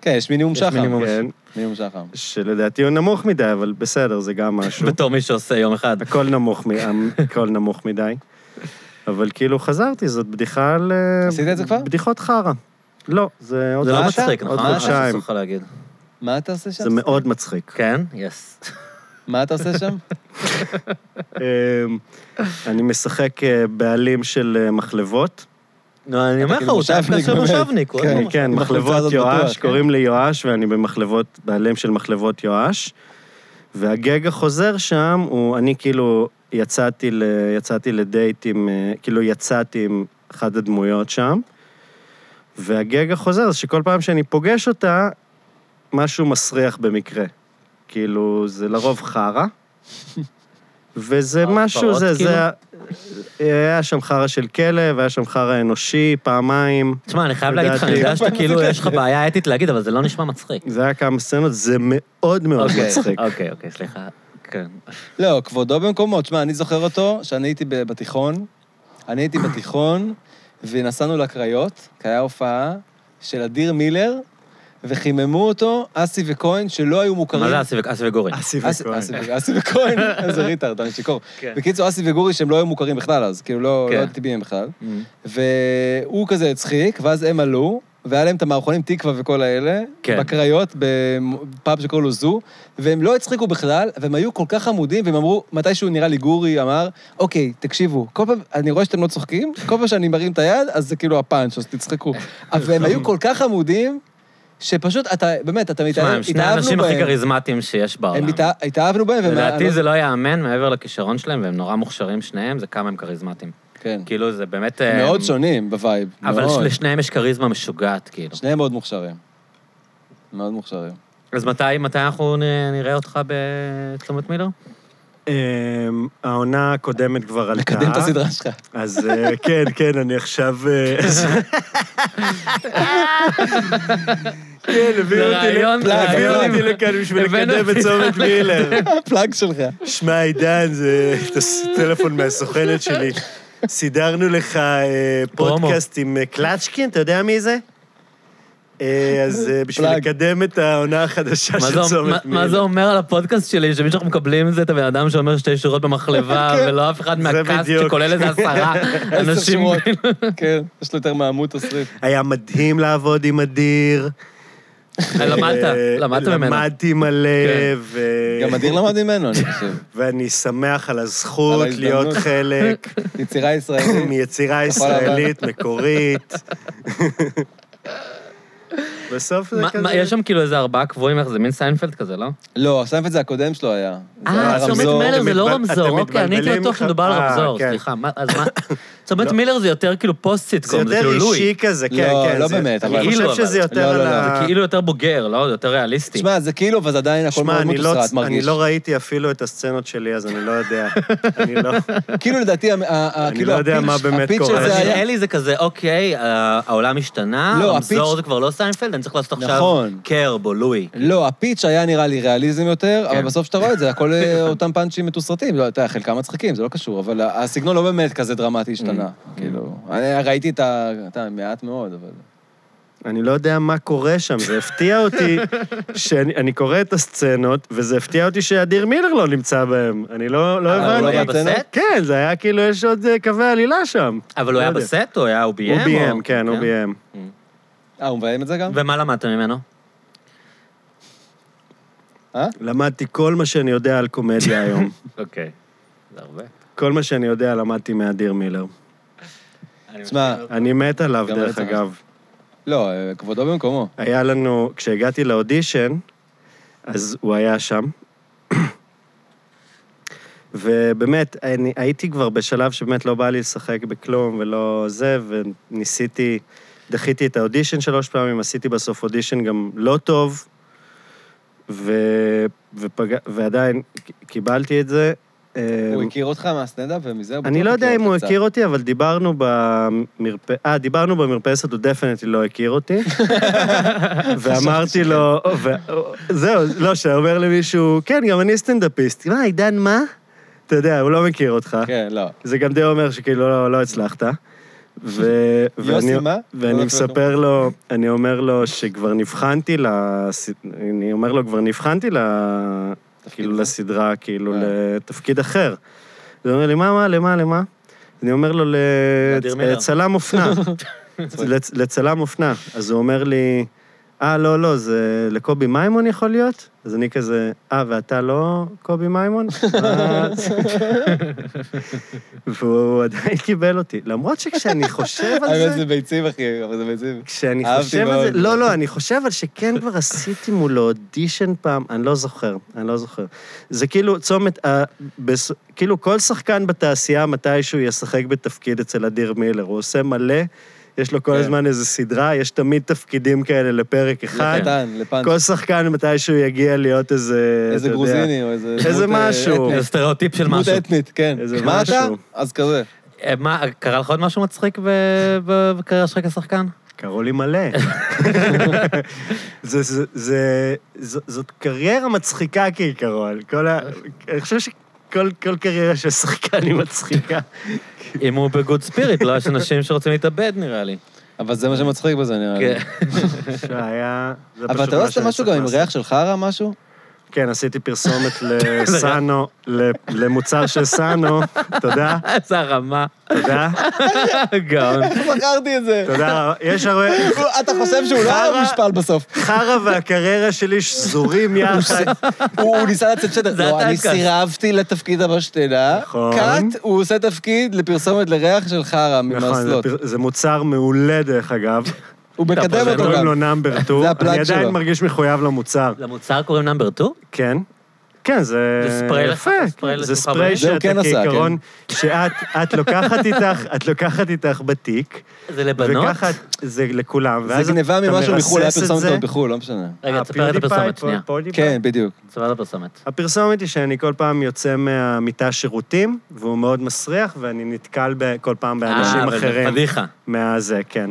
כן, יש מינימום יש שחם. מינימום. כן, מינימום שחם. שלדעתי הוא נמוך מדי, אבל בסדר, זה גם משהו. בתור מי שעושה יום אחד. הכל נמוך, מ- אה, הכל נמוך מדי. אבל כאילו חזרתי, זאת בדיחה על... אה, עשית את זה כבר? בדיחות חרא. לא, זה עוד זה לא מה חודשיים. מצחיק, עוד נכון? מה חודשיים. שאסור לך להגיד. מה אתה עושה שם? זה מאוד מצחיק. [LAUGHS] כן? יס. מה אתה עושה [LAUGHS] שם? אמ, אני משחק אה, בעלים של אה, מחלבות. נו, אני אומר לך, כאילו הוא טען מושבניק, כאשר באמת. מושבניק. הוא כן, אדום. אני, כן, בחולצה מחלבות הזאת בטוח, יואש, כן. קוראים לי יואש, ואני במחלבות, בעלים של מחלבות יואש. והגג החוזר שם הוא, אני כאילו יצאתי, ל, יצאתי לדייט עם, אה, כאילו יצאתי עם אחת הדמויות שם, והגג החוזר זה שכל פעם שאני פוגש אותה, משהו מסריח במקרה. כאילו, זה לרוב [LAUGHS] חרא. וזה חרא משהו, פרות, זה, כאילו? זה... היה שם חרא של כלב, היה שם חרא אנושי, פעמיים. תשמע, אני חייב להגיד לך, אני יודע לדעתי. [LAUGHS] שאתה כאילו, יש לך בעיה אתית להגיד, אבל זה לא נשמע מצחיק. זה היה כמה סצנות, זה מאוד מאוד אוקיי, [LAUGHS] מצחיק. אוקיי, אוקיי, סליחה. כן. לא, כבודו במקומו. תשמע, אני זוכר אותו, שאני הייתי ב- בתיכון, אני הייתי בתיכון, ונסענו לקריות, כי היה הופעה של אדיר מילר, וחיממו אותו אסי וכהן, שלא היו מוכרים. מה זה אסי ו- אסי וגורן? אסי אסי- אסי ו- אסי וכהן, [LAUGHS] איזה ריטארד, אני שיכור. כן. בקיצור, אסי וגורי, שהם לא היו מוכרים בכלל אז, כאילו לא כן. לא ידעתי מי הם בכלל. והוא כזה הצחיק, ואז הם עלו, והיה להם את המערכונים תקווה וכל האלה, כן. בקריות, בפאב שקוראים לו זו, והם לא הצחיקו בכלל, והם היו כל כך עמודים, והם אמרו, מתישהו נראה לי גורי אמר, אוקיי, תקשיבו, כל פעם, אני רואה שאתם לא צוחקים, כל פעם שאני מרים את היד, אז זה כאילו הפאנץ', אז [LAUGHS] תצחקו. אבל הם היו כל כך עמודים, שפשוט, אתה, באמת, אתה תשמע, מתאהב, הם שני האנשים התאהבנו הכי בהם. כריזמטיים שיש הם בעולם. התאה- התאהבנו בהם, ומה- לדעתי זה לא ייאמן מעבר לכישרון שלהם, והם נורא מוכשרים שניהם, זה כמה הם כריזמטיים. כן. כאילו, זה באמת... מאוד אה, שונים בווייב, אבל מאוד. לשניהם יש כריזמה משוגעת, כאילו. שניהם מאוד מוכשרים. מאוד מוכשרים. אה? אז מתי, מתי אנחנו נ- נראה אותך בצומת מילר? אמ, העונה הקודמת כבר עלתה. קדם את הסדרה שלך. [LAUGHS] אז אה, כן, כן, אני עכשיו... [LAUGHS] אה, כן, הביאו זה אותי רעיון, ל- זה הביאו רעיון. אותי לכאן בשביל הבאנו לקדם את אותי צומת מילר. הפלאג שלך. שמע, עידן, זה תס- טלפון מהסוכנת שלי. סידרנו לך אה, פרומו. פודקאסט עם אה, קלצ'קין, אתה יודע מי זה? אה, אז אה, בשביל פלאג. לקדם את העונה החדשה מה של זה- מה- צומת מה זה מילר. אומר על הפודקאסט שלי, שמי שאנחנו מקבלים זה את הבן אדם שאומר שתי שורות במחלבה, ולא אף אחד מהקאסט בדיוק. שכולל איזה עשרה עשר אנשים. שורות. כן, יש לו יותר מעמוד תסריט. היה מדהים לעבוד עם אדיר. למדת, אה, למדת ממנו. למדתי מלא, כן. ו- גם אדיר למד ממנו, אני חושב. ואני שמח על הזכות על ההזדמנות. להיות [COUGHS] חלק יצירה [COUGHS] ישראלית. מיצירה ישראלית מקורית. בסוף זה מה- כזה... מה, יש שם כאילו איזה ארבעה קבועים, איך זה מין סיינפלד כזה, לא? לא, סיינפלד זה הקודם שלו היה. זה היה אה, צומת רמזור. מילר זה לא אתם מתבל- רמזור, אתם אוקיי, אני הייתי מתבלבלים בטוח לך- שמדובר על אה, רמזור, כן. סליחה, מה- אז מה? צומת מילר זה יותר כאילו פוסט זה סיטקום, זה יותר כאילו לואי. אישי כזה, כן, לא, כן. לא זה- באמת, אני אבל- חושב כאילו, שזה אבל- יותר לא, לא, על לא, ה... זה כאילו יותר בוגר, לא? זה יותר ריאליסטי. תשמע, זה כאילו, אבל זה עדיין הכל שמע, מאוד אני לא, מתוסרט, אני מרגיש. לא ראיתי אפילו את הסצנות שלי, אז אני לא יודע. אני לא... כאילו, לדעתי, ה- ה- אני כאילו, לא יודע מה הפיץ'- באמת הפיץ' קורה. אבל הזה זה נראה היה... לי זה כזה, אוקיי, ה- העולם השתנה, לא, רמזור הפיץ'- זה כבר לא סיינפלד, אני צריך לעשות עכשיו נכון. קרב או לואי. לא, הפיץ' היה נראה לי ריאליזם יותר, כן. אבל בסוף כשאתה רואה את זה, הכל אה, [LAUGHS] אותם פאנצ'ים מתוסרטים. לא, אתה יודע, חלקם מצחיקים, זה לא קשור, אבל ה- הסגנון לא באמת כזה דרמטי השתנה. Mm, כן. כאילו, אני ראיתי את ה... אתה מעט מאוד, אבל... אני לא יודע מה קורה שם, זה הפתיע אותי שאני אני קורא את הסצנות, וזה הפתיע אותי שאדיר מילר לא נמצא בהם. אני לא, לא אבל הוא הבנתי. לא היה הבנתי. בסט? כן, זה היה כאילו, יש עוד אה, קווי עלילה שם. אבל הוא לא היה יודע. בסט או היה, הוא ביים? הוא או- ביים, כן, הוא ביים. אה, הוא מביים את זה גם? ומה למדת ממנו? אה? למדתי כל מה שאני יודע על קומדיה [LAUGHS] היום. אוקיי. זה הרבה. כל מה שאני יודע למדתי מאדיר מילר. תשמע, אני מת עליו, גם דרך אני צריך. אגב. לא, אה, כבודו במקומו. היה לנו, כשהגעתי לאודישן, אז הוא היה שם. ובאמת, אני, הייתי כבר בשלב שבאמת לא בא לי לשחק בכלום ולא זה, וניסיתי, דחיתי את האודישן שלוש פעמים, עשיתי בסוף אודישן גם לא טוב, ו, ופג, ועדיין ק- קיבלתי את זה, אה, הוא הכיר אותך מהסטנדאפ ומזה? הוא אני בטוח לא יודע הכיר אם הוא אותך הכיר אותי, אבל דיברנו במרפסת, אה, דיברנו במרפסת, הוא דפנטלי לא הכיר [LAUGHS] אותי. ואמרתי לו, ו- זהו, לא, שאומר למישהו, כן, גם אני סטנדאפיסט. מה, עידן, מה? אתה יודע, הוא לא מכיר אותך. קצת. כן, לא. זה גם די אומר שכאילו לא, לא הצלחת. ו- יוסי, ואני, מה? ואני לא מספר לו, אני אומר לו שכבר נבחנתי ל... אני אומר לו, כבר נבחנתי ל... כאילו לסדרה, כאילו אה. לתפקיד אחר. אז הוא אומר לי, מה, מה, למה, למה? אני אומר לו, לאדיר מילר. לצלם [LAUGHS] אופנה. לצ- לצלם אופנה. אז הוא אומר לי, אה, לא, לא, זה לקובי מימון יכול להיות? אז אני כזה, אה, ואתה לא קובי מימון? [LAUGHS] מה?" והוא עדיין קיבל אותי. למרות שכשאני חושב על האמת זה... זה ביצים, אחי, אבל זה ביצים. כשאני אהבתי חושב על זה... מאוד. לא, לא, אני חושב על שכן כבר עשיתי מולו אודישן פעם, אני לא זוכר, אני לא זוכר. זה כאילו צומת, ה- בס- כאילו כל שחקן בתעשייה מתישהו ישחק בתפקיד אצל אדיר מילר, הוא עושה מלא, יש לו כל כן. הזמן איזו סדרה, יש תמיד תפקידים כאלה לפרק אחד. לקטן, לפאנץ'. כל שחקן מתישהו יגיע להיות איזה... איזה אתה יודע, גרוזיני או איזה... איזה דמות, אה, משהו. אתנית. זה סטריאוטיפ של דמות משהו. אתנית, כן. איזה מה אתה? משהו. אז כזה. אה, מה, קרה לך עוד משהו מצחיק ב- ב- בקריירה שלך כשחקן? קראו לי [LAUGHS] מלא. זה, זה, זה, ז, זאת קריירה מצחיקה כעיקרון. כל ה... אני חושב שכל כל קריירה של שחקן היא מצחיקה. אם הוא בגוד ספיריט, לא, יש אנשים שרוצים להתאבד, נראה לי. אבל זה מה שמצחיק בזה, נראה לי. כן. שהיה... זה אבל פשוט אתה מה לא עשית שאני משהו צריך גם עם לעשות. ריח של חרא, משהו? כן, עשיתי פרסומת [LAUGHS] לסאנו, ל- למוצר של סאנו. תודה, איזה הרמה. תודה, גאון. איך מכרתי את [LAUGHS] זה? תודה רבה. יש הרבה... אתה חושב שהוא לא היה חרא- מושפל בסוף. חרא והקריירה שלי [LAUGHS] שזורים יחד. הוא הוא ניסה לצאת שדר. זה לא, אתה, אני אסקר. סירבתי לתפקיד המשתלה. נכון. קאט, הוא עושה תפקיד לפרסומת לריח של חרא נכון, זה ממאסלות. פר- זה מוצר מעולה, דרך אגב. הוא מקדם זה אותו קוראים לו גם. נאמבר 2. זה הפלאג אני עדיין שלו. מרגיש מחויב למוצר. למוצר קוראים נאמבר 2? כן. כן, [LAUGHS] זה... זה ספרי לך? יפה. כן, ספרי זה לשמחה ספרי בריאים? זה הוא שאתה כן עשה, כעיקרון, שאת את לוקחת איתך, את לוקחת איתך בתיק, זה לבנות? וככה את- זה לכולם, זה ואז גניבה אתה ממשהו מרסס מחו"ל, היה את פרסומת זה. עוד בחו"ל, לא משנה. רגע, אה, תספר את פיודיפיי, הפרסומת, פו- שנייה. פודיפיי. כן, בדיוק. תספר את הפרסומת. הפרסומת היא שאני כל פעם יוצא מהמיטה שירותים, והוא מאוד מסריח, ואני נתקל ב- כל פעם באנשים אה, אבל אחרים. פדיחה. מהזה, כן.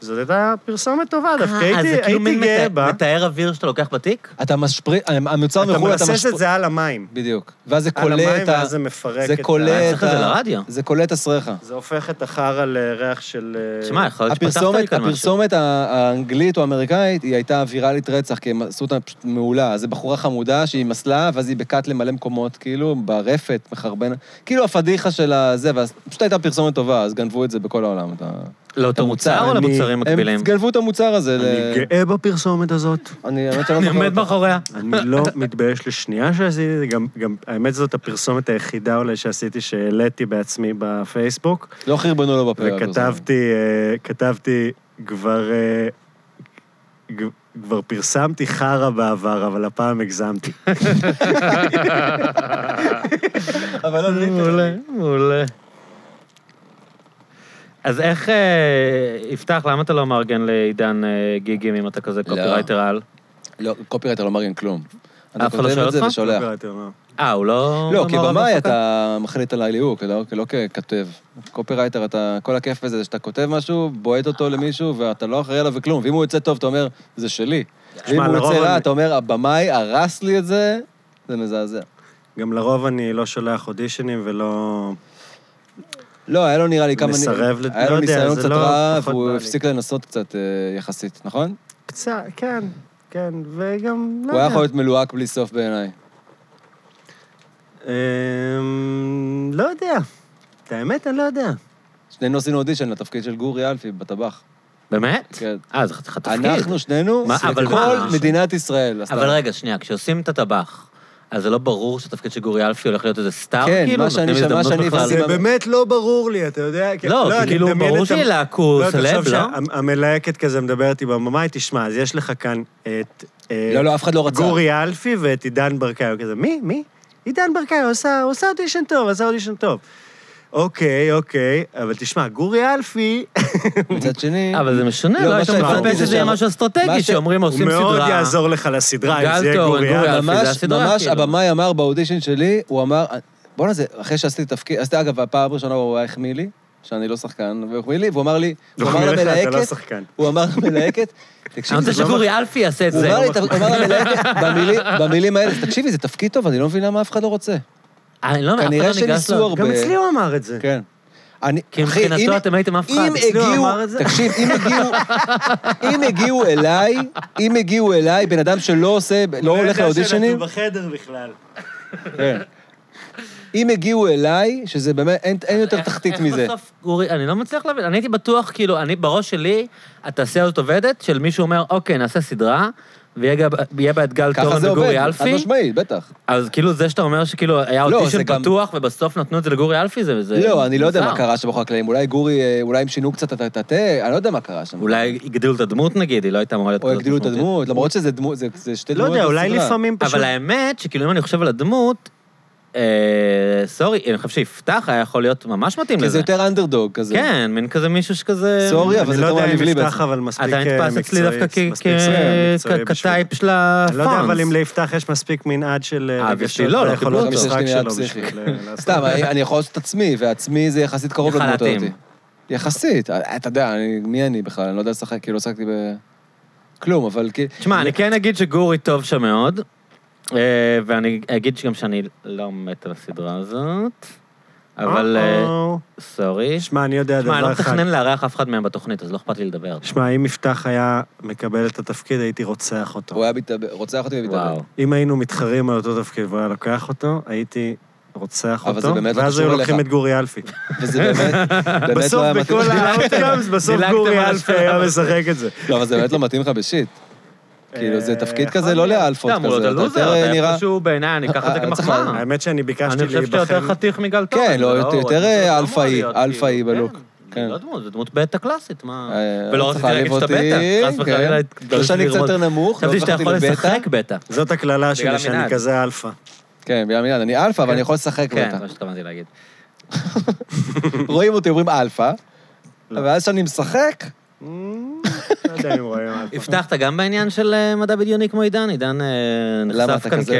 זאת הייתה פרסומת טובה, דווקא אה, הייתי זה הייתי כאילו מין גאה מתאר- בה. מתאר אוויר שאתה לוקח בתיק? אתה משפריץ, המוצר אתה מחו"ל, אתה מרסס משפריץ... את זה על המים. בדיוק. ואז זה על כולל המים, את ה... ואז זה מפרק זה את כולל ה... את אה, צריך את זה ה... לרדיו. זה כולל את הסרחה. זה הופך את החרא לריח של... אה, שמע, יכול להיות שפתחת לי הפרסומת, כאן משהו. הפרסומת ה- האנגלית או האמריקאית, היא הייתה ויראלית רצח, כי הם עשו אותה פשוט מעולה. זו בחורה חמודה שהיא מסלה, ואז היא בקאט למלא מקומות, כאילו, ברפת, מחרבנת. כאילו הפדיחה של הזה, ואז פשוט הייתה פרסומת טובה, אז גנבו את זה בכל העולם. אתה... לאותו מוצר או אני- למוצרים מקבילים? הם גנבו את המוצר הזה. ל- אני גאה בפרסומת הזאת. אני, האמת שלא [LAUGHS] אני זוכר. עומד אותה. מאחוריה. אני לא מתבייש לשנייה שעשיתי את זה, גם, גם, האמת זאת הפרסומת היחידה אולי שעשיתי, שהעליתי בעצמי בפייסבוק, לא חרבנו לו בפה. הפרסומת. וכתבתי, אה, כתבתי כבר, אה, ג- כבר פרסמתי חרא בעבר, אבל הפעם [LAUGHS] הגזמתי. אבל לא ענית. מעולה, מעולה. אז איך, אה, יפתח, למה אתה לא מארגן לעידן אה, גיגים אם אתה כזה קופירייטר על? לא, קופירייטר לא מראים כלום. אחד אתה לא כותב שואל את זה אותך? ושולח. קראתי, לא. אה, הוא לא... לא, מעורב כבמאי בהפקה? אתה מחליט על הליהוק, לא, לא ככתב. קופירייטר, אתה, כל הכיף בזה זה שאתה כותב משהו, בועט אותו למישהו, ואתה לא אחראי עליו וכלום. ואם הוא יוצא טוב, אתה אומר, זה שלי. ואם הוא לרוב יוצא רע, אני- אתה אומר, הבמאי הרס לי את זה, זה מזעזע. גם לרוב אני לא שולח אודישנים ולא... לא, היה לו נראה לי כמה... מסרב לת- היה לא לו יודע, ניסיון זה קצת לא- רע, פחות בא והוא לי. הפסיק לנסות קצת אה, יחסית, לא נכון? קצת, כן, כן, וגם... לא הוא היה יודע. יכול להיות מלוהק בלי סוף בעיניי. אמ, לא יודע. את האמת, אני לא יודע. שנינו עשינו אודישן לתפקיד של גורי אלפי בטבח. באמת? כן. אה, זה חתיכת תפקיד. אנחנו שנינו, מה, אבל כל מה? מדינת ישראל עשתה. אבל רגע, שנייה, כשעושים את הטבח, אז זה לא ברור שהתפקיד של גורי אלפי הולך להיות איזה סטאר? כן, כאילו? מה שאני- נותנים מה הזדמנות שאני בכלל? הבנתי זה באמת לא ברור לי, אתה יודע? כי- לא, כי אני כאילו, מדמיין ברור את ה- שלהקו לא, סלב, לא? שהמלהקת כזה מדברת עם הבמאי, תשמע, אז יש לך כאן את... אה, לא, לא, אף אחד לא רצה. גורי אלפי ואת עידן ברקאי, הוא כזה, מי? מי? עידן ברקאי, הוא עשה הוא עשה אודישן טוב, עשה אודישן טוב. אוקיי, אוקיי, אבל תשמע, גורי [LAUGHS] אלפי, מצד שני... אבל זה משונה, לא, לא מה היית שהבנתי מפלפס זה שזה יהיה שהם- משהו מה אסטרטגי, ש- שאומרים הוא עושים סדרה. מאוד יעזור לך לסדרה, גל אם זה יהיה תורן, גורי גורי אלפי. אלפי. זה ממש, הסדרה, ממש כאילו. הבמאי אמר באודישן שלי, הוא אמר, בואנה, זה, אחרי שעשיתי את התפקיד, אז אגב, הפעם הראשונה הוא היה החמיא לי, שאני לא שחקן, והוא החמיא לי, והוא אמר לי, הוא לא, אמר מלך, אתה לא למלהקת, שחקן. הוא אמר למלהקת, אני תקשיבי, רוצה זה לא... שגורי אלפי יעשה את הוא זה. אמר לי, הוא אמר למלהקת, במילים- במילים האלה, תקשיבי, זה תפקיד טוב, אני לא מבין למה אף אחד לא רוצה. אני לא, אף אחד כנראה לא ניגש שניסו לו. הרבה. גם אצלי הוא אמר את זה. כן. אני, כי אחי, מבחינתו אם- אתם הייתם אף אחד, לא, אם אצלי הוא הגיעו, אמר את זה. תקשיב, אם הגיעו, אם הגיעו אליי, אם הגיעו אליי, בן אדם שלא עושה, לא הולך לאודישנים, לא יודע שאנחנו בחדר בכלל. כן. אם הגיעו אליי, שזה באמת, אין אין יותר איך- תחתית איך מזה. בסוף, גורי, אני לא מצליח להבין, אני הייתי בטוח, כאילו, אני בראש שלי, התעשייה הזאת עובדת, של מישהו אומר, אוקיי, נעשה סדרה, ויהיה גם- יהיה בה את גל ככה תורן זה עובד, וגורי חד אלפי, משמעית, בטח. אז כאילו זה שאתה אומר שכאילו היה לא, זה אודישן גם- פתוח, ובסוף נתנו את זה לגורי אלפי, זה... זה לא, אני לא יודע מוזר. מה קרה שם מאחורי הקלעים, אולי גורי, אה, אולי הם שינו קצת את הטאטא, אני לא יודע מה קרה שם. אולי הגדילו את הדמות נגיד, היא לא הייתה אמורה להיות או כזאת הגדילו את משמעותית. הדמות, למרות שזה דמות, זה- זה שתי לא דמויות יודע, אולי בסדרה. לפעמים פשוט... אבל האמת, שכאילו אם אני חושב על הדמות, אה, סורי, אני חושב שיפתח היה יכול להיות ממש מתאים כי זה לזה. יותר אנדרדוג כזה. כן, מין כזה מישהו שכזה... סורי, כן, אבל אני זה לא יותר יודע אם מעליב לי יפתח בעצם. אבל מספיק אתה אה, מקצועי. נתפס אצלי דווקא כ- אה, מספיק מקצועי כ- בשביל- כטייפ של הפאנס. אני לא יודע, אבל אם ליפתח יש מספיק מנעד של אה, אה, רגשות בשביל לא, לא ויכולות קיבלו אותו. משחק יש לי מנעד שלו בשביל... אה, [LAUGHS] לעשות. סתם, אני אני יכול לעשות את עצמי, ועצמי זה יחסית קרוב יכול לדמות להתאים. הזאת. יחסית, אה, אתה יודע, אני- מי אני בכלל? אני לא יודע לשחק, כאילו, לא שחקתי ב... כלום, אבל כי... תשמע, אני כן אגיד שגורי טוב שם מאוד, אה, ואני אגיד שגם שאני לא מת על הסדרה הזאת, אבל... אה, או-או. סורי. שמע, אני יודע תשמע, אני לא דבר אחד. מתכנן לארח אף אחד מהם בתוכנית, אז לא אכפת לי לדבר. שמע, אם יפתח היה מקבל את התפקיד, הייתי רוצח אותו. הוא היה מתאבד, רוצח אותי ומתאבד. וואו. אם היינו מתחרים על אותו תפקיד והוא היה לוקח אותו, הייתי רוצח אבל זה אותו, באמת לא ואז קשור היו לוקחים אליך. את גורי אלפי. וזה [LAUGHS] באמת, באמת לא בסוף, היה מתאים. בכל האאוטקאמס, בסוף דילגתם גורי על אלפי השלב. היה משחק את זה. לא, אבל זה באמת לא מתאים לך בשיט. כאילו, זה אה, תפקיד יכול כזה לא לאלפות סתם, הוא כזה. לא אתה לוזר, יותר אתה אה, נראה... איפשהו בעיניי, אני אקח את זה אה, צריך כמחמאה. האמת שאני ביקשתי אני חושב שאתה יותר להיבחן... חתיך מגל כן, תורן. לא, זה יותר, הוא יותר, דמות אה, לא אמורה אלפאי, להיות, אלפאי כאילו, בלוק. כן, כן. היא לא דמות, זו דמות בית הקלאסית, מה... אה, ולא צריך רציתי להעליב להגיד שאתה בטא, אותי, חס כן. וחלילה. לא שאני קצת יותר נמוך, לא חשבתי שאתה הפכתי יכול לבטא. לשחק בטא. זאת הקללה שלי, בגלל שאני המנעד. כזה אלפא. כן, בגלל המילה, אני אלפא, אבל כן. אני יכול לשחק כן, בטח. זה מה שהתכוונתי להגיד. רואים אותי, אומרים אלפא, לא. ואז כשאני משחק, לא יודע אם רואים אלפא. הבטחת גם בעניין של אה, מדע בדיוני כמו עידן, עידן אה, למה נחשף אתה כאן כזה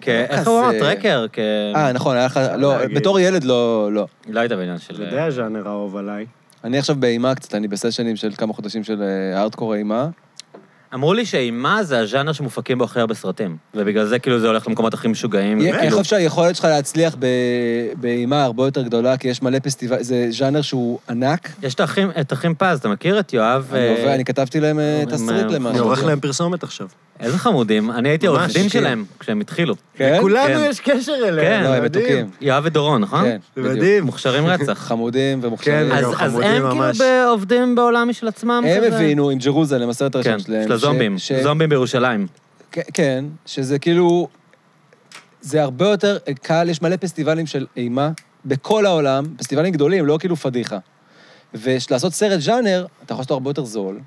כ... כ- לא איך הוא אמר? כזה- טרקר? כ... אה, נכון, היה לך... לא, להגיד. בתור ילד לא... לא. לא היית בעניין של... [LAUGHS] אתה יודע הז'אנר האהוב עליי. אני עכשיו באימה קצת, אני בסשנים של כמה חודשים של אה, הארדקור אימה. אמרו לי שאימה זה הז'אנר שמופקים בו הכי הרבה סרטים, ובגלל זה כאילו זה הולך למקומות הכי משוגעים. אני כאילו. חושב שהיכולת שלך להצליח ב- באימה הרבה יותר גדולה, כי יש מלא פסטיבל... זה ז'אנר שהוא ענק. יש את האחים- את האחים פז, אתה מכיר את יואב? אני אה, עובד- אני כתבתי להם אה, הם, תסריט אה, אני למשהו. עורך להם פרסומת עכשיו. איזה חמודים, אני הייתי עורך ממש, דין כן. שלהם כשהם התחילו. כן? לכולנו כן. יש קשר כן, אליהם, לא, הם מדהים. מתוקים. יואב ודורון, נכון? כן, אה? זה בדיוק. מדהים. מוכשרים רצח. [LAUGHS] חמודים ומוכשרים. כן, אז גם אז חמודים הם כאילו ממש. ב- עובדים בעולם משל עצמם? הם כזה? הבינו עם ג'רוזלם, הסרט כן, הראשון שלהם. של ש- הזומבים, ש- זומבים בירושלים. כן, כן, שזה כאילו... זה הרבה יותר קל, יש מלא פסטיבלים של אימה בכל העולם, פסטיבלים גדולים, לא כאילו פדיחה. ולעשות סרט ז'אנר, אתה יכול לעשות אותו הרבה יותר זול.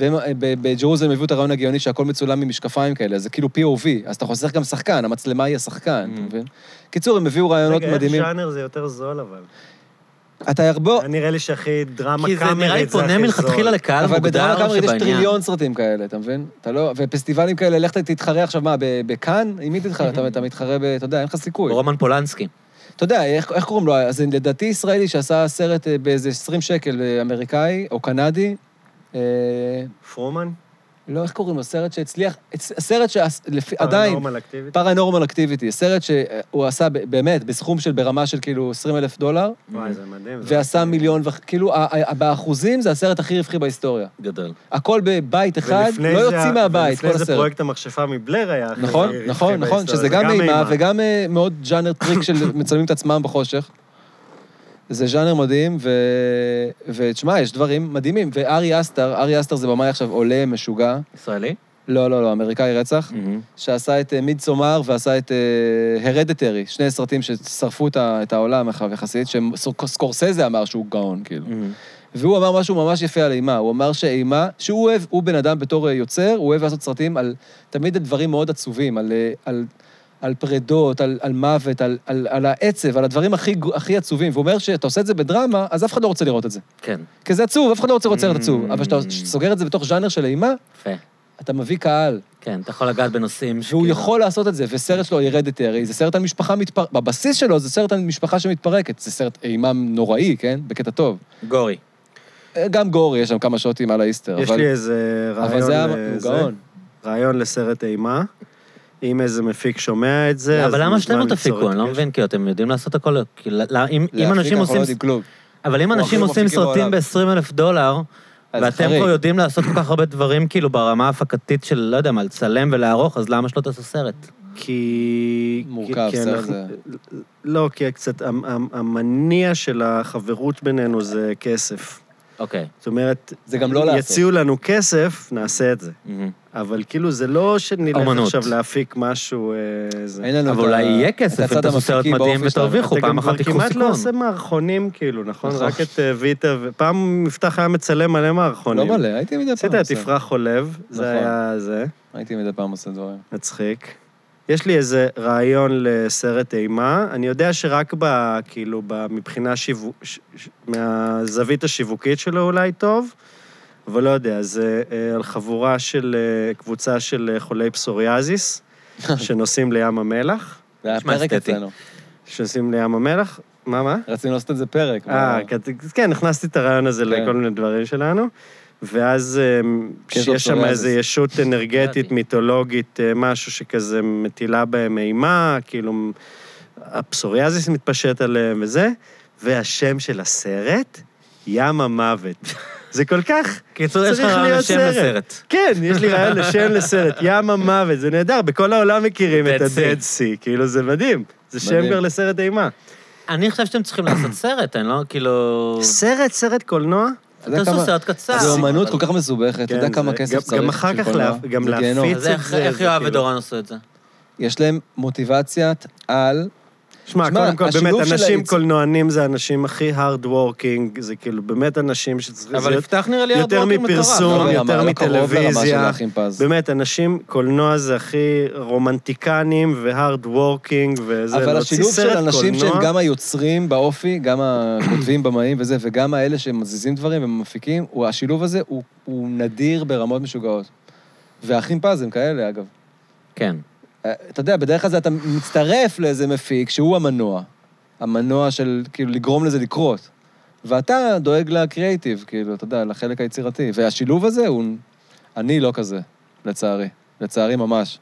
והם אה, ב- בג'רוזלם הביאו את הרעיון הגאוני שהכל מצולם ממשקפיים כאלה, אז זה כאילו POV, אז אתה חוסך גם שחקן, המצלמה היא השחקן, אתה מבין? קיצור, הם הביאו רעיונות רגע, איך מדהימים. לא. ז'אנר זה יותר זול, אבל. אתה הרבה... נראה לי שהכי דרמה כי קאמרית זה זה הכי זול. נראה לי פונה מלכתחילה לקהל אבל בדרמה מוגדר קאמרית יש שבעניין. טריליון סרטים כאלה, אתה מבין? אתה לא... ופסטיבלים כאלה, לך ת- תתחרה עכשיו, מה, ב- בכאן? עם מי תתחרה? אתה- אתה מתחרה ב... אתה יודע, אין לך סיכוי. רומן פולנסקי. אתה יודע, איך, איך קוראים לו? אז לדעתי ישראלי שעשה סרט אה, באיזה 20 שקל אה, אמריקאי או קנדי, אה, פרומן? לא, איך קוראים לו? סרט שהצליח, הצ- סרט שעדיין, פרנורמל אקטיביטי? פרנורמל אקטיביטי, סרט שהוא עשה ב- באמת בסכום של, ברמה של כאילו 20 אלף דולר, וואי, זה מדהים. זה לא- ועשה מיליון וחצי, כאילו, ה- ה- באחוזים זה הסרט הכי רווחי בהיסטוריה. גדול. הכל בבית אחד, ולפני לא זה- יוצאים מהבית, כל ולפני זה הסרט. פרויקט המכשפה מבלר היה... הכי נכון, רווחי נכון, נכון, בהיסטוריה, שזה זה גם אימה וגם אה, מאוד ז'אנר טריק של [LAUGHS] מצלמים את עצמם בחושך. זה ז'אנר מדהים, ו... ותשמע, יש דברים מדהימים. וארי אסטר, ארי אסטר זה במאי עכשיו עולה, משוגע. ישראלי? לא, לא, לא, אמריקאי רצח, שעשה את מיד סומר ועשה את הרדטרי, שני סרטים ששרפו את ה- את העולם אחריו יחסית, שסקורסזה אמר שהוא גאון, כאילו. והוא אמר משהו ממש יפה על אימה. הוא אמר שאימה, שהוא אוהב, הוא בן אדם בתור אה, יוצר, הוא אוהב לעשות סרטים על תמיד על דברים מאוד עצובים, על, אה, על, על פרדות, על, על מוות, על, על, על העצב, על הדברים הכי, גו- הכי עצובים. והוא אומר שאתה עושה את זה בדרמה, אז אף אחד לא רוצה לראות את זה. כן, כי זה עצוב, אף אחד לא רוצה לראות סרט עצוב. Mm. אבל כשאתה סוגר את זה בתוך ז'אנר של אימה, יפה. אתה מביא קהל, כן, אתה יכול לגעת בנושאים והוא יכול לעשות את זה, וסרט שלו, ירדתי הרי, זה סרט על משפחה מתפרקת, בבסיס שלו זה סרט על משפחה שמתפרקת, זה סרט אימה נוראי, כן? בקטע טוב. גורי. אה, גם גורי, יש שם כמה שוטים על האיסטר, יש אבל... לי איזה רעיון... אבל זה היה... לזה. הוא גאון. רעיון לסרט אימה. אם איזה מפיק שומע את זה, אז אבל למה מוזמן שלנו ליצור תפיקו? אני לא איתי קשר. מבין, כאילו, אתם יודעים לעשות הכל... כאילו, למה- אם אם להפיק, אנשים אנחנו עושים... לא יודעים כלום. אבל אם הוא אנשים הכי עושים מפיקים סרטים בעולם. ב-20 אלף דולר, אז ואתם חריג. פה יודעים לעשות כל כך הרבה דברים, כאילו, ברמה ההפקתית של, לא יודע מה, לצלם ולערוך, אז למה שלא תעשו סרט? כי... כן, מורכב, כי- כי סרט אנחנו- זה- לא, כי קצת... המ- המ- המניע של החברות בינינו זה כסף. אוקיי. זאת אומרת, זה גם לא לעשות. יציעו לנו כסף, נעשה את זה. Mm-hmm. מהמם. אבל כאילו, זה לא שנלך אמנות. עכשיו להפיק משהו... אה, זה. אין לנו אבל את אולי ה- יהיה את כסף אם הצד תעשו סרט המפיקי מדהים באופי שלהם. ותרוויחו, פעם אחת אתה גם תיקחו כבר כמעט לא עושה סיכון. מערכונים, כאילו, נכון? נכון. רק את אה, ויטה, ופעם מפתח היה מצלם מלא לא מערכונים. מלא, הייתי מדי פעם עשית את תפרח חולב, זה נכון. היה זה, הייתי מדי פעם עושה דברים. מצחיק. יש לי איזה רעיון לסרט אימה, אני יודע שרק ב... כאילו, ב- מבחינה שיווק... ש- ש- מהזווית השיווקית שלו אולי טוב, אבל לא יודע, זה אה, על חבורה של... אה, קבוצה של אה, חולי פסוריאזיס, שנוסעים לים המלך, זה היה נשמע פרק אסתטי. אצלנו. שנוסעים לים המלך, מה, מה? רצינו לעשות את זה פרק. אה, אבל- כת- כן, הכנסתי את הרעיון הזה כן. לכל מיני דברים שלנו. ואז אמ, כן, שיש שם פסוריאזיס. איזו [LAUGHS] ישות אנרגטית, ידעתי. מיתולוגית, אה, משהו שכזה מטילה בהם אימה, כאילו הפסוריאזיס מתפשט עליהם וזה, והשם של הסרט, ים [LAUGHS] המוות. זה כל כך... קיצור, יש לך צריך רעיון להיות לשם סרט. לסרט. כן, יש לי רעיון [LAUGHS] לשם לסרט, ים המוות, זה נהדר, בכל העולם מכירים את Dead Sea. ה-dead sea, כאילו זה מדהים, זה שם מדהים. כבר לסרט אימה. אני חושב שאתם צריכים לעשות סרט, אני לא, כאילו... סרט, סרט קולנוע, אתה יודע תעשו כמה- סרט קצר. זה אומנות אבל- כל כך מסובכת, אתה כן, יודע כמה זה- כסף גם- צריך. גם אחר בשביל כך קולנוע. להפ- גם זה להפיץ. גיהנום. אז איך- זה- זה איך יואב כאילו- ודורון עשו את זה? יש להם מוטיבציית על, שמע, שמע, קודם כל, השילוב באמת, של אנשים היצ- קולנוענים זה האנשים הכי hard working, זה כאילו באמת אנשים שצריכים... זה אבל יותר- יפתח נראה לי יותר הרבה יותר מפרסום. לא ברמה- יותר לא קרוב לרמה של מטלוויזיה. האחים פז. באמת, אנשים, קולנוע זה הכי רומנטיקנים ו-hard working וזה, אבל להוציא השילוב של סרט אנשים קולנוע, שהם גם היוצרים באופי, גם הכותבים, במאים וזה, וגם האלה שמזיזים דברים ומפיקים, הוא- השילוב הזה הוא- הוא נדיר ברמות משוגעות. והאחים פז הם כאלה, אגב. כן. אה, אתה יודע, בדרך כלל זה אתה מצטרף לאיזה מפיק שהוא המנוע. המנוע של, כאילו, לגרום לזה לקרות. ואתה דואג לקריאיטיב, כאילו, אתה יודע, לחלק היצירתי. והשילוב הזה הוא... אני לא כזה, לצערי. לצערי ממש.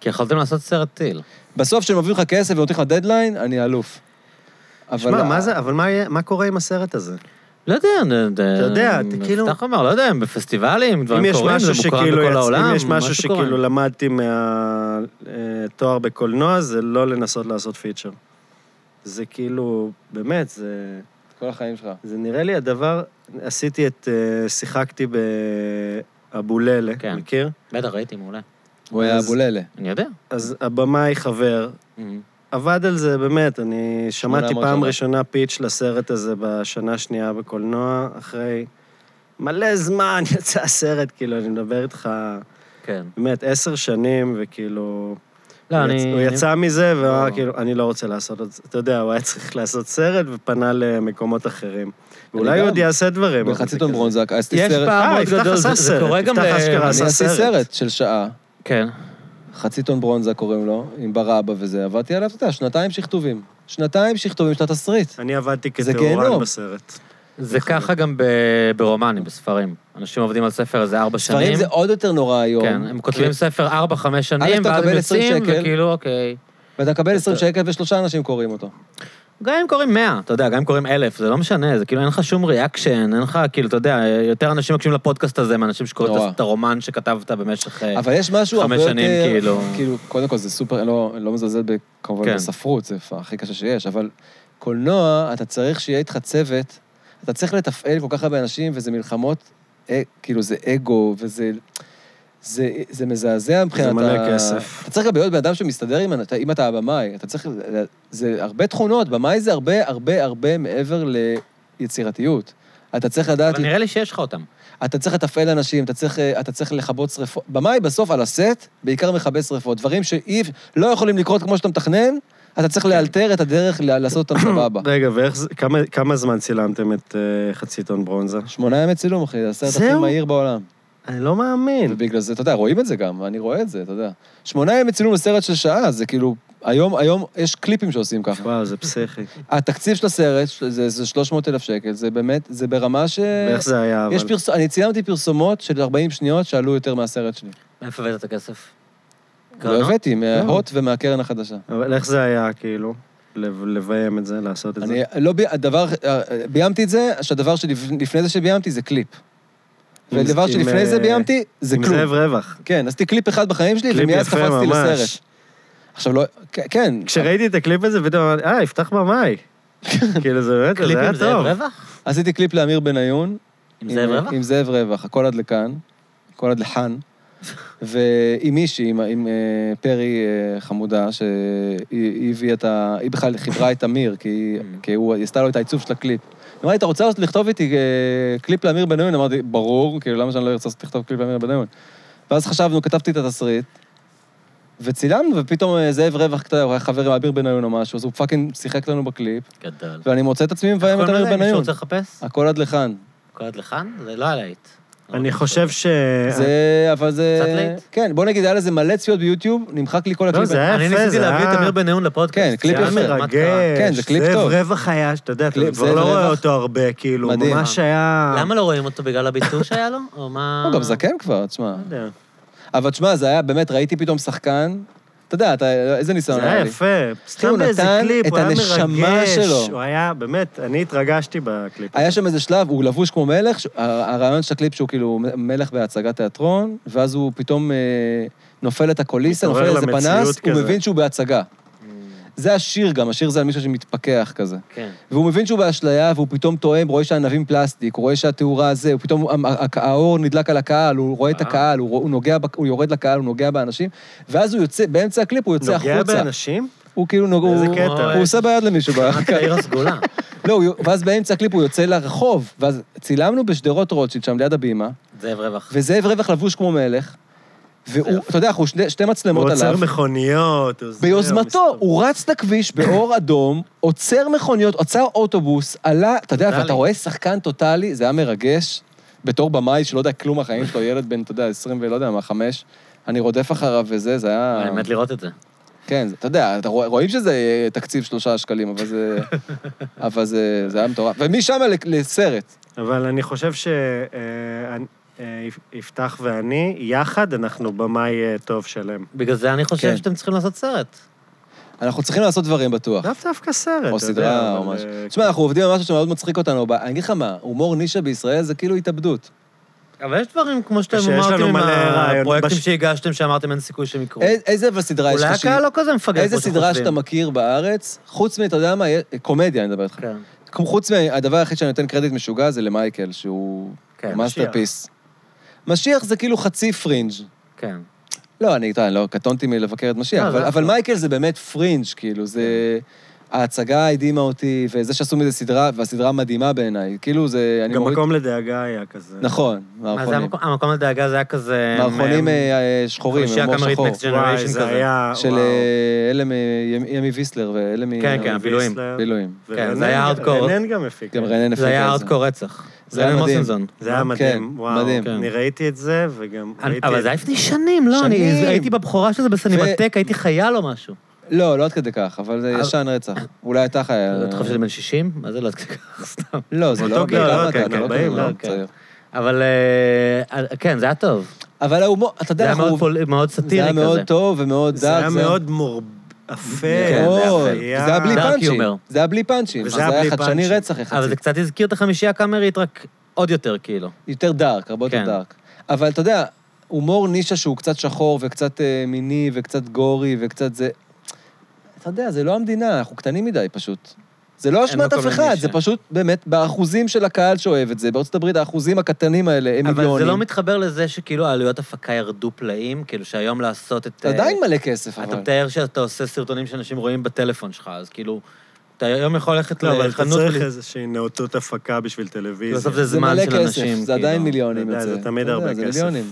כי יכולתם לעשות סרט טיל. בסוף, כשהם מביאים לך כסף ונותנים לך דדליין, אני אלוף. אבל... שמע, מה זה, אבל מה יהיה- מה קורה עם הסרט הזה? לא יודע, אני- אתה יודע, אתה כאילו- יפתח אמר, לא יודע, הם בפסטיבלים, אם דברים יש קורים, זה משהו מוכר שכאילו, בכל יצ- העולם, אם יש משהו קורה. שכאילו לא- למדתי מהתואר בקולנוע, זה לא לנסות לעשות פיצ'ר. זה כאילו, באמת, זה... כל החיים שלך. זה נראה לי הדבר, עשיתי את, אה, שיחקתי באבוללה, כן. מכיר? בטח, ראיתי, מעולה. הוא היה אז- כן, אבוללה. אני יודע. אז הבמאי חבר, עבד על זה באמת, אני שמעתי 800 פעם שנה. ראשונה פיץ' לסרט הזה בשנה השנייה בקולנוע, אחרי מלא זמן [LAUGHS] יצא הסרט, כאילו, אני מדבר איתך כן. באמת עשר שנים, וכאילו... לא, הוא אני... יצ- הוא אני- יצא מזה, ואמר, לא. כאילו, אני לא רוצה לעשות את זה. אתה יודע, הוא היה צריך לעשות סרט ופנה למקומות אחרים. ואולי הוא גם. עוד יעשה דברים. אבל זה בחצי טון כזה- ברונזק, עשיתי יש סרט... פעם אה, מאוד יפתח גדול, עשה זה- זה סרט, קורה גם יפתח ל- אשכרה אני עשה עשיתי סרט. סרט של שעה. כן. חצי טון ברונזה קוראים לו, עם ברבא וזה, עבדתי עליו, אתה יודע, שנתיים שכתובים. שנתיים שכתובים של התסריט. אני עבדתי זה כטהורן גיהנום. בסרט. זה ככה גם ב- ברומנים, בספרים. אנשים עובדים על ספר איזה ארבע שנים. ספרים זה עוד יותר נורא היום. כן, הם כותבים כי- ספר ארבע, חמש שנים, אתה ואז הם מקבל 20 יוצאים, שקל. וכאילו, אוקיי. ואתה מקבל 20 שקל ושלושה אנשים קוראים אותו. גם אם קוראים 100, אתה יודע, גם אם קוראים 1,000, זה לא משנה, זה כאילו אין לך שום ריאקשן, אין לך, כאילו, אתה יודע, יותר אנשים מקשיבים לפודקאסט הזה מאנשים שקוראים נורא. את- את הרומן שכתבת במשך... אה, אבל יש משהו חמש הרבה יותר... שנים, כאילו. כאילו, קודם כל זה סופר, אני לא, אני לא מזלזל ב- כמובן כן. בספרות, זה הכי קשה שיש, אבל קולנוע, אתה צריך שיהיה איתך צוות, אתה צריך לתפעל כל כך הרבה אנשים, וזה מלחמות, אה, כאילו, זה אגו, וזה... זה, זה מזעזע מבחינת... מלא ה- כסף. אתה צריך גם להיות בן אדם שמסתדר עם, אתה- אם אתה הבמאי. אתה צריך... זה הרבה תכונות, במאי זה הרבה הרבה הרבה מעבר ליצירתיות. אתה צריך לדעת... אבל נראה לי שיש לך אותם. אתה צריך לתפעל אנשים, אתה צריך, אה, אתה צריך לכבות שרפות. במאי בסוף על הסט, בעיקר מכבה שרפות. דברים שאי אפ- לא יכולים לקרות כמו שאתה מתכנן, אתה צריך כן. לאלתר את הדרך ל- לעשות [COUGHS] אותם סבבה. רגע, ואיך זה, כמה- כמה זמן צילמתם את אה, חצי טון ברונזה? שמונה ימי צילום, אחי, זה הסרט הכי זהו? מהיר בעולם. אני לא מאמין. ובגלל זה, אתה יודע, רואים את זה גם, אני רואה את זה, אתה יודע. שמונה ימים צילום לסרט של שעה, זה כאילו... היום, היום יש קליפים שעושים ככה. וואו, זה פסיכי. אה, התקציב של הסרט זה, זה 300 אלף שקל, זה באמת, זה ברמה ש... ואיך זה היה, אבל... יש פרס... אני צילמתי פרסומות של 40 שניות שעלו יותר מהסרט שלי. מאיפה הבאת את הכסף? לא קרנות? הבאתי, לא. מההוט ומהקרן החדשה. אבל איך זה היה, כאילו, לב- לביים את זה, לעשות את אני זה? לא, ב- הדבר, אה, ביימתי את זה, שהדבר שלפני זה שביימתי זה קליפ. עם- והדבר עם, שלפני זה אה, ביימתי זה עם כלום. זאב רווח. כן, עשיתי קליפ אחד בחיים שלי, קליפ ומאז יפה קפצתי ממש. לסרט. עכשיו לא, כ- כן, כשראיתי את הקליפ הזה, פתאום אמרתי, אה, יפתח [LAUGHS] במאי. כאילו, זה באמת, קליפ זה היה עם זאב טוב. רווח? עשיתי קליפ לאמיר בניון. עם זאב רווח? עם זאב רווח, הכל עד לכאן, הכל עד לכאן. ועם מישהי, עם, עם אה, פרי אה, חמודה, שהיא היא הביאה את ה... היא בכלל חיברה את אמיר, כי, היא- Mm. כי הוא, היא עשתה לו את העיצוב של הקליפ. היא אמרה לי, אתה רוצה לכתוב איתי אה, קליפ לאמיר בניון? אמרתי, ברור, כאילו, למה שאני לא ארצה לכתוב קליפ לאמיר בניון? ואז חשבנו, כתבתי את התסריט, וצילמנו, ופתאום אה, זאב רווח, אתה יודע, הוא היה חבר עם אמיר בניון או משהו, אז הוא פאקינג שיחק לנו בקליפ, גדול. ואני מוצא את עצמי מביים את קוראים אמיר לזה? מישהו בניון. רוצה לחפש? הכל עד לכאן. כל עד לכאן? זה לא הלהיט. אני חושב ש... זה, אבל זה... קצת לייט. כן, בוא נגיד, היה לזה מלא צפיות ביוטיוב, נמחק לי כל הקליפ. לא, זה היה אני יפה, ניסיתי זה להביא היה- את אמיר בניון לפודקאסט. כן, קליפ זה היה יפה. מרגש. זה מה קרה? מרגש. כן, זה קליפ טוב. זאב רווח היה, שאתה יודע, אתה קליפ כבר זאב לא רואה רווח. אותו הרבה, כאילו, מדהים. ממש היה... למה לא רואים אותו? בגלל הביטוי שהיה לו? או מה... הוא גם זקן כבר, תשמע. לא יודע. אבל תשמע, זה היה, באמת, ראיתי פתאום שחקן, אתה יודע, אתה- איזה ניסיון זה היה היה לי. יפה. לא, הוא סתם באיזה נתן קליפ, את הוא היה מרגש. הנשמה שלו. הוא היה, באמת, אני התרגשתי בקליפ. היה שם איזה שלב, הוא לבוש כמו מלך, ש- ה- הרעיון של הקליפ שהוא כאילו מ- מלך בהצגת תיאטרון, ואז הוא פתאום אה, נופל את הקוליסה, נופל מתעורר איזה למציאות פנס, הוא כזה. Mm. מבין שהוא בהצגה. זה השיר גם, השיר זה על מישהו שמתפכח כזה. כן. והוא מבין שהוא באשליה, והוא פתאום טועם, רואה שהענבים פלסטיק, הוא רואה שהתאורה זה, הוא פתאום, ה- ה- האור נדלק על הקהל, הוא רואה אה. את הקהל, הוא, רוא- הוא נוגע, בק- הוא יורד לקהל, הוא נוגע באנשים, ואז הוא יוצא, באמצע הקליפ הוא יוצא נוגע החוצה. באנשים? הוא כאילו נוגע, איזה הוא, קטע. הוא עושה ביד למישהו. [LAUGHS] ב- רק העיר הסגולה. לא, הוא, ואז באמצע הקליפ הוא יוצא לרחוב, ואז צילמנו בשדרות רוטשילד, שם ליד הבימה, [LAUGHS] זאב רווח. וזאב רווח לבוש כמו מלך, והוא, אתה יודע, אנחנו שני, שתי מצלמות הוא עליו. עוצר מכוניות. הוא זה, הוא ביוזמתו, מסתובב. הוא רץ לכביש באור אדום, עוצר מכוניות, עוצר אוטובוס, עלה, אתה יודע, טוטאלי. ואתה רואה שחקן טוטאלי, זה היה מרגש, בתור במאי שלא יודע כלום מהחיים שלו, ילד בן, אתה יודע, 20 ולא יודע מה, חמש, אני רודף אחריו וזה, זה היה... אני מת לראות את זה. כן, זה- אתה יודע, אתה רוא- רואים שזה אה, תקציב שלושה שקלים, אבל זה... אבל זה, זה היה מטורף. ומשם ל- לסרט. אבל אני חושב ש... אה, אני- אה, יפתח ואני, יחד אנחנו במאי אה, טוב שלהם. בגלל זה אני חושב כן. שאתם צריכים לעשות סרט. אנחנו צריכים לעשות דברים בטוח. לאו דווקא סרט, אה, אתה או יודע, סדרה או אבל, משהו. אה, תשמע, אנחנו עובדים על משהו שמאוד מצחיק אותנו. ב- אני אגיד לך מה, הומור נישה בישראל זה כאילו התאבדות. אבל יש דברים, כמו שאתם שיש אמרתם, לנו עם מלא רעיונות. הפרויקטים בש- שהגשתם, שאמרתם אין סיכוי שהם יקרו. אי- איזה אבל סדרה אה, יש אוקיי. אולי לך שהיא- הקהל לא כזה מפגר. איזה סדרה שאתה מכיר בארץ, חוץ מ... אתה יודע מה? אה, קומדיה, אני מדבר איתך. מכיר. חוץ מהדבר היחיד שאני נותן קרדיט משוגע זה למייקל, שהוא כן, מאסטרפיס. משיח זה כאילו חצי פרינג'. כן, לא, אני אתה, לא קטונתי מלבקר את משיח, לא, אבל- זה אבל אחלה. מייקל זה באמת פרינג', כאילו, זה... ההצגה הדהימה אותי, וזה שעשו מזה סדרה, והסדרה מדהימה בעיניי. כאילו, זה... אני גם מוריד- מקום לדאגה היה כזה. נכון, מה זה מערכונים. המקום, המקום לדאגה זה היה כזה... מערכונים אה, אה, אה, שחורים, חמישייה הומור קאמרית שחור. Next Generation וואי, זה כזה. היה... של וואו. אה, אלה מימי ויסלר ואלה מ... כן, כן, הבילויים. ויסלר. בילויים. ורנן- זה היה hardcore. רנן גם הפיק. כן. גם רענן זה הפיקה היה את זה. ארדקור רצח. זה היה רונן מדהים. מוסנזון. זה היה מדהים, כן, וואו. מדהים. אני ראיתי את זה, וגם אני- ראיתי... אבל את- זה היה לפני שנים, לא? אני שנים. הייתי בבכורה של זה בסינמטק, הייתי חייל או משהו. לא, לא עד כדי כך, אבל זה אבל- ישן רצח. אולי אתה חייל. אתה לא חושב שזה בן 60? מה זה לא עד כדי כך? סתם. לא, זה אותו לא... גיל, גם לא, אתה, כן, אתה לא ארבעים, כזה, לא, לא, כן. צעיר. אבל אה, כן, זה היה טוב. אבל ההומור, אתה זה יודע, היה אנחנו... מאוד פול- מאוד זה סאטירי היה מאוד כזה. טוב ומאוד דארק. זה היה מאוד מורב... אפל. כן, זה היה מאוד. אפל. זה היה בלי דארק פאנצ'ים. יומר. זה היה בלי פאנצ'ים. וזה זה היה היה בלי חדשני פאנצ'ים. רצח אבל יחסית. זה קצת הזכיר את החמישייה הקאמרית, רק עוד יותר, כאילו. יותר דארק, הרבה יותר כן. דארק. אבל אתה יודע, הומור נישה שהוא קצת שחור וקצת אה, מיני וקצת גורי וקצת זה... אתה יודע, זה לא המדינה, אנחנו קטנים מדי פשוט. זה לא אשמת מקום אף אחד, לנישה. זה פשוט באמת באחוזים של הקהל שאוהב את זה. בארצות הברית האחוזים הקטנים האלה הם מיליונים. אבל זה לא מתחבר לזה שכאילו העלויות הפקה ירדו פלאים, כאילו שהיום לעשות את... זה אה, עדיין מלא כסף, אתה אבל. מתאר שאתה עושה סרטונים שאנשים רואים בטלפון שלך, אז כאילו, אתה היום יכול ללכת לא, אבל אתה לחנות... צריך ול- איזושהי נאותות הפקה בשביל טלוויזיה. בסוף זה זה זמן מלא של כסף, אנשים. זה עדיין כאילו. מיליונים אתה יודע, יוצא. זה תמיד אתה יודע, הרבה זה כסף. מיליונים.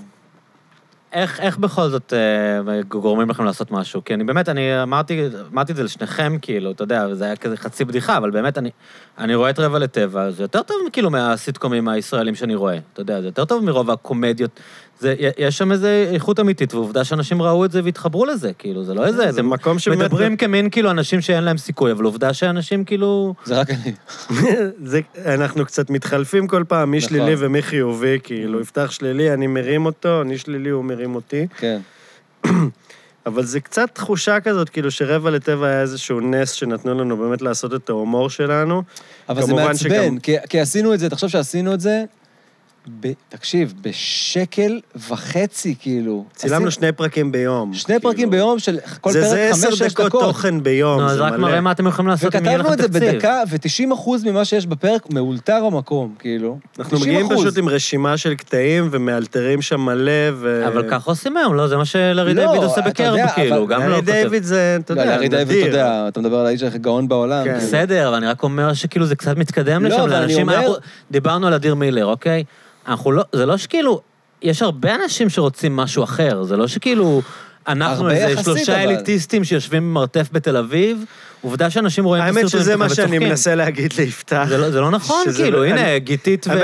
איך, איך בכל זאת אה, גורמים לכם לעשות משהו? כי אני באמת, אני אמרתי, אמרתי את זה לשניכם, כאילו, אתה יודע, זה היה כזה חצי בדיחה, אבל באמת, אני, אני רואה את רבע לטבע, זה יותר טוב כאילו מהסיטקומים הישראלים שאני רואה, אתה יודע, זה יותר טוב מרוב הקומדיות. זה, י- יש שם איזו איכות אמיתית, ועובדה שאנשים ראו את זה והתחברו לזה, כאילו, זה לא איזה... זה אתם מקום שבאמת- מדברים כמין כאילו אנשים שאין להם סיכוי, אבל עובדה שאנשים כאילו... זה רק אני. [LAUGHS] זה, אנחנו קצת מתחלפים כל פעם, מי נכון. Mm. שלילי ומי חיובי, כאילו, יפתח שלילי, אני מרים אותו, אני שלילי, הוא מרים אותי. כן. אבל זה קצת תחושה כזאת, כאילו שרבע לטבע היה איזשהו נס שנתנו לנו באמת לעשות את ההומור שלנו. אבל זה כמובן מעצבן, שגם- כי, כי עשינו את זה, תחשוב שעשינו את זה, ב, תקשיב, בשקל וחצי, כאילו. צילמנו עשינו- שני פרקים ביום. כאילו. שני פרקים ביום של כל זה- פרק זה חמש, עשר שש דקות דקות. תוכן ביום, נו, אז זה לא, רק מלא. מראה מה אתם יכולים לעשות אם יהיה לכם לא, וכתבנו את תקציב. זה בדקה, ו-90% ממה שיש בפרק מאולתר המקום, כאילו. אנחנו מגיעים 90%. פשוט עם רשימה של קטעים ומאלתרים שם מלא, ו... אבל ככה עושים היום, לא? זה מה שלארי לא, דיוויד עושה אתה בקרב, יודע, כאילו, אבל הוא גם לא לארי כותב. דיוויד זה, אתה לא, יודע, לארי דיוויד, אתה נדיר. יודע, אתה מדבר על האיש הכי גאון בעולם. כן. כאילו. בסדר, אבל אני רק אומר שכאילו זה קצת מתקדם לא, לשם אבל אני לאנשים. אומר- אנחנו- דיברנו על אדיר מילר, אוקיי? אנחנו לא, זה לא שכאילו, יש הרבה אנשים שרוצים משהו אחר, זה לא שכאילו... אנחנו הרבה איזה יחסית, שלושה אבל. אליטיסטים שיושבים במרתף בתל אביב, עובדה שאנשים רואים את האמת הסרטונים שזה שלך מה שאני וצוחקים. מנסה להגיד ליפתח. זה לא- זה לא נכון, שזה- כאילו, הנה, אני- גיתית ו... האמת-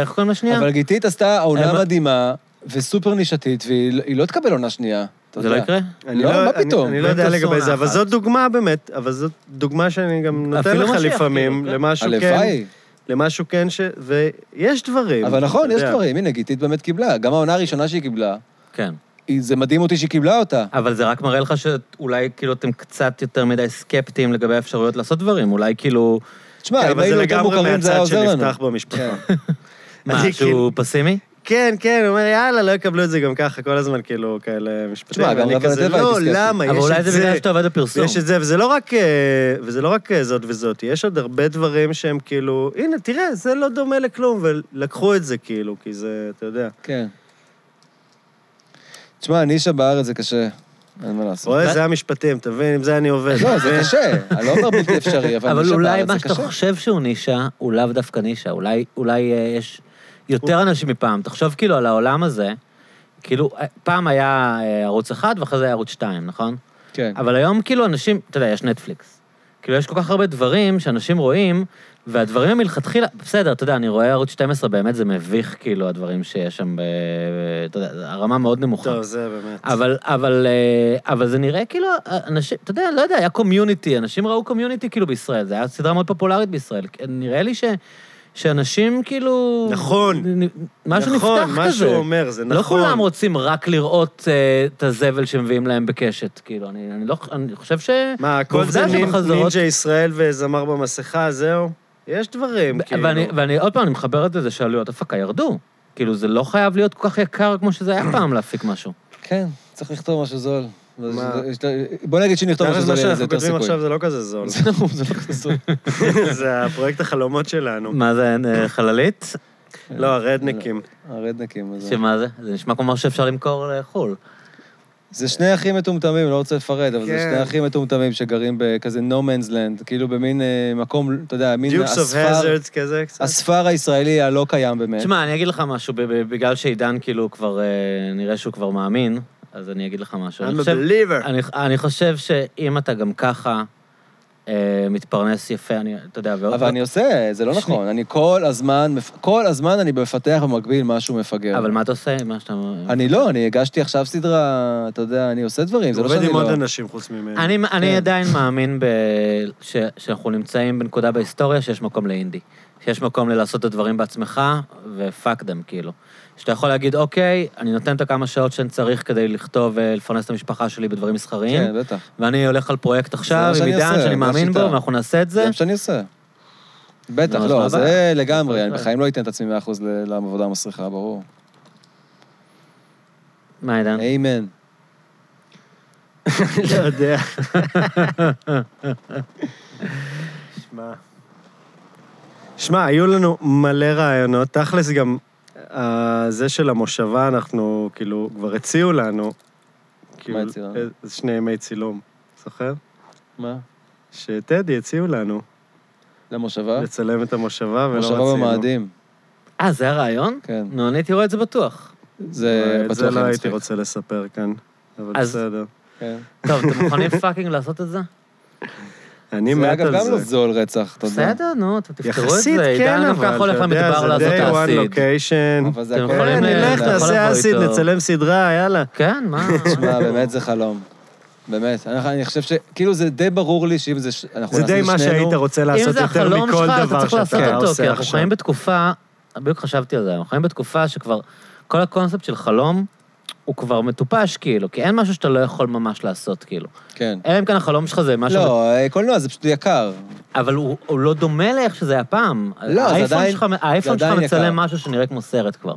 איך קוראים לשנייה? אבל גיתית עשתה עונה אבל- מדהימה וסופר נישתית, והיא לא- היא לא תקבל עונה שנייה. אתה זה לא יודע. יקרה? אני לא, מה אני- פתאום? אני לא יודע באמת לגבי עשו זה, עונה אבל אחת. זאת דוגמה באמת, אבל זאת דוגמה שאני גם נותן אפילו לך משיח, לפעמים, כאילו, כן. למשהו כן, הלוואי. למשהו כן ש... ויש דברים. אבל נכון, אתה יש יודע. דברים. הנה, גיתית באמת קיבלה. גם העונה הראשונה שהיא קיבלה, כן. היא- זה מדהים אותי שהיא קיבלה אותה. כן, אבל זה רק מראה לך שאולי כאילו אתם קצת יותר מדי סקפטיים לגבי האפשרויות לעשות דברים, אולי כאילו... תשמע, כן, אם אבל זה היינו יותר לגמרי מוכרים זה היה מהצד עוזר לנו. כן. שנפתח במשפחה. [LAUGHS] מה, אני כאילו- שהוא פסימי? כן, כן, הוא אומר, יאללה, לא יקבלו את זה גם ככה, כל הזמן כאילו כאלה משפטים. תשמע, גם ואני רב על כזה, הטבע לא, הייתי סקפטי. למה, יש אבל את זה. אולי זה בגלל שאתה עובד בפרסום. יש את זה, וזה לא רק, אה, וזה לא רק אה, זאת וזאת, יש עוד הרבה דברים שהם כאילו, הנה, תראה, זה לא דומה לכלום, ולקחו את זה כאילו, כי זה, אתה יודע. כן. תשמע, נישה בארץ זה קשה, אין מה לעשות. רואה, זה המשפטים, אתה מבין? עם זה אני עובד. לא, זה קשה, אני לא אומר בלתי אפשרי, אבל אבל נישה אולי בארץ מה זה שאתה קשה. חושב שהוא נישה, הוא לאו דווקא נישה. אולי, אולי אה, יש יותר אנשים מפעם. תחשוב כאילו על העולם הזה, כאילו, אה, פעם היה אה, ערוץ אחד ואחרי זה היה ערוץ שתיים, נכון? כן. אבל היום כאילו אנשים, אתה יודע, יש נטפליקס. כאילו, יש כל כך הרבה דברים שאנשים רואים, והדברים הם מלכתחילה, בסדר, אתה יודע, אני רואה ערוץ 12, באמת זה מביך, כאילו, הדברים שיש שם, ב... אתה יודע, זה הרמה מאוד נמוכה. [LAUGHS] טוב, זה באמת. אבל, אבל, אה, אבל זה נראה כאילו, אנשים, אתה יודע, לא יודע, היה קומיוניטי, אנשים ראו קומיוניטי כאילו בישראל, זו הייתה סדרה מאוד פופולרית בישראל. נראה לי ש, שאנשים כאילו... נכון. נ- משהו נכון, נפתח מה כזה. שהוא אומר, זה לא נכון. כולם רוצים רק לראות אה, את הזבל שמביאים להם בקשת, כאילו, אני, אני לא, אני חושב ש... מה, הכל בעובדה זה נינ- שבחזרות- נינג'ה ישראל וזמר במסכה, זהו? יש דברים, ו- כאילו. ואני, ואני עוד פעם, אני מחבר את זה, זה שעלויות הפקה ירדו. כאילו, זה לא חייב להיות כל כך יקר כמו שזה היה פעם להפיק משהו. כן, צריך לכתוב משהו זול. מה? בוא נגיד שנכתוב משהו תכל'ס, זול, מה יהיה לזה שאנחנו יותר כותבים סיכוי. עכשיו זה לא כזה [LAUGHS] זול. זה לא- זה לא כזה זול. [LAUGHS] זה הפרויקט החלומות שלנו. מה זה, אה, חללית? לא, הרדניקים. הרדנקים. אז- שמה זה? זה נשמע כמו משהו שאפשר למכור לחו"ל. זה שני אחים מטומטמים, לא רוצה לפרט, אבל זה כן. שני אחים מטומטמים שגרים בכזה no man's land, כאילו במין אה, מקום, אתה יודע, מין דיוקס אוף הספר- הזרדס כזה קצת. הספר הישראלי הלא קיים באמת. תשמע, אני אגיד לך משהו, ב- ב- בגלל שעידן כאילו כבר, אה, נראה שהוא כבר מאמין, אז אני אגיד לך משהו. אני I'm a חושב- believer. אני- אני חושב שאם אתה גם ככה אה, מתפרנס יפה, אני, אתה יודע, ועוד... אבל אני עושה, זה לא שני- נכון. אני כל הזמן, מפ- כל הזמן אני מפתח במקביל משהו מפגר. אבל מה אתה עושה? מה שאתה... אני לא, אני הגשתי עכשיו סדרה, אתה יודע, אני עושה דברים, זה הוא לא עובד שאני עם עוד לא... אנשים חוץ ממנו. [LAUGHS] אני, אני כן. עדיין מאמין ב... ש... שאנחנו נמצאים בנקודה בהיסטוריה שיש מקום לאינדי. שיש מקום ללעשות את הדברים בעצמך, ופאק דם, כאילו. שאתה יכול להגיד, אוקיי, אני נותן את הכמה שעות שאני צריך כדי לכתוב ולפרנס את המשפחה שלי בדברים מסחריים, כן, בטח. ואני הולך על פרויקט זה עכשיו מה עם שאני עידן, עושה, שאני זו מאמין בו, השיטה. ואנחנו נעשה את זה זה. מה שאני עושה. בטח, נו, אז לא, מה זה הבעיה? לגמרי, אני זה- בחיים לא אתן את עצמי 100% ל- לעבודה מסריחה, ברור. מה, עידן? איימן. לא יודע. שמע. שמע, היו לנו מלא רעיונות. תכלס גם, אה, זה של המושבה, אנחנו, כאילו, כבר הציעו לנו. כאילו, הציעו לנו? אה, שני ימי צילום, זוכר? מה? שטדי הציעו לנו למושבה? לצלם את המושבה, ולא רצינו. מושבה אה? במאדים, אה, זה הרעיון? כן. נו, אני הייתי רואה את זה בטוח. אה, זה את בטוח זה לא יהיה הייתי מצחיק. רוצה לספר כאן, אבל אז- בסדר. כן. טוב, אתם [LAUGHS] מוכנים פאקינג לעשות את זה? אני זה מת אגב על גם לא זה. זול רצח, אתה יודע. בסדר, נו, אתם תפתרו את זה. יחסית כן, עידן גם ככה אבל הולך אתה יודע, למדבר לעשות זה day one אוקיי. אסיד. location. אבל זה אתם הכל... יכולים, כן, אה, נלך, אתה יכול נעשה לבוא אסיד, איתו. נצלם סדרה, יאללה. כן, מה? תשמע, באמת זה חלום. באמת, אני, אני חושב ש... כאילו, זה די ברור לי שאם זה... ש- אנחנו זה נעשה די את מה שנינו- שהיית רוצה אם [LAUGHS] לעשות זה יותר החלום מכל שלך, אתה דבר צריך לעשות שאתה אותו, כי עושה אנחנו עכשיו. חיים בתקופה, בדיוק חשבתי על זה, אנחנו חיים בתקופה שכבר, כל הקונספט של חלום הוא כבר מטופש, כאילו, כי אין משהו שאתה לא יכול ממש לעשות, כאילו. כן. אה, אלא אם כן החלום שלך זה משהו... לא, אה, קולנוע זה פשוט יקר. אבל הוא, הוא לא דומה לאיך שזה היה פעם. לא, זה האייפון עדיין- שלך, האייפון זה שלך עדיין מצלם יקר. משהו שנראה כמו סרט כבר.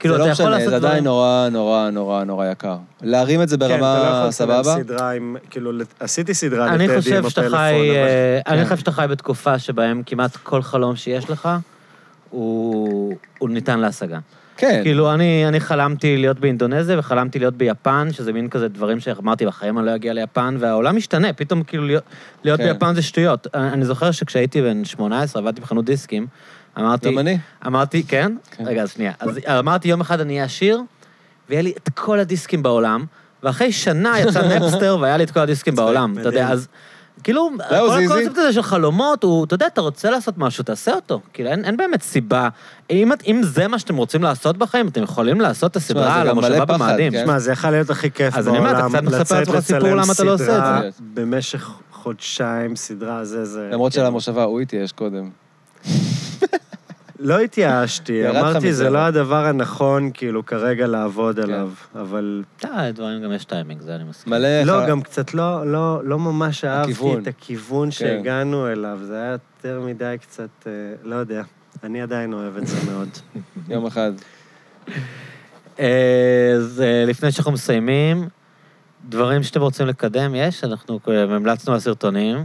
כאילו, זה אתה לא יכול משנה, לעשות זה עדיין דברים- נורא, נורא, נורא, נורא יקר. להרים את זה כן, אתה לא יכול ברמה לצלם סבבה? סדרה עם, כאילו, לת- עשיתי סדרה אני לטדי עם חושב שאתה הפלאפון, חי... אבל... אה, אני כן. חושב שאתה חי בתקופה שבהם כמעט כל חלום שיש לך, הוא הוא ניתן להשגה. כן. כאילו, אני, אני חלמתי להיות באינדונזיה וחלמתי להיות ביפן, שזה מין כזה דברים שאמרתי, בחיים אני לא אגיע ליפן, והעולם משתנה, פתאום כאילו להיות, להיות כן. ביפן זה שטויות. אני, אני זוכר שכשהייתי בן 18, עבדתי בחנות דיסקים, אמרתי... גם אני. אמרתי, כן? כן. רגע, אז שנייה. אז אמרתי, יום אחד אני אהיה עשיר, ויהיה לי את כל הדיסקים בעולם, ואחרי שנה יצא [LAUGHS] נפסטר והיה לי את כל הדיסקים בעולם, אתה יודע, מדהים. אז... כאילו, זהו, כל זה הקונספט איזי. הזה של חלומות, הוא, אתה יודע, אתה רוצה לעשות משהו, תעשה אותו. כאילו, אין, אין באמת סיבה. אם, את- אם זה מה שאתם רוצים לעשות בחיים, אתם יכולים לעשות את תשמע, הסדרה זה על גם מלא המושבה פחד, במאדים. כן. שמע, זה יכול להיות הכי כיף אז אני אומר, אתה בעולם, קצת מספר לצאת לעצמך סיפור לצלם למה אתה לא עושה את סדרה זה. במשך חודשיים, סדרה, זה, זה... למרות כאילו, שלמושבה הוא התייאש קודם. לא התייאשתי, ירד לך אמרתי, מזה, זה אבל. לא הדבר הנכון, כאילו, כרגע כן. לעבוד עליו, אבל... אה, דברים גם יש טיימינג, זה אני מסכים. מלא... לא, אה, ח- גם קצת לא, לא, לא ממש אהבתי הכיוון. את כן. הכיוון שהגענו אליו, זה היה יותר מדי קצת, אה, לא יודע. אני עדיין אוהב את זה [LAUGHS] מאוד. יום אחד. כן, אה, אז אה, לפני שאנחנו מסיימים, דברים שאתם רוצים לקדם יש? אנחנו אה, המלצנו על סרטונים.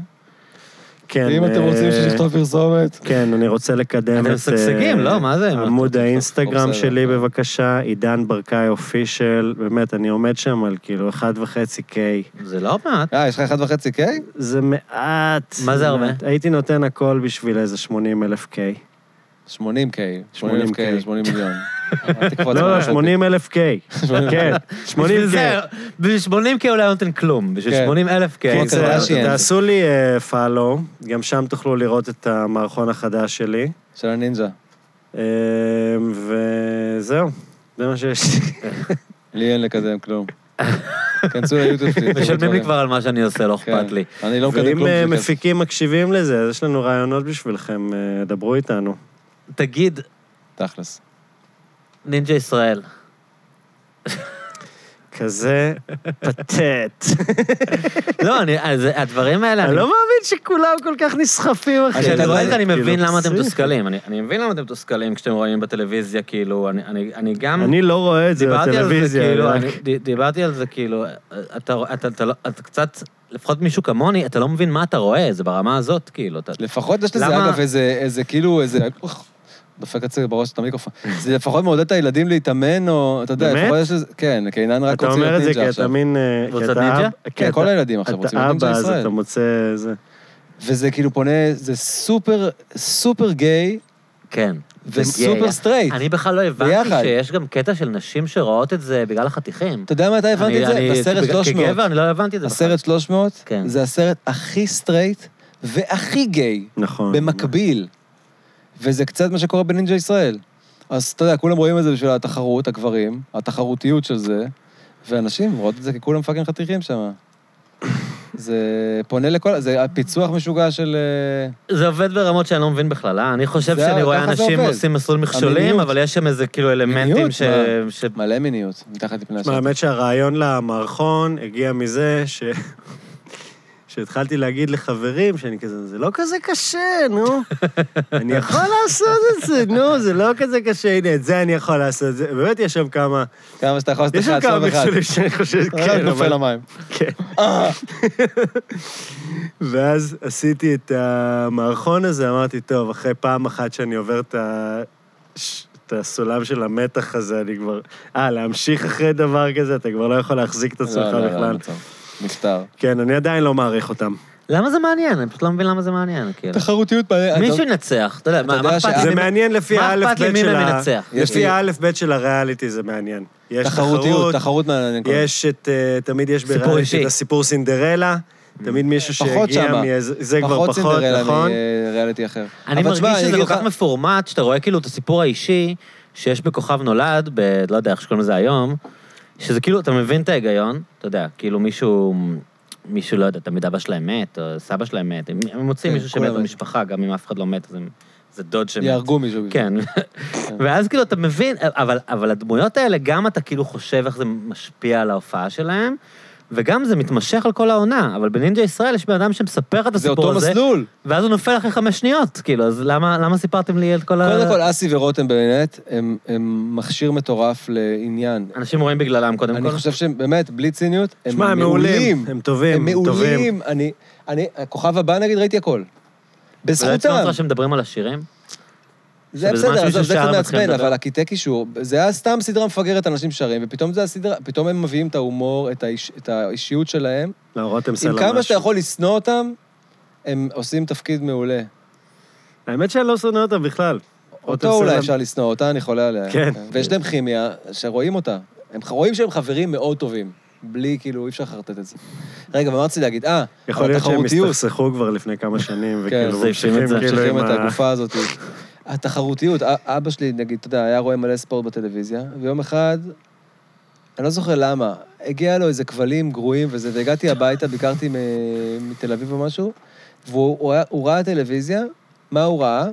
כן. אם אתם אה, רוצים שנכתוב פרסומת... כן, אני רוצה לקדם את... אתם משגשגים, אה, לא? מה זה? עמוד האינסטגרם בסדר. שלי, בבקשה, עידן ברקאי אופישל. באמת, אני עומד שם על כאילו 1.5K. זה לא מעט. אה, יש לך אחד וחצי קיי? זה מעט. מה זה הרבה? מעט. הייתי נותן הכל בשביל איזה 80 אלף K. 80 קיי. 80K. 80 קיי, 80 מיליון. אל תקפוץ לא, מעל לא, זה. 80 אלף K. כן, 80 בשביל K. זה, בשביל 80 K אולי לא נותן כלום, בשביל כן. 80 אלף K. כמו כן, קרדשיאן. זה- תעשו לי פאלו, גם שם תוכלו לראות את המערכון החדש שלי. של הנינג'ה. אה, וזהו, זה מה שיש לי. לי אין לקדם [LAUGHS] כלום. כנסו ליוטיוב שלי. תראו משלמים לי דברים. כבר על מה שאני עושה, לא כן. אכפת לי. אני לא מקדם ואם כלום. אה, בשביל כסף. מפיקים מקשיבים לזה, אז יש לנו רעיונות בשבילכם, אה, דברו איתנו. תגיד, תכלס. נינג'ה ישראל, כזה פתט. לא, אני, אז הדברים האלה, אני אני- לא מאמין שכולם כל כך נסחפים, אחי. כשאני אני- רואה את זה, אני מבין כאילו, למה אתם פסיכי. מתוסכלים. אני אני מבין למה אתם מתוסכלים כשאתם רואים בטלוויזיה, כאילו, אני- אני אני גם... אני לא רואה את זה דיברתי על זה, בטלוויזיה. אה. כאילו, אני רק- אני- ד- דיברתי על זה, כאילו, אתה רוא- אתה- אתה לא- אתה קצת, לפחות מישהו כמוני, אתה לא מבין מה אתה רואה, זה ברמה הזאת, כאילו, אתה... לפחות יש לזה, למה- אגב, איזה, איזה כאילו, איזה... אוח, דופק עצי בראש את המיקרופון. זה לפחות מעודד את הילדים להתאמן, או... אתה יודע, באמת? לפחות יש לזה... כן, קינן רק אתה רוצה אומר להיות את זה נינג'ה כי עכשיו. אתה מין... אה, כי רוצה אתה נינג'ה? אב- כי כן, אתה- כל הילדים עכשיו רוצים אתה להיות נינג'ה אבא, אז ישראל. אתה מוצא... זה. וזה כאילו פונה, זה סופר, סופר גיי כן. וסופר סטרייט. אני בכלל לא הבנתי ביחד. שיש גם קטע של נשים שרואות את זה בגלל החתיכים. אתה יודע מתי הבנתי את זה? אני- אני- בסרט כ- 300. כגבר, אני לא הבנתי את זה בכלל. הסרט 300, כן. זה הסרט הכי סטרייט והכי גיי. נכון. במקביל. וזה קצת מה שקורה בנינג'ה ישראל. אז אתה יודע, כולם רואים את זה בשביל התחרות, הגברים, התחרותיות של זה, ואנשים רואות את זה ככולם פאקינג חתיכים שם. זה פונה לכל... זה הפיצוח משוגע של... אה, זה עובד ברמות שאני לא מבין בכלל, אה? אני חושב זה- שאני רואה ככה זה אנשים עובד. עושים מסלול מכשולים, המיניות. אבל יש שם איזה כאילו אלמנטים מיניות? ש... מה? ש- מלא מיניות, מתחת לפני השטח. תשמע, האמת שהרעיון למערכון הגיע מזה ש... שהתחלתי להגיד לחברים שאני כזה, זה לא כזה קשה, [LAUGHS] נו. אני יכול לעשות את זה, נו, זה לא כזה קשה, הנה, את זה אני יכול לעשות. זה... באמת יש שם כמה... כמה שאתה יכול לעשות יש אחד, שם כמה עצוב אחד. מכשולים שאני חושב, רק כן, נופל אבל... למים. כן. ואז עשיתי את המערכון הזה, אמרתי, טוב, אחרי פעם אחת שאני עובר את ה... ש- את הסולם של המתח הזה, אני כבר... אה, להמשיך אחרי דבר כזה, אתה כבר לא יכול להחזיק את עצמך לא, אה, לא, לא, בכלל. מצב. נפטר. כן, אני עדיין לא מעריך אותם. למה זה מעניין? אני פשוט לא מבין למה זה מעניין, כאילו. תחרותיות בעיה. מישהו ינצח, אתה יודע, מה יודע מה אכפת שה- לי? זה אני- מעניין לפי מה האלף אכפת לי בית מי של ה... מנצח? יש לפי לי- האלף בית של הריאליטי זה מעניין. יש תחרותיות, תחרות, תחרות כן. מעניינת. יש את... אה, תמיד יש סיפור בריאליטי אישי. את הסיפור סינדרלה, תמיד מישהו Mm. פחות שהגיע שמה. מאיזה... זה כבר פחות פחות, סינדרלה נכון? מריאליטי אחר. אני אבל מרגיש תשמע, אני שזה אגיד כל כך לך- מפורמט, שאתה רואה כאילו את הסיפור האישי שיש בכוכב נולד, ב... לא יודע איך שקוראים לזה היום, שזה כאילו, אתה מבין את ההיגיון, אתה יודע, כאילו מישהו, מישהו, לא יודע, תמיד אבא שלהם מת, או סבא שלהם מת, הם הם מוצאים כן, מישהו כולם שמת מתו. במשפחה, גם אם אף אחד לא מת, אז הם... זה דוד שמת. יהרגו מישהו. [LAUGHS] כן. ואז כאילו, אתה מבין, אבל, אבל הדמויות האלה, גם אתה כאילו חושב איך זה משפיע על ההופעה שלהם, וגם זה מתמשך על כל העונה, אבל בנינג'ה ישראל יש בן אדם שמספר לך את זה הסיפור אותו הזה. מסלול. ואז הוא נופל אחרי חמש שניות, כאילו, אז למה, למה סיפרתם לי את כל ה... קודם כל, אסי ורותם באמת, הם- הם מכשיר מטורף לעניין. אנשים רואים בגללם, קודם כל. אני חושב שהם באמת, בלי ציניות, הם שמע, הם מעולים. מעולים. הם טובים, הם הם טובים. מעולים. אני, אני, הכוכב הבא נגיד, ראיתי הכל. ולעצמם בזכותם. אותך שמדברים על השירים? זה לא שבזמן בסדר, שמישהו עזוב, זה שר, קצת הם מתחילים מעצבן, לדבר. אבל הקטעי קישור, זה היה סתם סדרה מפגרת, אנשים שרים, ופתאום זה הסדרה, פתאום הם מביאים את ההומור, את, האיש, את האישיות שלהם. לא, רותם סלע עם משהו. כמה שאתה יכול לשנוא אותם, הם עושים תפקיד מעולה. האמת שאני לא שונא אותם בכלל. רותם אותו אולי סלע- אפשר לשנוא, אותה אני חולה עליה. כן. ויש להם כימיה שרואים אותה. הם רואים שהם חברים מאוד טובים. בלי, כאילו, אי אפשר לחרטט את זה. רגע, מה רציתי להגיד? אה, יכול אבל להיות שהם תחרותיות. הסתכסכו כבר לפני כמה שנים, כן, וכאילו זה ממשיכים את זה, כאילו ממשיכים עם את ה... הגופה הזאת. התחרותיות, א- אבא שלי, נגיד, אתה יודע, היה רואה מלא ספורט בטלוויזיה, ויום אחד, אני לא זוכר למה, הגיע לו איזה כבלים גרועים וזה, והגעתי הביתה, ביקרתי מ- מתל אביב או משהו, והוא הוא היה- הוא ראה טלוויזיה, מה הוא ראה?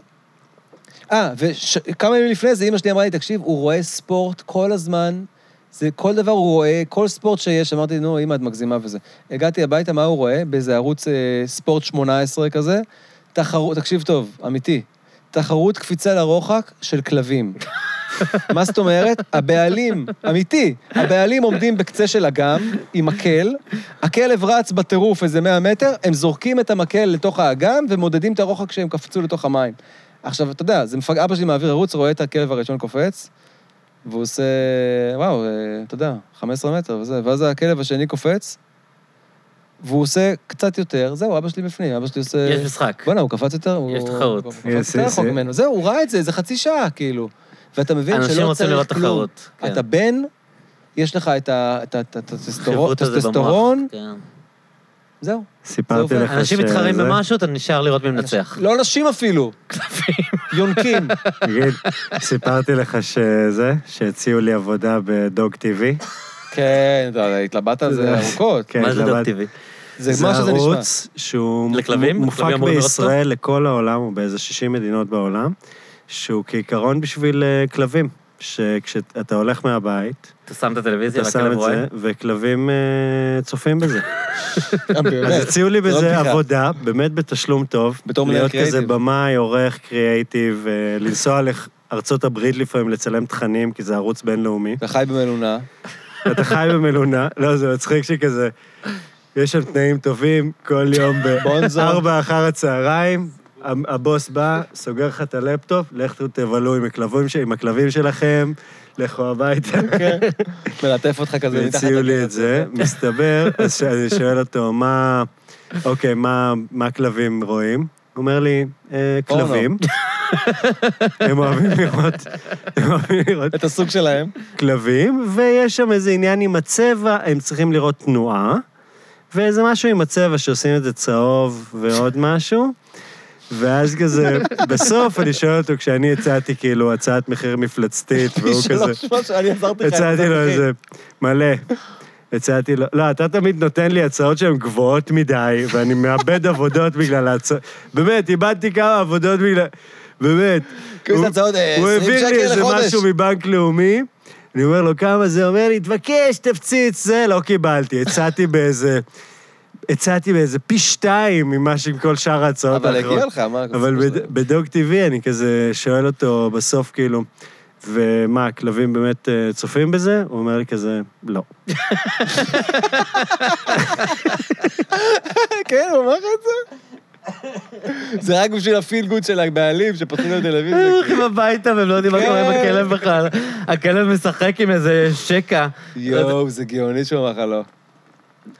אה, וכמה ימים לפני זה, אימא שלי אמרה לי, תקשיב, הוא רואה ספורט כל הזמן, זה כל דבר הוא רואה, כל ספורט שיש, אמרתי, נו, אימא, את מגזימה וזה. הגעתי הביתה, מה הוא רואה? באיזה ערוץ אה, ספורט 18 כזה, תחרות, תקשיב טוב, אמיתי, תחרות קפיצה לרוחק של כלבים. מה זאת אומרת? הבעלים, אמיתי, הבעלים עומדים בקצה של אגם עם מקל, הכלב רץ בטירוף איזה 100 מטר, הם זורקים את המקל לתוך האגם ומודדים את הרוחק כשהם קפצו לתוך המים. עכשיו, אתה יודע, זה מפג... אבא שלי מעביר ערוץ, רואה את הכלב הראשון קופץ, והוא עושה, וואו, אה, אתה יודע, 15 מטר וזה, ואז הכלב השני קופץ, והוא עושה קצת יותר, זהו, אבא שלי בפנים, אבא שלי עושה... יש משחק. בואנה, הוא קפץ יותר, הוא... יש תחרות. הוא קפץ יש, יותר יש, רחוק יש. ממנו. זהו, הוא ראה את זה, זה חצי שעה, כאילו. ואתה מבין שלא צריך אנשים כלום. רוצים לראות תחרות. כן. אתה בן, יש לך את ה- את ה- את ה- את הטסטורו- החיווט הזה במוח, הטסטוסטרון, כן. זהו. סיפרתי זה לך עובד. אנשים שזה- מתחרים במשהו, אתה נשאר לראות מי מנצח. לא נשים אפילו. [LAUGHS] יונקים. תגיד, סיפרתי לך שזה, שהציעו לי עבודה בדוג טיווי. כן, אתה יודע, התלבטת על זה ארוכות. כן, מה זה דוד התלבט- טבעי? זה מה שזה זה נשמע. ערוץ שהוא לכלבים? מ- הכלבים מופק אמורים לראות אותו? בישראל לכל העולם, הוא באיזה 60 מדינות בעולם, שהוא כעיקרון בשביל אה, כלבים. שכשאתה הולך מהבית, אתה שם את הטלוויזיה אתה שם והכלב את רואה? זה, וכלבים אה, צופים בזה. אז [LAUGHS] באמת. הציעו לי זה לא בזה בדיחה. עבודה, באמת בתשלום טוב. בתור מנהל להיות כזה קריאייטיב. במאי, עורך, קריאייטיב, אה, לנסוע לארצות הברית לפעמים, לצלם תכנים, כי זה ערוץ בינלאומי. אתה חי במלונה. אתה חי במלונה, לא, זה מצחיק שכזה, יש שם תנאים טובים, כל יום בונזו. בארבע אחר הצהריים, ה- הבוס בא, סוגר לך את הלפטופ, לכו תבלו עם הכלבים, ש- עם הכלבים שלכם, לכו הביתה. מלטף אותך כזה מתחת והציעו לי את זה, מסתבר, אז שאני שואל אותו, מה, אוקיי, מה מה הכלבים רואים? הוא אומר לי, "אה, פורנו." כלבים. הם אוהבים לראות, הם אוהבים לראות את הסוג שלהם. כלבים, ויש שם איזה עניין עם הצבע, הם צריכים לראות תנועה, ואיזה משהו עם הצבע שעושים את זה צהוב ועוד משהו. ואז כזה, בסוף אני שואל אותו, כשאני הצעתי כאילו הצעת מחיר [LAUGHS] מפלצתית, והוא כזה, שלוש, שלוש, לא, אני עזרתי לך. הצעתי לו איזה מלא. הצעתי לו, לא, אתה תמיד נותן לי הצעות שהן גבוהות מדי, ואני מאבד עבודות בגלל ההצעות. באמת, איבדתי כמה עבודות בגלל... באמת. כי הוא עושה הוא- הצעות, אה, הוא 20 הביא שקל לי איזה לחודש. משהו מבנק לאומי, אני אומר לו, כמה זה? אומר לי, תבקש, תפציץ, זה, לא קיבלתי. הצעתי באיזה... הצעתי באיזה פי שתיים ממה שכל שאר ההצעות אבל האחרות. הגיע לך, מה? אבל בד- בדוג טבעי אני כזה שואל אותו בסוף, כאילו, ומה, הכלבים באמת אה, צופים בזה? הוא אומר לי כזה, לא. [LAUGHS] כן, הוא אמר לך את זה? זה רק בשביל הפיל גוד של הבעלים שפותחים לו הם [LAUGHS] טלוויזיה. הולכים הביתה והם לא יודעים מה כן. קורה בכלב בכלל. הכלב משחק עם איזה שקע. יואו, זה גאוני שהוא אמר לך לא.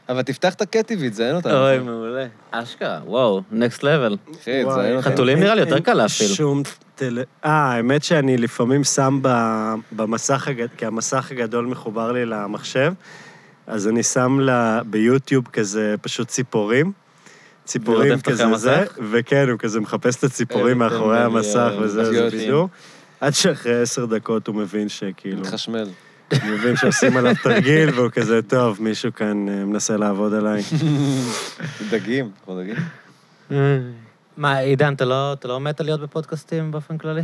אבל תפתח את הקטיבי, תזיין אותנו. אוי, מעולה. אשכרה, וואו, נקסט לבל. אחי, וואי, תזיין אותנו. חתולים נראה לי יותר אין- קל אין להפעיל. שום טל... אה, האמת שאני לפעמים שם ב- במסך, הגד- כי המסך הגדול מחובר לי למחשב, אז אני שם לה... ביוטיוב כזה פשוט ציפורים. ציפורים ורודף אחרי כזה זה, המסך? וכן, הוא כזה מחפש את הציפורים אלה, מאחורי כן, המסך אלה, וזה, זה אידיוטים. בידור. עד שאחרי עשר דקות הוא מבין שכאילו, מתחשמל. הוא מבין שעושים עליו תרגיל, והוא כזה, טוב, מישהו כאן אה, מנסה לעבוד עליי. דגים, אנחנו דגים. אה. מה, עידן, אתה לא- אתה לא מת על להיות בפודקאסטים באופן כללי?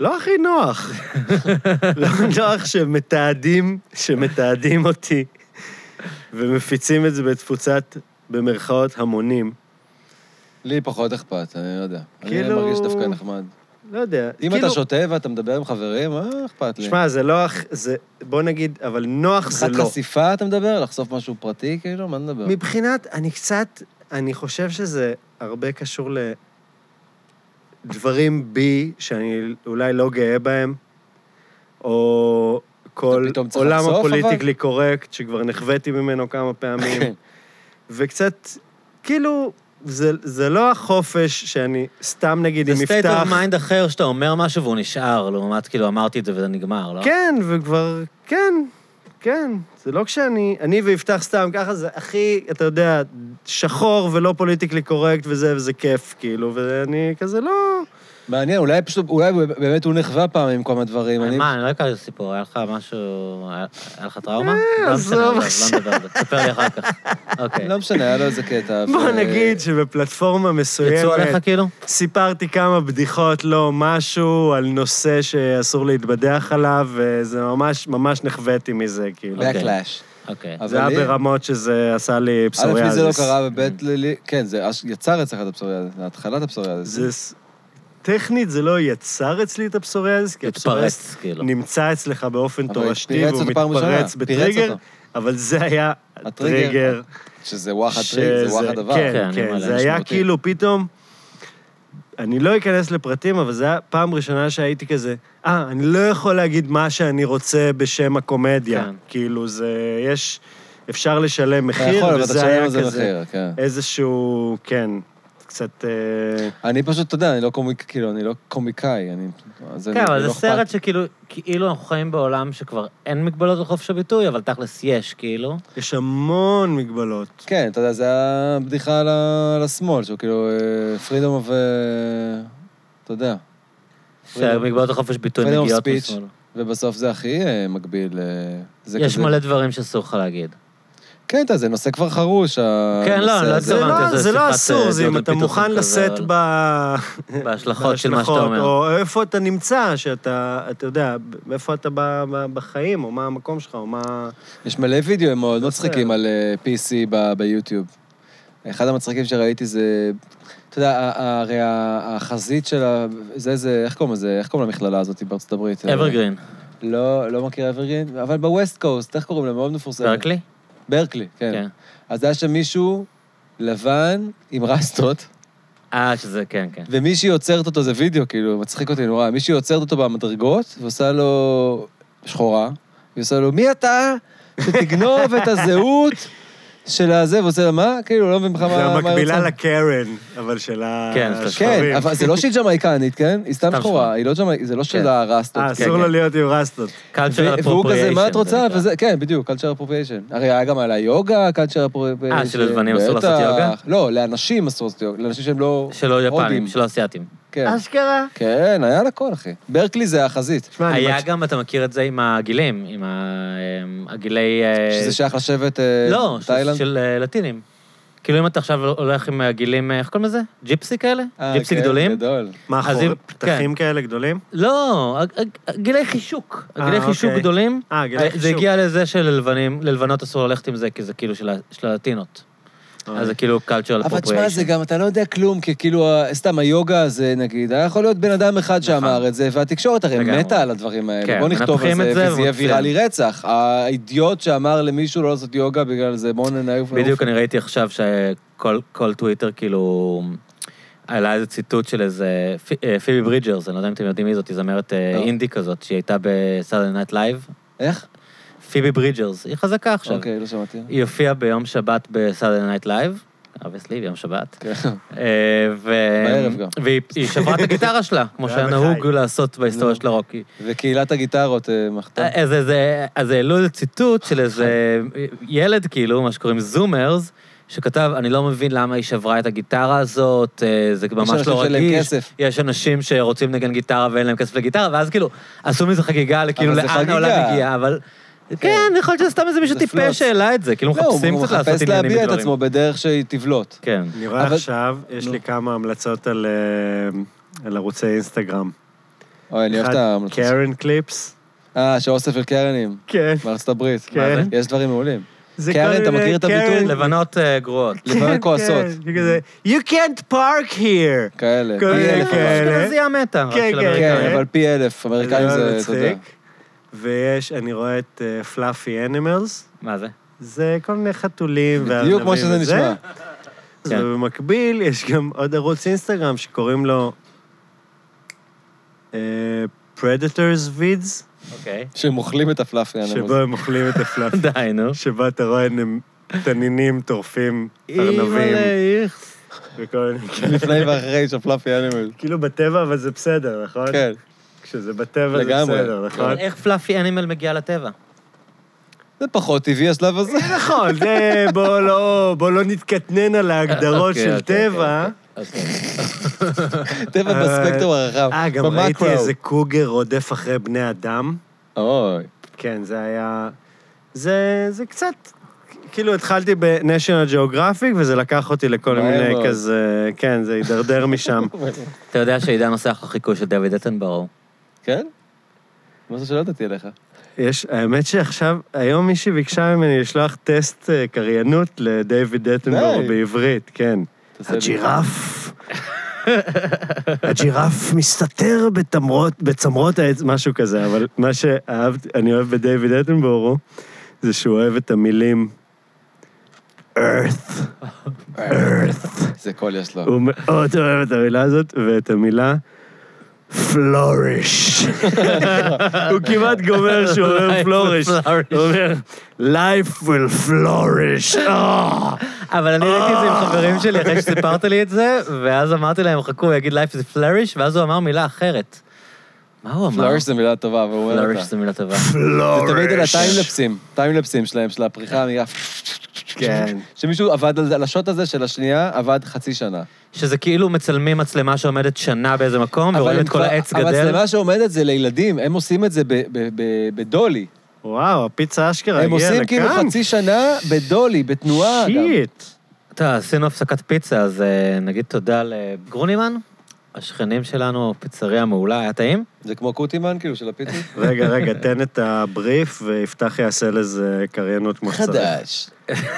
לא הכי נוח. לא נוח שמתעדים, שמתעדים אותי ומפיצים את זה בתפוצת, במרכאות, המונים. לי פחות אכפת, אני לא יודע. אני כאילו- מרגיש דווקא נחמד. לא יודע. אם אתה שותה ואתה מדבר עם חברים, אה, אכפת לי. שמע, זה לא... אח- זה, בוא נגיד, אבל נוח זה חת לא. חשיפה אתה מדבר? לחשוף משהו פרטי, כאילו? מה נדבר? מבחינת, אני קצת, אני חושב שזה הרבה קשור לדברים בי, שאני אולי לא גאה בהם, או כל פתאום צריך עולם לחשוף, אבל? הפוליטיקלי קורקט, שכבר נחוויתי ממנו כמה פעמים. כן. וקצת, כאילו, זה, זה לא החופש שאני סתם נגיד זה אם state יפתח... of mind אחר שאתה אומר משהו והוא נשאר, לעומת כאילו אמרתי את זה וזה נגמר, אה? לא? כן, וכבר, כן, כן. זה לא כשאני, אני ויפתח סתם ככה, זה הכי, אתה יודע, שחור ולא פוליטיקלי קורקט וזה, וזה כיף, כאילו, ואני כזה לא... מעניין, אולי פשוט, אולי באמת הוא נחווה פעם עם כל הדברים. אני- מה, אני לא אקרא לזה סיפור, היה לך משהו... היה- היה לך טראומה? לא עזוב משנה, לא עכשיו. נדבר על זה. תספר לי אחר כך. אוקיי. לא משנה, היה לו איזה קטע. בוא ו- נגיד שבפלטפורמה לא, יצאו עליך מסוימת כאילו? סיפרתי כמה בדיחות, לא משהו, על נושא שאסור להתבדח עליו, וזה ממש, ממש נחוויתי מזה, כאילו. אה, אוקיי. Backlash. אוקיי. אבל זה היה לי- ברמות שזה עשה לי א', לי פסוריאזיס. זה לא קרה, וב', לי- לי... כן, זה אש- יצר אצלך את הפסוריאזיס, זה התחלת הפסוריאזיס. זה... ס- טכנית זה לא יצר אצלי את הפסוריאזיס, כי הפסוריאזיס התפרץ, כאילו. נמצא אצלך באופן אבל תורשתי, פירץ והוא אותו פעם ראשונה, פירץ מתפרץ בטריגר, אותו. אבל זה היה הטריגר. הטריגר. שזה וואחד טריק, זה וואחד דבר. כן, כן, אני כן, מלא זה היה משמעותי. כאילו פתאום... אני לא אכנס לפרטים, אבל זו הייתה פעם ראשונה שהייתי כזה, אה, אני לא יכול להגיד מה שאני רוצה בשם הקומדיה. כן. כאילו, זה... יש... אפשר לשלם אתה מחיר, אה, יכול, אבל אתה וזה משלם היה על זה כזה מחיר, כן. איזשהו... כן, קצת... אה, אני פשוט, אתה יודע, אני לא קומיק, כאילו, אני לא קומיקאי, אני... אז כן, אני- אבל אני זה לא סרט אכפת. שכאילו, כאילו אנחנו חיים בעולם שכבר אין מגבלות לחופש הביטוי, אבל תכלס יש, כאילו. יש המון מגבלות. כן, אתה יודע, זה הבדיחה על ה- על השמאל, שהוא כאילו, פרידום אוף... אה, אתה יודע. Freedom- שמגבלות לחופש ביטוי freedom of מגיעות לא- speech. משמאל. ובסוף זה הכי אה, מגביל. אה, זה יש כזה- מלא דברים שאסור לך להגיד. כן, אתה יודע, זה נושא כבר חרוש, הנושא לא, אני לא הזה. זה התכוונתי, לא, זה זה לא שיחת, אסור, אה, זה אם דודו אתה פיטרסון מוכן כזה, לשאת אבל- ב... בהשלכות של מה שאתה בהשלכות, אומר. או איפה אתה נמצא, שאתה, אתה יודע, איפה אתה ב- ב- בחיים, או מה המקום שלך, או מה... יש מלא וידאוים מאוד מצחיקים על אה, PC ב- ביוטיוב. אחד המצחיקים שראיתי זה, אתה יודע, ה- ה- הרי ה- החזית של ה... זה, זה, איך קוראים לזה? איך קוראים למכללה הזאת בארצות הברית? אברגרין, לא, לא מכיר אברגרין, אבל בווסט קוסט, איך קוראים לה? מאוד מפורסמת. ברקלי? ברקלי, כן. כן. אז היה שם מישהו לבן עם רסטות, אה, שזה, כן, כן. ומישהי עוצרת אותו, זה וידאו, כאילו, מצחיק אותי נורא, מישהי עוצרת אותו במדרגות, ועושה לו שחורה, והיא עושה לו, מי אתה שתגנוב את הזהות של הזה, ועושה לה, מה? כאילו, לא מבין בכלל מה... זה מה היא המקבילה רוצה." לקרן, אבל של ה- כן, של כן, השחורים. אבל זה לא שהיא ג'מייקנית, כן? היא סתם סתם שחורה, שחורה. היא לא ג'מייקנית, זה לא שלה רסטות. אה, כן, אסור לו כן. להיות עם רסטות. cultural כן. ו- והוא כזה, מה את appropriation, זה רוצה? נקרא. וזה, כן, בדיוק, culture appropriation. הרי היה גם על היוגה, culture appropriation. אה, שללבנים אסור לעשות בטח. יוגה? לא, לאנשים אסור לעשות יוגה, לאנשים שהם לא... שלא הודים. יפנים, שלא אסיאתים. כן. אשכרה. כן, היה לה הכל, אחי. ברקלי זה החזית. שמע, אני היה מקש- גם, אתה מכיר את זה עם הגילים, עם ה- אמ, הגילי... אה, שזה שייך לשבט אה, לא, של- תאילנד? של אה, לטינים. כאילו אם אתה עכשיו הולך עם הגילים, אה, איך קוראים לזה? ג'יפסי כאלה? אה, ג'יפסי כן, גדולים? גדול. מה, אז אם- כן. חור- פתחים כאלה גדולים? לא, הג- הג- הגילי חישוק. אה, הגילי חישוק אוקיי. גדולים. אה, גילי זה חישוק. הגיע לזה שללבנות אסור ללכת עם זה, כי זה כאילו של ה- של הלטינות. אה. אז זה כאילו cultural אבל תשמע, זה appropriation. גם, אתה לא יודע כלום, כי כאילו, ה- סתם היוגה הזה, נגיד, היה יכול להיות בן אדם אחד שאמר את זה, והתקשורת הרי נכון. לגמרי. מתה על הדברים האלה. כן, בוא נכתוב על מנפחים זה, את זה וזה יהיה ומוציאים. ויראלי רצח. האידיוט שאמר למישהו לא לעשות יוגה בגלל זה, בואו נעוף. בדיוק אני ראיתי עכשיו שכל כל טוויטר כאילו... עלה איזה ציטוט של איזה פי- אה, פיבי ברידג'רס, אני לא יודע אם אתם יודעים מי זאת, היא זמרת אה, לא. אינדי כזאת, שהיא הייתה בסאדן נייט לייב. איך? פיבי ברידג'רס, היא חזקה עכשיו. אה, אוקיי, לא שמעתי. היא הופיעה ביום שבת בסאדי נייט לייב, אובייסלי, ביום שבת. כן. אה, ו... בערב גם. והיא היא שברה את הגיטרה שלה, כמו זה שהיה היה נהוג בחי. לעשות בהיסטוריה של הרוק. היא- וקהילת הגיטרות אה, מחתה. אז איזה- אז העלו איזה ציטוט של איזה ילד, כאילו, מה שקוראים זומרס, שכתב, אני לא מבין למה היא שברה את הגיטרה הזאת, אה, זה ממש אנשים לא שאין להם רגיש. כסף." יש אנשים שרוצים לנגן גיטרה ואין להם כסף לגיטרה, ואז כאילו, עשו מזה חגיגה, כאילו, אבל זה לאן חגיגה. העולם הגיע, אבל... כן, יכול להיות שזה סתם איזה מישהו זה פלוץ. טיפש שהעלה את זה, כאילו לא, הוא מחפשים הוא קצת לעשות מחפש עניינים להביע את מדברים. עצמו בדרך שהיא תבלוט. כן. אני רואה אבל- עכשיו, יש לי כמה המלצות על אה, על ערוצי אינסטגרם. אוי, אני אוהב את אחד, ההמלצות. קרן קליפס. אה, שאוסף של קרנים, כן. בארצות הברית. כן. מה זה? יש דברים מעולים. זה קרן, כל אתה מיני- מכיר את קרן- הביטוי? לבנות אה, גרועות. לפעמים כועסות. כן, כן, כזה, You can't park here. כאלה. כל פי מיני אלף. אבל. כאלה. אשכנזיה מתה. רק כן, של כן, אמריקאים. כן, אבל פי אלף. אמריקאים זה, אתה יודע. לא מצחיק. ויש, אני רואה את פלאפי אנימלס. מה זה? זה כל מיני חתולים וארנבים. בדיוק כמו שזה וזה. נשמע. אז כן. במקביל, יש גם עוד ערוץ אינסטגרם שקוראים לו אה, Predators Vids, אוקיי. שהם אוכלים את הפלאפי. כן, אני אומר. שבו הם אוכלים את הפלאפי. די, נו. שבו אתה רואה נמ- תנינים טורפים ארנבים אימא'לה, איכס. וכל מיני כאלה. [LAUGHS] לפני ואחרי של פלאפי אנימל. [LAUGHS] כאילו בטבע, אבל זה בסדר, נכון? כן. כשזה בטבע זה לגמרי. כן. בסדר, נכון? איך פלאפי אנימל מגיע לטבע? זה פחות טבעי השלב [LAUGHS] הזה. נכון, זה בוא לא, בוא לא נתקטנן על ההגדרות אוקיי, של אוקיי, טבע. טבע בספקטרום הרחב. אה, גם במקרו. ראיתי איזה קוגר רודף אחרי בני אדם. אוי. כן, זה היה... זה, זה קצת... כאילו התחלתי ב-National Geographic, וזה לקח אותי לכל מהר מיני מאוד. כזה... כן, זה הידרדר משם. אתה יודע שעידן עושה אחר חיקוי של דוד אטנברו. כן? מה זה שלא ידעתי עליך? יש, האמת שעכשיו, היום מישהי ביקשה ממני לשלוח טסט אה, קריינות לדייוויד דטנבור די. בעברית, כן. תעשה לי. הג'ירף, הג'ירף מסתתר בתמרות, בצמרות העץ, משהו כזה, אבל מה שאהבתי, אני אוהב בדייוויד אטנבורו, זה שהוא אוהב את המילים earth. זה קול יש לו. הוא מאוד אוהב את המילה הזאת, ואת המילה flourish. הוא כמעט גומר שהוא אומר [LAUGHS] Life flourish. will flourish. הוא אומר, life will flourish. אה. אבל אני ראיתי את זה עם חברים שלי אחרי שסיפרת לי את זה, ואז אמרתי להם, חכו, הוא יגיד Life is flourish, ואז הוא אמר מילה אחרת. מה הוא אמר? פלאריש זה מילה טובה, אבל הוא אומר Flourish אותה. זה מילה טובה. זה תמיד על הטיימלפסים, טיימלפסים שלהם, של הפריחה המהירה. כן. שמישהו עבד על זה- על השוט הזה של השנייה, עבד חצי שנה. שזה כאילו מצלמים מצלמה שעומדת שנה באיזה מקום, ורואים הם את כל כבר- העץ גדל. המצלמה שעומדת זה לילדים, הם עושים את זה ב- ב- ב- בדולי. אה, וואו, הפיצה אשכרה הם הגיעה לכאן. עושים כאילו חצי שנה בדולי, בתנועה גם. שיט. אתה, עשינו הפסקת פיצה, אז אה, נגיד תודה לגרונימן, השכנים שלנו, פיצריה מעולה, היה [LAUGHS] טעים? זה כמו קוטימן, כאילו, של [LAUGHS] הפיצות. לא רגע, רגע, תן את הבריף, ויפתח יעשה לזה קריינות כמו שצריך. חדש.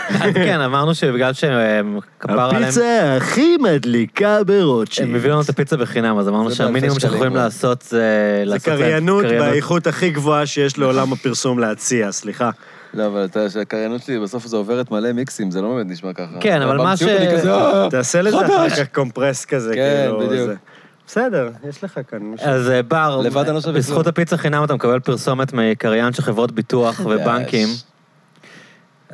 אז כן, אמרנו שבגלל שהם כפר עליהם... הפיצה הכי מדליקה הם ברוטשילד. הביאו לנו את הפיצה בחינם, אז אמרנו זה כן. שהמינימום באלפי שאנחנו יכולים שקלים, לעשות זה... זה לעשות להם קריינות קריינות. באיכות הכי גבוהה שיש לעולם הפרסום להציע, סליחה. לא, אבל אתה יודע שהקריינות שלי, בסוף זה עוברת מלא מיקסים, זה לא באמת נשמע ככה. כן, אבל מה במציאות ש- אני כזה, "אה, תעשה לזה אחר כך קומפרס כזה, כן, כאילו... בדיוק. זה. בסדר, יש לך כאן מישהו. אז אה, בר, לבד אני לא שווה בזכות כלום. הפיצה חינם אתה מקבל פרסומת מקריין של חברות [LAUGHS] ביטוח ובנקים.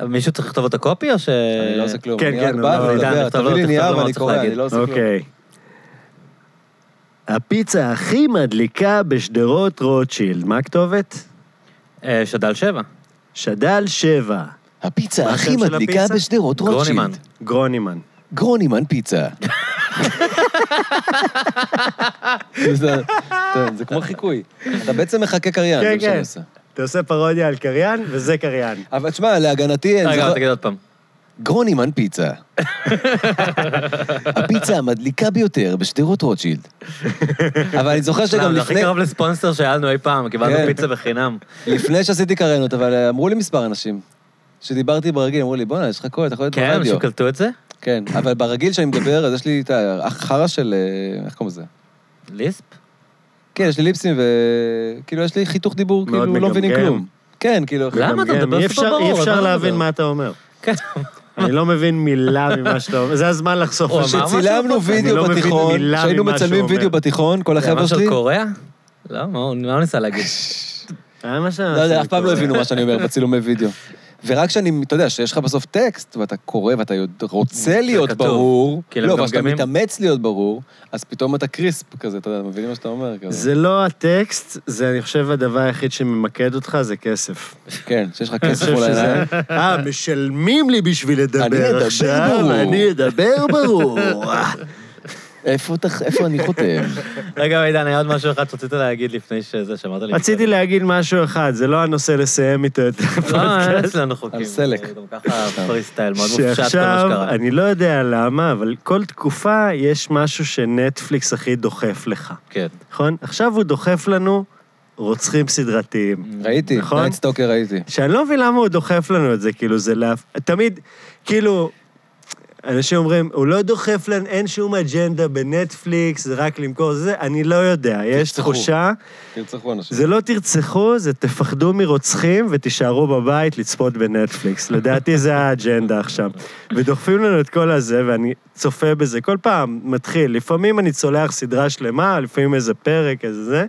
מישהו צריך לכתוב אותה קופי או ש... אני לא עושה כלום. כן, אני כן, רק לא, בא לא, ומדבר, עידן, תכתוב תביא לי לו, תכתוב לו נייר מה ואני צריך קורא, להגיד. אני לא עושה כלום. אוקיי. הפיצה הכי מדליקה בשדרות רוטשילד, מה הכתובת? אה, שדל שבע. שד"ל שבע. הפיצה השם של הפיצה? בשדרות גרונימן. גרונימן. גרונימן פיצה. זה- אתה- זה כמו חיקוי. אתה בעצם מחכה קריין, זה כן, מה שאני כן. עושה. אתה עושה פרודיה על קריין, וזה קריין. אבל תשמע, להגנתי אין... לא- רגע, זוכר- תגיד עוד פעם. גרונימן פיצה. הפיצה המדליקה ביותר בשדרות רוטשילד. אבל אני זוכר לא, שגם זה הכי לפני, קרוב לספונסר שהיה לנו אי פעם, קיבלנו כן. פיצה בחינם. לפני שעשיתי קריינות, אבל אה, אמרו לי מספר אנשים. כשדיברתי ברגיל, אמרו לי, בואנה, יש לך קול, אתה יכול להיות כן, ברדיו. אנשים קלטו את זה? כן, אבל ברגיל שאני מדבר, אז יש לי את החרא של... אה, איך קוראים לזה? ליספ? כן, יש לי ליפסים וכאילו, יש לי חיתוך דיבור, מאוד כאילו, לא מבינים מגמגם. כלום. כן, כאילו... למה אתה מדבר אי סופר אפשר- ברור, אי על מה אפשר אתה להבין מדבר? מה אתה אומר. כן. אני לא מבין מילה ממה שאתה אומר. זה הזמן לחשוף הוא את זה. אמר משהו צילמנו בפודקאסט? אני לא וידאו מבין בתיכון, מילה כשהיינו ממה שהוא מצלמים אומר. וידאו בתיכון, כל זה החבר'ה משהו שלי... [LAUGHS] על קוריאה? לא, מה הוא מה הוא ניסה להגיד? כמה שנה לא יודע, עשיתי אף פעם לא קורא. הבינו מה שאני אומר בצילומי וידאו. ורק כשאני, אתה יודע, שיש לך בסוף טקסט, ואתה קורא ואתה יודע- רוצה להיות כתוב. ברור, כאילו, לא, הם אבל כשאתה מגמגמים. מתאמץ להיות ברור, אז פתאום אתה קריספ כזה, אתה יודע, אתה מבין מה שאתה אומר כזה. זה לא הטקסט, זה אני חושב הדבר היחיד שממקד אותך, זה כסף. כן, שיש לך אני כסף חושב מול שזה- העיניים. אה, משלמים לי בשביל לדבר לא. אדבר עכשיו, ברור. אני אדבר [LAUGHS] ברור. איפה אתה- איפה אני חותם? רגע, עידן, היה עוד משהו אחד שרצית להגיד לפני שזה, שאמרת לי... רציתי להגיד משהו אחד, זה לא הנושא לסיים איתו את לא, הפודקאסט. אין אצלנו חוקים. על סלק. זה גם ככה פרי סטייל, מאוד מופשט כל מה שעכשיו, שקרה. אני לא יודע למה, אבל כל תקופה יש משהו שנטפליקס הכי דוחף לך, כן. נכון? עכשיו הוא דוחף לנו רוצחים סדרתיים. Mm. ראיתי, נכון? נייט סטוקר ראיתי. שאני לא מבין למה הוא דוחף לנו את זה, כאילו, זה להפ... תמיד, כאילו, אנשים אומרים, הוא לא דוחף לנו, אין שום אג'נדה בנטפליקס, זה רק למכור זה, אני לא יודע, יש תרצחו. תחושה, תרצחו אנשים. זה לא תרצחו, זה תפחדו מרוצחים ותישארו בבית לצפות בנטפליקס. לדעתי זה האג'נדה עכשיו. ודוחפים לנו את כל הזה, ואני צופה בזה כל פעם, מתחיל. לפעמים אני צולח סדרה שלמה, לפעמים איזה פרק, איזה זה.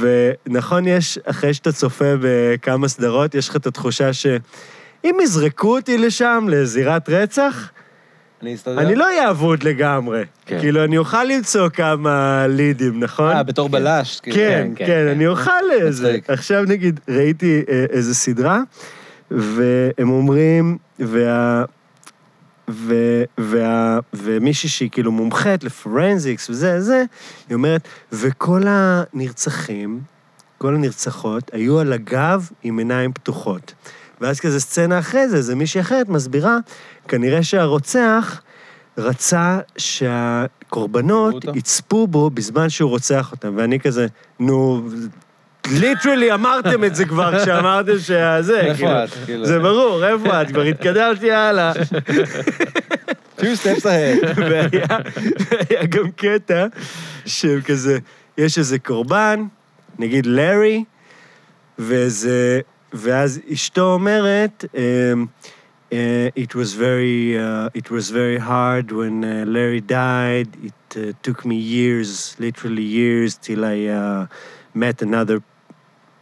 ונכון, יש, אחרי שאתה צופה בכמה סדרות, יש לך את התחושה ש... אם יזרקו אותי לשם, לזירת רצח, אני אסתדר. אני לא אהיה אבוד לגמרי. כן. כאילו, אני אוכל למצוא כמה לידים, נכון? אה, בתור בלש. כאילו. כן, כן, כן, כן. אני אוכל לזה. מצחיק. עכשיו נגיד, ראיתי אה, איזה סדרה, והם אומרים, וה... ו, וה, ומישהי שהיא כאילו מומחית לפורנזיקס וזה, זה, היא אומרת, וכל הנרצחים, כל הנרצחות, היו על הגב עם עיניים פתוחות. ואז כזה סצנה אחרי זה, זה מישהי אחרת מסבירה, כנראה שהרוצח רצה שהקורבנות יראו אותו. יצפו בו בזמן שהוא רוצח אותם, ואני כזה, נו, ליטרלי אמרתם את זה כבר כשאמרתם שזה, כאילו. איפה את? כאילו? זה ברור, איפה את? כבר התקדמתי הלאה. פיו סטפס ההד. [LAUGHS] והיה והיה גם קטע שהם כזה, יש איזה קורבן, נגיד לארי, ואיזה, ואז אשתו אומרת, אמ, אה, it was very, uh, it was very hard when uh, Larry died. It uh, took me years, literally years, till I uh, met another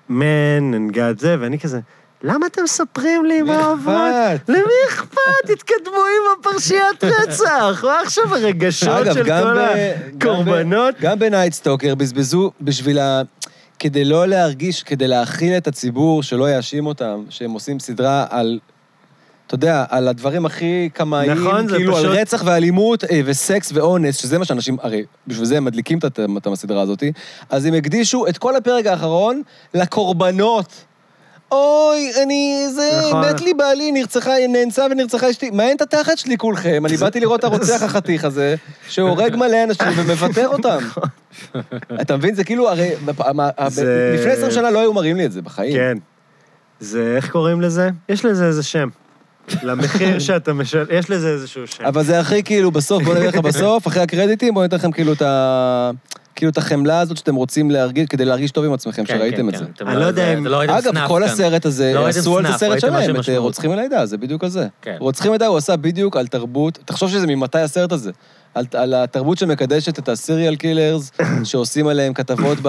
man and got זה, ואני כזה, למה אתם מספרים לי מה עברת? למי אכפת? תתקדמו עם הפרשיית רצח. מה עכשיו הרגשות אגב, של גם כל ב- הקורבנות? גם ב- גם בנייט סטוקר בזבזו בשביל ה... כדי לא להרגיש, כדי להכיל את הציבור, שלא יאשים אותם, שהם עושים סדרה על... אתה יודע, על הדברים הכי קמאיים, נכון, זה כאילו על פשוט- רצח ואלימות אה, וסקס ואונס, שזה מה שאנשים, הרי בשביל זה הם מדליקים את הת- את הסדרה הזאת, אז הם הקדישו את כל הפרק האחרון לקורבנות. אוי, אני... זה... נכון. מת לי בעלי, נרצחה, נאנסה ונרצחה אשתי. מעניין את התחת שלי כולכם, אני באתי לראות את הרוצח החתיך הזה, שהורג מלא אנשים ומפטר אותם. אתה מבין? זה כאילו, הרי... בפ- מה- ה- זה- לפני 20 שנה לא היו מראים לי את זה בחיים. כן. זה, איך קוראים לזה? יש לזה איזה שם. [LAUGHS] למחיר שאתה משל... יש לזה איזשהו שם. אבל זה הכי כאילו, בסוף, בוא נלך בסוף, אחרי הקרדיטים, בוא ניתן לכם כאילו את ה... כאילו את החמלה הזאת שאתם רוצים להרגיש, כדי להרגיש טוב עם עצמכם, כן, שראיתם כן, את זה. כן. אתם אני לא יודע זה- אם- זה לא ראיתם אגב, סנאף כל כאן. הסרט הזה, לא ראיתם עשו על זה סנאף, סרט ראיתם משהו שלהם, את אה, משמעותי. רוצחים על העדה, זה בדיוק על זה. כן. רוצחים על העדה, הוא עשה בדיוק על תרבות, תחשוב שזה ממתי הסרט הזה. על, על התרבות שמקדשת את הסיריאל קילרס, [COUGHS] שעושים עליהם כתבות ב...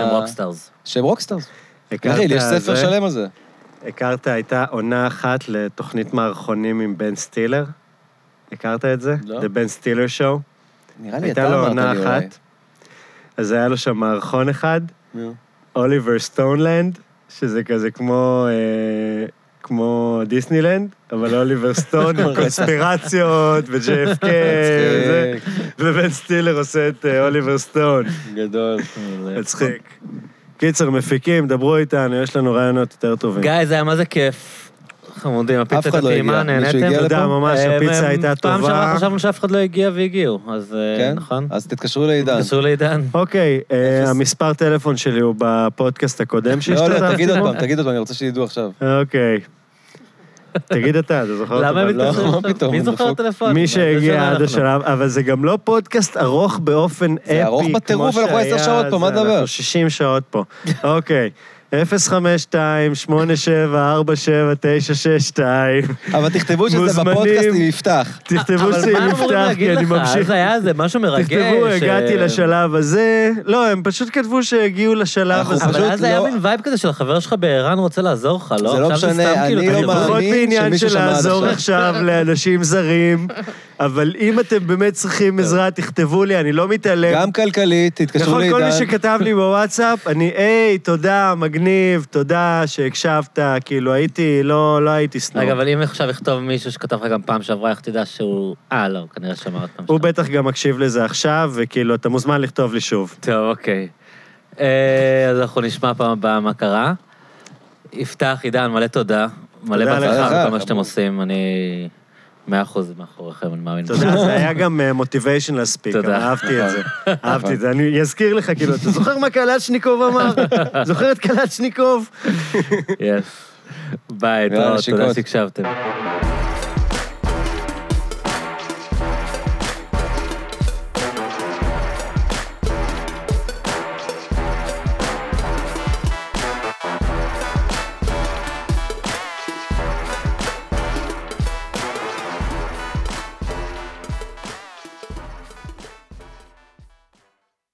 שהם רוקסטארס. שהם רוקסטארס. הכרת אחי, יש ספר כן, זה? שלם על זה. הכרת, הייתה עונה אחת לתוכנית מערכונים עם בן סטילר. הכרת את זה? לא. The בן סטילר שואו. נראה לי אתה הייתה לו אמרת עונה לי אולי. אחת. אז היה לו שם מערכון אחד, מי הוא? אוליבר סטונלנד, שזה כזה כמו... אה, כמו דיסנילנד, אבל אוליבר סטון [LAUGHS] עם קונספירציות ו-JFK וזה, כן. מצחיק, ובן סטילר עושה את אה, אוליבר סטון. גדול. מצחיק. קיצר, מפיקים, דברו איתנו, יש לנו רעיונות יותר טובים. גיא, זה היה מה זה כיף. חמודים, אף הפיצה אחד לא טעימה, הגיע. מישהו נהנתם? הגיע תודה, לפה? ממש, אה, הפיצה אה, הייתה פעם שעברה טובה. חשבנו שאף אחד לא הגיע והגיעו, אז אה, [LAUGHS] כן? נכון. אז תתקשרו לעידן. תתקשרו לעידן. אוקיי, אה, המספר טלפון שלי הוא בפודקאסט הקודם לא, לא, שהשתתפתי תגיד עוד בו? פעם, תגיד עוד פעם, אני רוצה שידעו עכשיו. אוקיי. תגיד אתה, אתה זוכר? אותו, למה הם אבל לא. מתקשרים? מתקשרים? מה עכשיו? פתאום, מי הוא זוכר דפוק. טלפון? מי זה שהגיע עד אנחנו. השלב, אבל זה גם לא פודקאסט ארוך באופן אפי, כמו ארוך בטירוף, אנחנו עשר שהיה שעות פה, מה זה, נדבר? אנחנו 60 שעות פה. אוקיי. [LAUGHS] 052-8747-962. אבל תכתבו שזה מוזמנים. בפודקאסט עם יפתח. תכתבו אבל מה הם אמורים שיפתח, להגיד כי אני לך? ממשיך. אז היה איזה משהו מרגש. תכתבו, הגעתי אה, לשלב הזה. לא, הם פשוט כתבו שהגיעו לשלב אנחנו הזה. אבל פשוט אז היה לא- מין וייב כזה של החבר שלך בער"ן רוצה לעזור לך, לא? זה לא עכשיו סתם משנה, כאילו, אני אתה לא לבד. פחות מאמין בעניין שמישהו של שמע עד לעזור עכשיו. עכשיו לאנשים זרים, אבל אם אתם באמת צריכים עזרה, תכתבו לי, אני לא מתעלם. גם כלכלית, תתקשרו יכול נכון, כל מי לעידן. שכתב לי בוואטסאפ, אני, היי, תודה, מגניב, תודה שהקשבת, כאילו, הייתי, לא, לא הייתי סנוב. רגע, אבל אם עכשיו יכתוב מישהו שכתב לך גם פעם שעברה, איך תדע שהוא... אה, לא, הוא כנראה שמע עוד פעם הוא שעברה. בטח גם מקשיב לזה עכשיו, וכאילו, אתה מוזמן לכתוב לי שוב. טוב, אוקיי. אה, אז אנחנו נשמע פעם הבאה מה קרה. יפתח, עידן, מלא תודה. מלא תודה בהצלחה לך, בכל מה כמובן. שאתם עושים, אני... מאה אחוז מאחוריכם, אני מאמין. תודה, זה היה גם מוטיביישן לספיק, תודה. אהבתי את זה. אהבתי את זה. אני אזכיר לך, כאילו, אתה זוכר מה קלצ'ניקוב אמר? זוכר את קלצ'ניקוב? [LAUGHS] Yes. ביי, יאללה, תודה, תודה נשיקות. שהקשבתם.